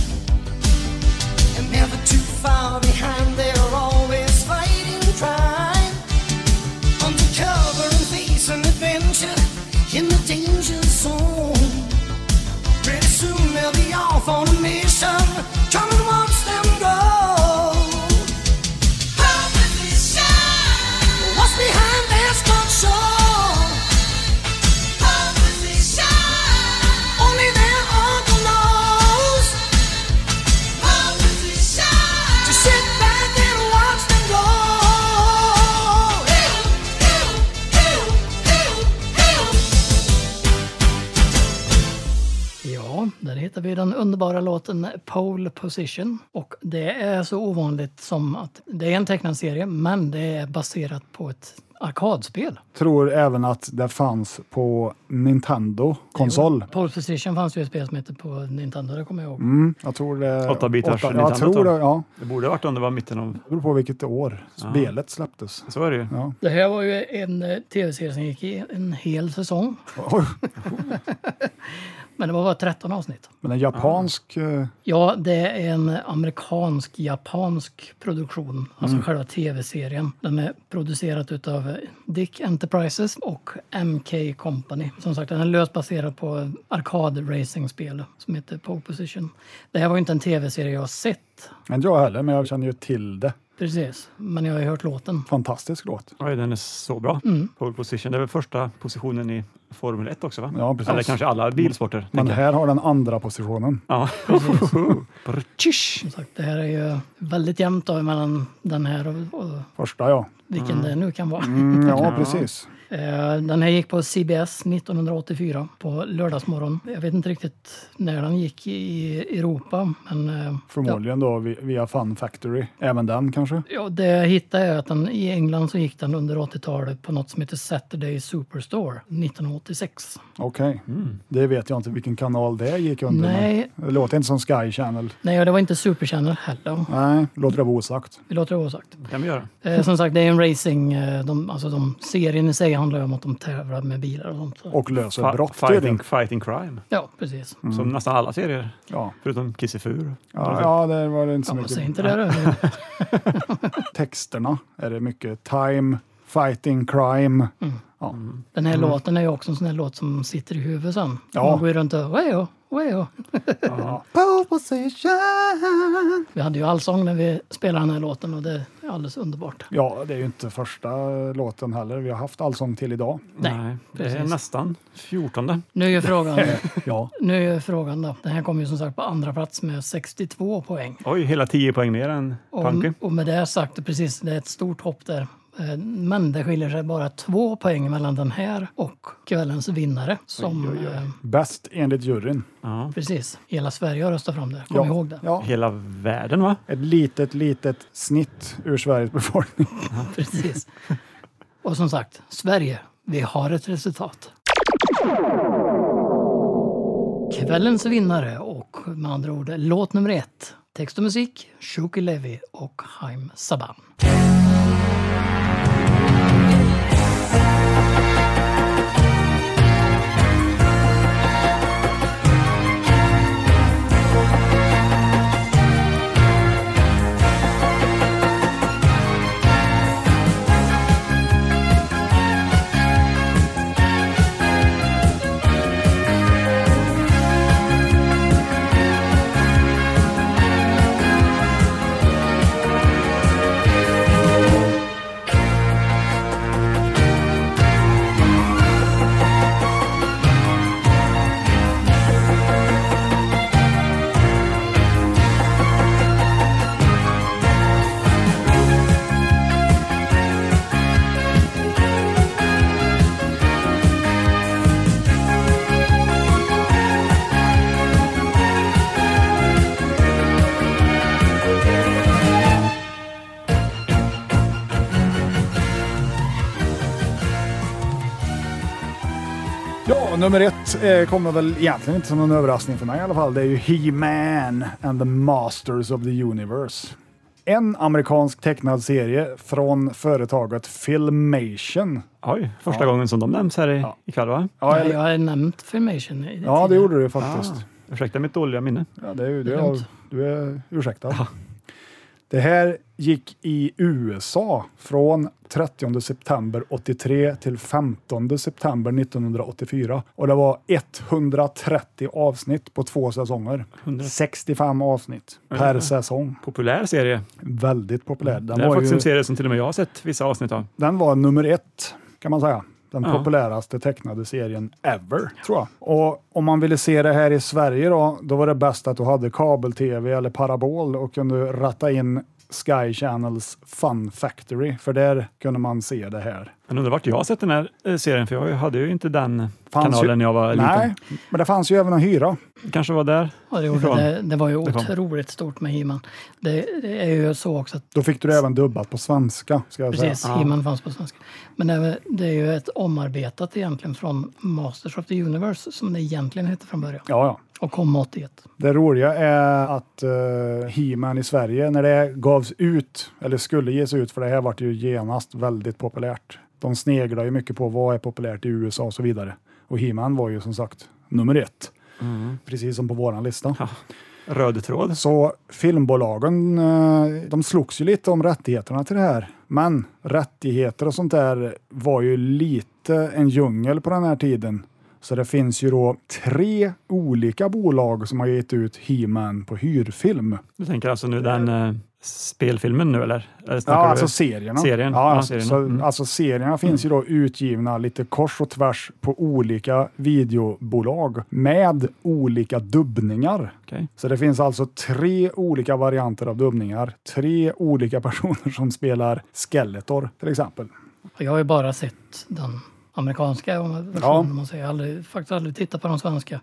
Speaker 5: And never too far behind, they're always fighting crime. Undercover and facing adventure in the danger zone. Pretty soon they'll be off on a mission. Come and watch them go. What's behind their structure? Only their uncle knows. Just sit back and watch them go.
Speaker 4: Ja, där hittar vi den underbara låten Pole Position. Och det är så ovanligt som att det är en tecknad serie, men det är baserat på ett arkadspel.
Speaker 2: Tror även att det fanns på Nintendo-konsol.
Speaker 4: Pole Position fanns ju ett spel som hette på Nintendo, det kommer jag ihåg.
Speaker 2: Mm, jag tror det...
Speaker 3: 8-bitars
Speaker 2: åtta-
Speaker 3: Nintendo,
Speaker 2: Jag tror det,
Speaker 3: tror jag.
Speaker 2: ja.
Speaker 3: Det borde ha varit om det var mitten av...
Speaker 2: Det beror på vilket år spelet släpptes.
Speaker 3: Så är det ju.
Speaker 2: Ja.
Speaker 4: Det här var ju en eh, tv-serie som gick i en hel säsong,
Speaker 2: Oj,
Speaker 4: men det var bara 13 avsnitt.
Speaker 2: men en japansk... eh,
Speaker 4: Ja, det är en amerikansk-japansk produktion, alltså själva tv-serien. Den är producerad utav Dick Enterprises och MK Company. Som sagt, den är löst baserad på arkadracingspel som heter Pole Position. Det här var ju inte en tv-serie jag har sett,
Speaker 2: Inte jag heller, men jag känner ju till det.
Speaker 4: precis, men jag har ju hört låten.
Speaker 2: Fantastisk låt.
Speaker 3: Oj, den är så bra.
Speaker 4: Mm.
Speaker 3: Pole position. Det är väl första positionen i Formel 1 också? va?
Speaker 2: Ja, precis.
Speaker 3: Eller kanske alla bilsporter.
Speaker 2: Men
Speaker 3: tänker jag.
Speaker 2: här har den andra positionen.
Speaker 3: Ja. Brrtjish.
Speaker 4: Som sagt, det här är ju väldigt jämnt då mellan den här och, och
Speaker 2: Första ja.
Speaker 4: vilken det nu kan vara.
Speaker 2: Mm, ja, precis.
Speaker 4: Eh, Den här gick på CBS 1984 på lördagsmorgon. Jag vet inte riktigt när den gick i Europa, men eh,
Speaker 2: Förmodligen då vi- via Fun Factory. Även den kanske?
Speaker 4: ja, ja, det jag hittade är att den, i England så gick den under 80-talet på något som heter Saturday Superstore 1986.
Speaker 2: Okej. Det vet jag inte vilken kanal det gick under.
Speaker 4: Mm. Nej.
Speaker 2: men Det låter inte som Sky Channel.
Speaker 4: Nej, och det var inte Super Channel heller.
Speaker 2: Nej, låter det vara osagt.
Speaker 4: Vi låter det vara sagt.
Speaker 3: kan vi göra.
Speaker 4: Eh, Som sagt, det är en racing... eh, De, alltså de, serien i sig handlar ju om att de tävlar med bilar och sånt.
Speaker 2: Och löser
Speaker 3: Fa-
Speaker 2: brott
Speaker 3: fighting,
Speaker 2: tydligen.
Speaker 3: fighting crime.
Speaker 4: Ja, precis.
Speaker 3: Som nästan alla serier.
Speaker 2: Ja.
Speaker 3: Förutom Kissefur.
Speaker 2: Mm. Ja, ja, det var det inte så
Speaker 4: Ja, säg
Speaker 2: mycket.
Speaker 4: inte det då.
Speaker 2: Texterna är det mycket time, fighting, crime.
Speaker 4: Mm.
Speaker 2: Ja.
Speaker 4: Den här låten är ju också en sån här låt som sitter i huvudet sen.
Speaker 2: Mm. Ja.
Speaker 4: Man går ju runt och weo, weo. Vi hade ju allsång när vi spelade den här låten och det är alldeles underbart.
Speaker 2: ja, det är ju inte första låten heller vi har haft allsång till idag.
Speaker 4: Nej,
Speaker 3: det är
Speaker 4: precis.
Speaker 3: nästan 14.
Speaker 4: Nu är ju frågan,
Speaker 2: Ja.
Speaker 4: nu är ju frågan då. Den här kom ju som sagt på andra plats med 62 poäng.
Speaker 3: Oj, hela 10 poäng mer än
Speaker 4: Och,
Speaker 3: Punky.
Speaker 4: och med det sagt, precis, det är ett stort hopp där. Eh, Men det skiljer sig bara två poäng mellan den här och kvällens vinnare. Som, eh,
Speaker 2: Bäst enligt juryn.
Speaker 3: Ja.
Speaker 4: precis, hela Sverige har röstat fram det. Kom ihåg det.
Speaker 2: Ja.
Speaker 3: Hela världen va?
Speaker 2: Ett litet, litet snitt ur Sveriges befolkning.
Speaker 4: Precis. Och som sagt, Sverige, vi har ett resultat. Kvällens vinnare och med andra ord låt nummer ett. Text och musik, Shuki Levi och Haim Saban.
Speaker 5: Thank
Speaker 2: Och nummer ett eh, kommer väl egentligen inte som någon överraskning för mig i alla fall. Det är ju He-Man and the Masters of the Universe. En amerikansk tecknad serie från företaget Filmation.
Speaker 3: Oj, första gången som de nämns här i,
Speaker 2: Ja.
Speaker 3: ikväll va?
Speaker 2: Ja, eller,
Speaker 4: Jag har nämnt Filmation i det
Speaker 2: ja det
Speaker 4: tidigare.
Speaker 2: gjorde du faktiskt.
Speaker 4: Ah.
Speaker 3: Ursäkta mitt dåliga minne.
Speaker 2: Ja, det är ju,
Speaker 4: Det
Speaker 2: det
Speaker 4: är
Speaker 2: är,
Speaker 4: lugnt.
Speaker 2: du är ursäktad. Det här gick i USA från 30 september 83 till 15 september 1984 och det var 130 avsnitt på två säsonger. 65 avsnitt per säsong.
Speaker 3: Populär serie.
Speaker 2: Väldigt populär. Den
Speaker 3: Mm. det är
Speaker 2: var,
Speaker 3: faktiskt en
Speaker 2: ju,
Speaker 3: serie som till och med jag har sett vissa avsnitt av.
Speaker 2: den var nummer ett kan man säga. Den
Speaker 3: Ja.
Speaker 2: populäraste tecknade serien ever, tror jag. Och om man ville se det här i Sverige då, då var det bäst att du hade kabel-tv eller parabol och kunde ratta in Sky Channels Fun Factory, för där kunde man se det här.
Speaker 3: Men undrar vart jag har sett den här eh, serien, för jag hade ju inte den
Speaker 2: Fanns ju-
Speaker 3: kanalen när jag var
Speaker 2: Nej, men det fanns ju även att hyra.
Speaker 3: liten. kanske var där.
Speaker 4: Ja, det, gjorde
Speaker 3: Ifrån.
Speaker 4: det. det var ju
Speaker 3: kom.
Speaker 4: otroligt stort med He-Man. Det, det är ju så också att
Speaker 2: Då fick du det även dubbat på svenska, ska jag säga.
Speaker 4: Precis, He-Man fanns på svenska. Men det, det är ju ett omarbetat egentligen från Masters of the Universe som det egentligen hette från början
Speaker 2: Ja, ja.
Speaker 4: och kom 81.
Speaker 2: Det roliga är att uh, He-Man i Sverige, när det gavs ut, eller skulle ges ut, för det här vart ju genast väldigt populärt. De sneglar ju mycket på vad är populärt i USA och så vidare. Och He-Man var ju som sagt nummer ett, precis som på våran lista.
Speaker 3: Röd tråd.
Speaker 2: Så filmbolagen, eh, de slogs ju lite om rättigheterna till det här. Men rättigheter och sånt där var ju lite en djungel på den här tiden. Så det finns ju då tre olika bolag som har gett ut He-Man på hyrfilm.
Speaker 3: Du tänker alltså nu den eh, spelfilmen nu eller? eller
Speaker 2: Ja,
Speaker 3: snackar du-
Speaker 2: alltså serierna.
Speaker 3: Serien.
Speaker 2: Ja,
Speaker 3: Ja,
Speaker 2: alltså,
Speaker 3: serierna.
Speaker 2: Så,
Speaker 3: Mm.
Speaker 2: alltså serierna finns ju då utgivna lite kors och tvärs på olika videobolag med olika dubbningar.
Speaker 3: Okej.
Speaker 2: Så det finns alltså tre olika varianter av dubbningar. Tre olika personer som spelar Skeletor till exempel.
Speaker 4: Och jag har ju bara sett den amerikanska versionen.
Speaker 2: Ja.
Speaker 4: om Man säger. Jag har aldrig, faktiskt aldrig tittat på de svenska.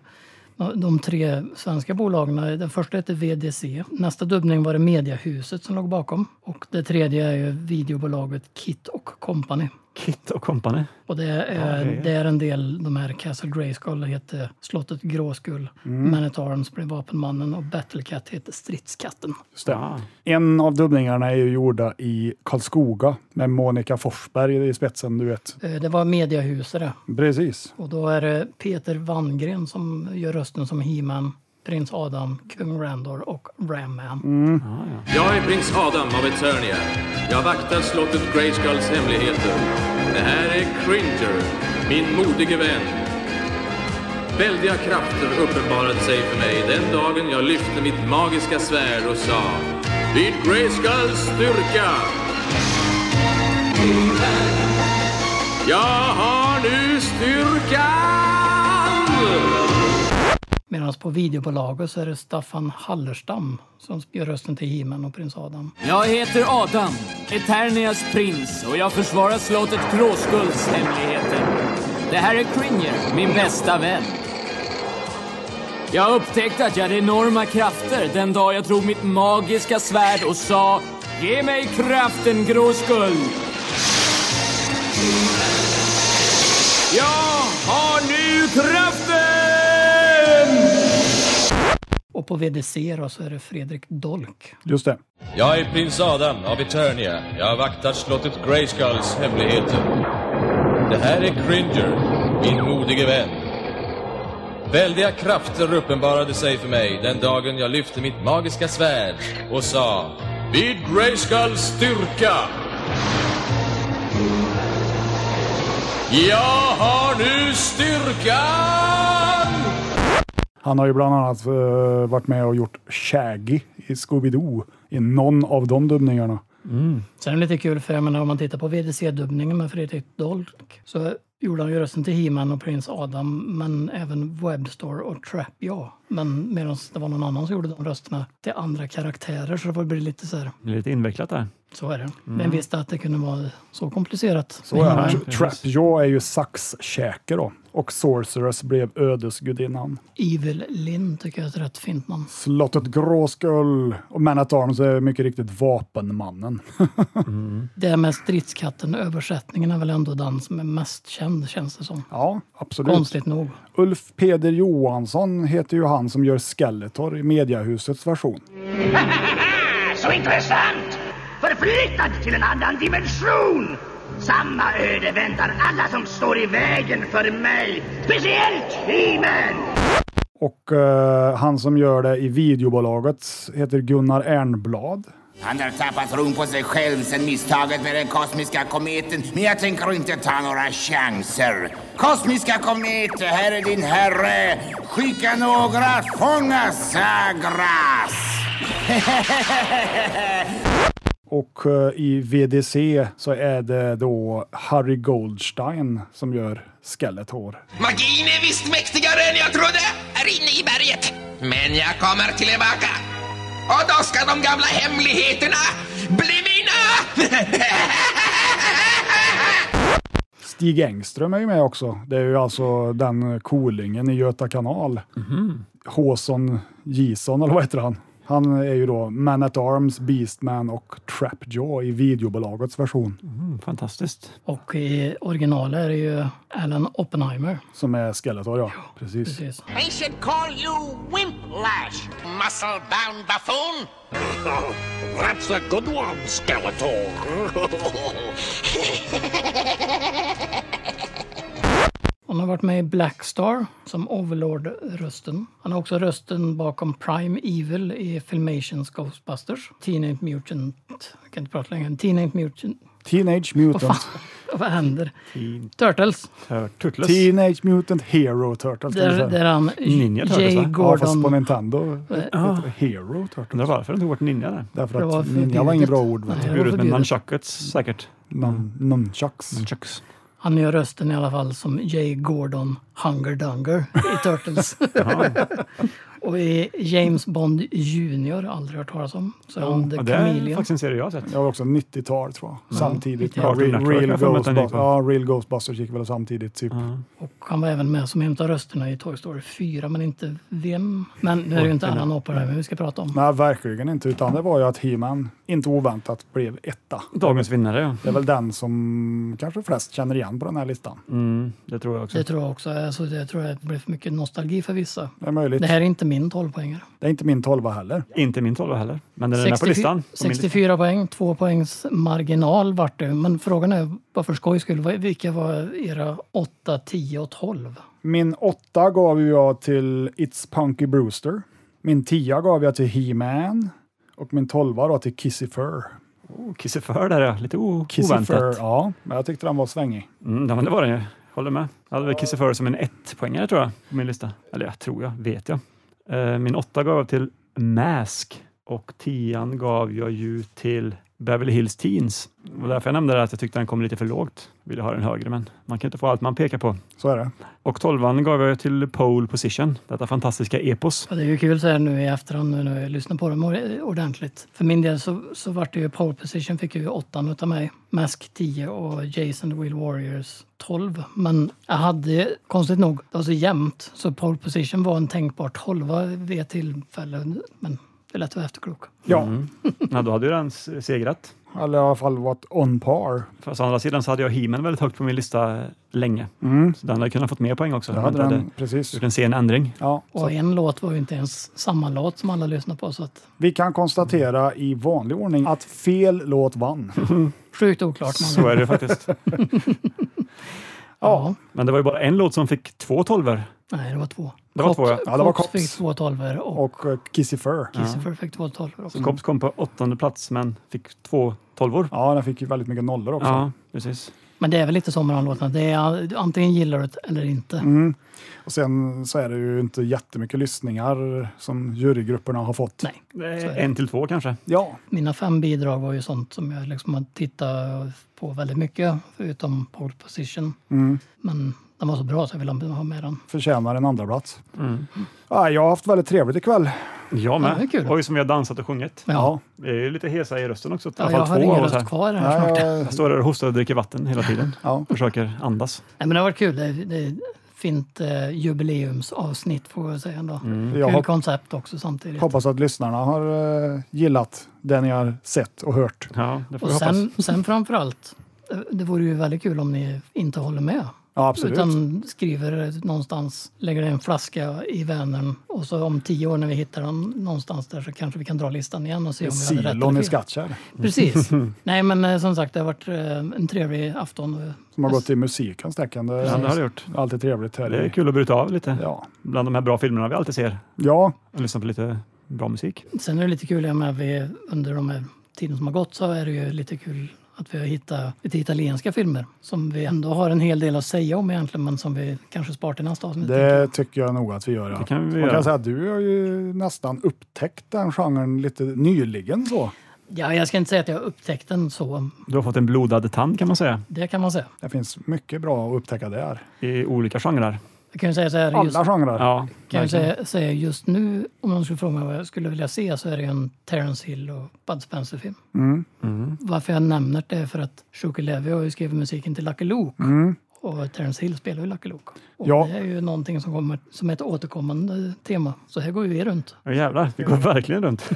Speaker 4: De- De tre svenska bolagen, den första heter VDC. Nästa dubbning var det Mediahuset som låg bakom. Och det tredje är ju videobolaget Kit och Company.
Speaker 3: Kit och Company.
Speaker 4: Och det är,
Speaker 3: Ja, det är-
Speaker 4: det är en del, de här Castle Grayskull heter Slottet Gråskull,
Speaker 3: Mm.
Speaker 4: Man at Arms blir Vapenmannen och Battlecat heter Stridskatten.
Speaker 2: Just det.
Speaker 3: Ah.
Speaker 2: En av dubbningarna är ju gjorda i Karlskoga med Monica Forsberg i spetsen, du vet.
Speaker 4: Eh, Det var Mediahuset det.
Speaker 2: Precis.
Speaker 4: och då är det Peter Wanngren som gör rösten som He-Man, Prins Adam, Kung Randor och Ram-Man.
Speaker 8: Jag är prins Adam av Eternia. Jag vaktar slottet Greyskulls hemligheter. Det här är Cringer, min modige vän. Väldiga krafter uppenbarade sig för mig den dagen jag lyfte mitt magiska svärd och sa Vid Greyskulls styrka! Jag har nu styrkan!
Speaker 4: Medan på videobolaget så är det Staffan Hallerstam som gör rösten till He-Man och Prins Adam.
Speaker 9: Jag heter Adam, Eternias prins och jag försvarar slottet Gråskulls hemligheter. Det här är Cringer, min bästa vän. Jag upptäckte att jag hade enorma krafter den dag jag drog mitt magiska svärd och sa Ge mig kraften, Gråskull!
Speaker 8: Jag har nu kraften!
Speaker 4: Och på VDC då så är det Fredrik Dolk.
Speaker 2: Just det.
Speaker 8: Jag är prins Adam av Eternia. Jag vaktar slottet Greyskulls hemligheter. Det här är Cringer, min modige vän. Väldiga krafter uppenbarade sig för mig den dagen jag lyfte mitt magiska svärd och sa Vid Greyskulls styrka! Jag har nu styrkan!
Speaker 2: Han har ju bland annat eh, varit med och gjort Shaggy i Scooby-Doo i någon av de dubbningarna.
Speaker 4: Sen är det lite kul, för jag menar, om man tittar på VDC-dubbningen med Fredrik Dolk så gjorde han ju rösten till He-Man och Prins Adam, men även Webstore och Trap, ja. Men medan det var någon annan som gjorde de rösterna till andra karaktärer, så det får bli lite så här.
Speaker 3: Det är lite invecklat där.
Speaker 4: Så är det. Vem visste att det kunde vara så komplicerat?
Speaker 2: Mm. Så är han.
Speaker 4: He-Man.
Speaker 2: Tra- Trapjaw är ju saxkäke då. Och Sorceress blev ödesgudinnan.
Speaker 4: Evil Lynn tycker jag är ett rätt fint namn.
Speaker 2: Slottet Gråskull och Man at Arms är mycket riktigt Vapenmannen.
Speaker 4: Det här med stridskatten, översättningen är väl ändå den som är mest känd. band känns det som.
Speaker 2: Ja, absolut.
Speaker 4: Konstigt nog.
Speaker 2: Ulf Peder Johansson heter ju han som gör Skeletor i mediahusets version.
Speaker 10: Så intressant! Förflyttad till en annan dimension! Samma öde väntar alla som står i vägen för mig, speciellt He-Man!
Speaker 2: Och eh, han som gör det i videobolaget heter Gunnar Ernblad.
Speaker 11: Han har tappat tron på sig själv sedan misstaget med den kosmiska kometen, men jag tänker inte ta några chanser. Kosmiska komet, här är din herre. Skicka några att fånga Sagras!
Speaker 2: Och eh, i VDC så är det då Harry Goldstein som gör Skeletor.
Speaker 10: Magin är visst mäktigare än jag trodde! Är inne i berget! Men jag kommer tillbaka! Och då ska de gamla hemligheterna bli mina!
Speaker 2: Stig Engström är ju med också. Det är ju alltså den kolingen i Göta kanal.
Speaker 4: Mhm.
Speaker 2: Håson Gison, eller vad heter han? Han är ju då Man at Arms, Beastman och Trapjaw i videobolagets version
Speaker 3: Mm, fantastiskt.
Speaker 4: Och i originalet är det ju Alan Oppenheimer.
Speaker 2: som är Skeletor. Ja, precis.
Speaker 4: Precis.
Speaker 11: They should call you Wimplash, muscle-bound buffoon.
Speaker 10: That's a good one, Skeletor.
Speaker 4: Han har varit med i Blackstar som Overlord-rösten. Han har också rösten bakom Prime Evil i Filmations Ghostbusters. Teenage Mutant... Jag kan inte prata längre. Teenage Mutant...
Speaker 2: Teenage
Speaker 4: Vad fan?
Speaker 2: Mutant,
Speaker 4: Vad händer? Turtles.
Speaker 3: Tur- Turtles.
Speaker 2: Teenage Mutant Hero Turtles. kan vi
Speaker 4: Där,
Speaker 2: säga.
Speaker 4: där han...
Speaker 3: Ninja Turtles,
Speaker 4: Jay
Speaker 3: va? Ja,
Speaker 2: Ja, fast på
Speaker 4: Gordon...
Speaker 2: Nintendo heter det Hero Turtles.
Speaker 3: Undrar varför den tog bort ninja där.
Speaker 2: Därför
Speaker 4: Det var
Speaker 2: att ninja var inget bra ord.
Speaker 4: förbjudet.
Speaker 2: vet du.
Speaker 4: Nej. var
Speaker 3: Burit med
Speaker 4: förbjudet.
Speaker 3: nunchuckets säkert.
Speaker 2: Nun- Nunchucks.
Speaker 3: Nunchucks.
Speaker 4: Han gör rösten i alla fall som Jay Gordon Hunger Dunger i Turtles. Och i James Bond Junior, aldrig hört talas om. Så är han The
Speaker 3: Ja, det är
Speaker 4: Chameleon.
Speaker 3: faktiskt en serie jag har sett.
Speaker 2: Jag var också 90-tal tror jag. Samtidigt med
Speaker 3: Cartoon
Speaker 2: Real,
Speaker 3: Network,
Speaker 2: Real,
Speaker 3: jag får möta en ny
Speaker 2: Ghostbusters.
Speaker 3: på.
Speaker 2: Ja, Real Ghostbusters gick väl samtidigt typ.
Speaker 4: Och han var även med som hämtade rösterna i Toy Story 4, men inte vem. Men nu är det ju inte Allan Oppenheimer vi ska prata om.
Speaker 2: Nej, verkligen inte. Utan det var ju att He-Man, inte oväntat, blev etta.
Speaker 3: Dagens vinnare, ja.
Speaker 2: Det är väl den som kanske flest känner igen på den här listan.
Speaker 3: Mm, det tror jag också.
Speaker 4: Det tror jag också. Alltså, det tror jag blir för mycket nostalgi för vissa.
Speaker 2: Det är möjligt.
Speaker 4: Det här är inte min 12-poängare.
Speaker 2: Det är inte min tolva heller.
Speaker 3: Inte min tolva heller. Men Eh, den är med på
Speaker 4: 64
Speaker 3: listan. På min lista.
Speaker 4: 64 poäng, två poängs marginal vart det. Men frågan är bara för skojs skull, vad- vilka var era 8, 10 och 12?
Speaker 2: Min åtta gav ju jag till It's Punky Brewster. Min tia gav jag till He-Man. Och min tolva då till Kissy Fur.
Speaker 3: Oh, Kisse för där, ja. Lite o-
Speaker 2: Kissy Fur,
Speaker 3: oväntat.
Speaker 2: ja. Men jag tyckte den var svängig.
Speaker 3: Mm, ja, men det var den ju. Håller med. Jag hade väl Kisse för som en ett-poängare tror jag, på min lista. Eller jag tror jag, vet jag. Eh, Min åtta gav jag till Mask och tian gav jag ju till Beverly Hills Teens. Och därför jag nämnde det att jag tyckte den kom lite för lågt. Ville ha den högre, men man kan inte få allt man pekar på.
Speaker 2: Så är det.
Speaker 3: Och tolvan gav jag ju till Pole Position, detta fantastiska epos.
Speaker 4: Ja, det är ju kul så här nu i efterhand nu när jag lyssnar på dem or- ordentligt. För min del så, så vart det ju pole position fick ju åttan utav mig. Mask 10 och Jason the Wheel Warriors 12. Men jag hade, konstigt nog, det var så jämnt så pole position var en tänkbar 12 vid ett tillfälle. Men det lät vara efterklok.
Speaker 2: Ja,
Speaker 3: Mm. Ja, då hade ju den s- segrat.
Speaker 2: eller i alla fall varit on par.
Speaker 3: Fast å andra sidan så hade jag He-Man väldigt högt på min lista länge. Så den hade kunnat fått mer poäng också.
Speaker 2: Jag
Speaker 3: om
Speaker 2: hade
Speaker 3: jag inte
Speaker 2: den, precis.
Speaker 3: gjort en sen ändring.
Speaker 2: Ja,
Speaker 4: Och en låt var ju inte ens samma låt som alla lyssnar på. Så att,
Speaker 2: Vi kan konstatera i vanlig ordning att fel låt vann.
Speaker 4: sjukt oklart. man.
Speaker 3: Så är det faktiskt.
Speaker 4: ja.
Speaker 3: Men det var ju bara en låt som fick två tolvor.
Speaker 4: Nej, det var två.
Speaker 3: Det var
Speaker 4: Kops-
Speaker 3: två, ja.
Speaker 2: Ja, det var
Speaker 4: Kops fick
Speaker 2: Kops.
Speaker 4: två tolvor och
Speaker 2: Och eh, Kissy Fur.
Speaker 4: Christopher fick två tolvor också.
Speaker 3: Så Kops kom på åttonde plats men fick två tolvor.
Speaker 2: Ja, den fick ju väldigt mycket nollor också.
Speaker 3: Ja, precis.
Speaker 4: Men det är väl lite så med de låtarna. Det är antingen gillar du det eller inte.
Speaker 3: Mm.
Speaker 2: Och sen så är det ju inte jättemycket lyssningar som jurygrupperna har fått.
Speaker 4: Nej.
Speaker 3: En till två kanske.
Speaker 2: Ja,
Speaker 4: Mina fem bidrag var ju sånt som jag liksom har tittat på väldigt mycket, förutom Pole Position.
Speaker 3: Mm.
Speaker 4: Men den var så bra så jag ville ha med den.
Speaker 2: förtjänar en andra plats.
Speaker 3: Mm.
Speaker 2: Ja, jag har haft väldigt trevligt ikväll.
Speaker 3: Jag
Speaker 4: Ja, det är
Speaker 3: med.
Speaker 4: kul.
Speaker 3: Oj, som vi har dansat och sjungit.
Speaker 4: Men ja,
Speaker 3: Det är ju lite hesa i rösten också. I
Speaker 4: ja,
Speaker 3: alla
Speaker 4: jag
Speaker 3: fall
Speaker 4: har
Speaker 3: två
Speaker 4: ingen
Speaker 3: av oss
Speaker 4: röst
Speaker 3: här.
Speaker 4: kvar här snart.
Speaker 2: Nej,
Speaker 3: Jag står där och hostar och dricker vatten hela tiden.
Speaker 2: Ja.
Speaker 3: Försöker andas.
Speaker 4: Nej, men det har varit kul. Det är, det är fint eh, jubileumsavsnitt får jag säga ändå.
Speaker 3: Mm.
Speaker 2: jag,
Speaker 4: Kul
Speaker 2: jag hop-
Speaker 4: koncept också samtidigt.
Speaker 2: hoppas att lyssnarna har eh, gillat det ni har sett och hört.
Speaker 3: Ja, det får
Speaker 4: Och
Speaker 3: vi hoppas.
Speaker 4: sen, sen framför allt, eh, det vore ju väldigt kul om ni inte håller med.
Speaker 2: Ja, absolut.
Speaker 4: Utan skriver någonstans, lägger en flaska i Vänern och så om tio år när vi hittar dem någonstans där så kanske vi kan dra listan igen och se om vi hade rätt
Speaker 2: Silon
Speaker 4: eller
Speaker 2: i
Speaker 4: fel.
Speaker 2: Skattkärr
Speaker 4: Precis. Nej, men eh, som sagt, det har varit eh, en trevlig afton.
Speaker 2: som har gått i musikens tecken. Det
Speaker 3: Ja, det har
Speaker 2: är
Speaker 3: det gjort.
Speaker 2: alltid trevligt här.
Speaker 3: Det är
Speaker 2: i-
Speaker 3: kul att bryta av lite.
Speaker 2: Ja.
Speaker 3: Bland de här bra filmerna vi alltid ser.
Speaker 2: ja,
Speaker 3: Och lyssna på lite bra musik.
Speaker 4: Sen är det lite kul, jag med, vi, under de här tiden som har gått så är det ju lite kul att vi har hittat lite italienska filmer som vi ändå har en hel del att säga om egentligen, men som vi kanske spar till nästa avsnitt.
Speaker 2: det tycker jag nog att vi gör. Ja.
Speaker 3: Det kan vi
Speaker 2: Man
Speaker 3: göra.
Speaker 2: kan säga att du har ju nästan upptäckt den genren lite nyligen. så.
Speaker 4: Ja, jag ska inte säga att jag upptäckt den så,
Speaker 3: Du har fått en blodad tand kan man säga.
Speaker 4: det kan man säga.
Speaker 2: Det finns mycket bra att upptäcka där.
Speaker 3: I olika genrer.
Speaker 4: Jag kan ju säga så här, just,
Speaker 2: Alla genrer.
Speaker 3: Ja,
Speaker 4: kan jag
Speaker 3: verkligen.
Speaker 4: säga, säga just nu, om någon skulle fråga mig vad jag skulle vilja se, så är det ju en Terence Hill och Bud Spencer-film.
Speaker 2: Mm.
Speaker 4: Varför jag nämner det är för att Shuki Levy har ju skrivit musiken till Lucky Luke. Och Terence Hill spelar ju Lucky Luke. Och
Speaker 2: Mm. Ja.
Speaker 4: Det är ju någonting som kommer som ett återkommande tema. Så här går ju vi runt.
Speaker 3: Ja, jävlar, det går verkligen runt.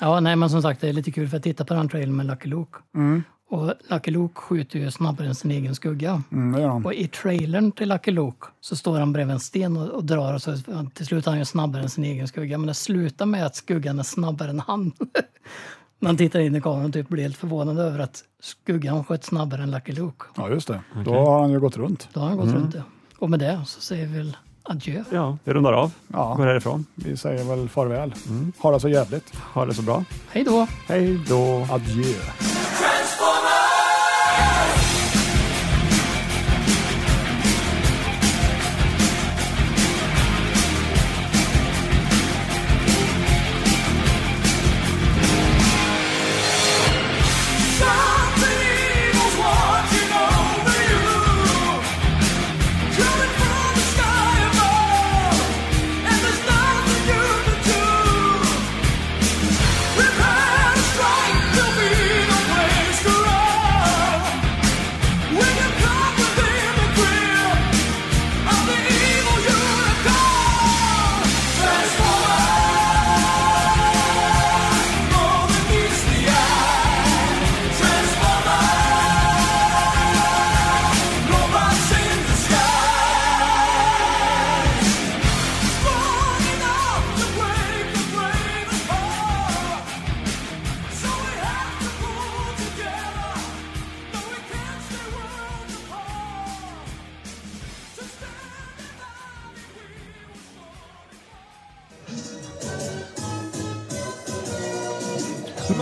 Speaker 4: Ja, nej, men som sagt, det är lite kul för att titta på den trailern med Lucky Luke.
Speaker 2: Mm.
Speaker 4: Och Lucky Luke skjuter ju snabbare än sin egen skugga.
Speaker 2: Mm, det gör han.
Speaker 4: Och i trailern till Lucky Luke så står han bredvid en sten och, och drar och så till slut är han ju snabbare än sin egen skugga. Men det slutar med att skuggan är snabbare än han. När han tittar in i kameran och typ blir helt förvånad över att skuggan sköt snabbare än Lucky Luke.
Speaker 2: Ja, just det. Då har han ju gått runt.
Speaker 4: Då har han gått runt det. Och med det så säger vi väl adjö.
Speaker 3: Ja, vi rundar av.
Speaker 2: Ja.
Speaker 3: Går härifrån.
Speaker 2: Vi säger väl farväl.
Speaker 3: Mm.
Speaker 2: Ha det så jävligt.
Speaker 3: Ha det så bra.
Speaker 4: Hej då!
Speaker 3: Hej då.
Speaker 2: Adjö.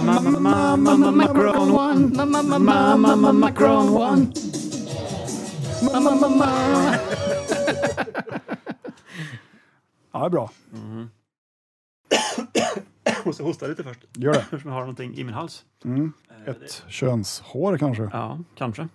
Speaker 3: Mamma, mamma, Macron.
Speaker 4: Mamma, mamma, mamma, Macron one. Mamma, mamma.
Speaker 2: Ja, det är bra.
Speaker 3: Jag måste hosta lite först.
Speaker 2: Gör det.
Speaker 3: Eftersom jag har någonting i min hals.
Speaker 2: Ett könshår kanske.
Speaker 3: Ja, kanske.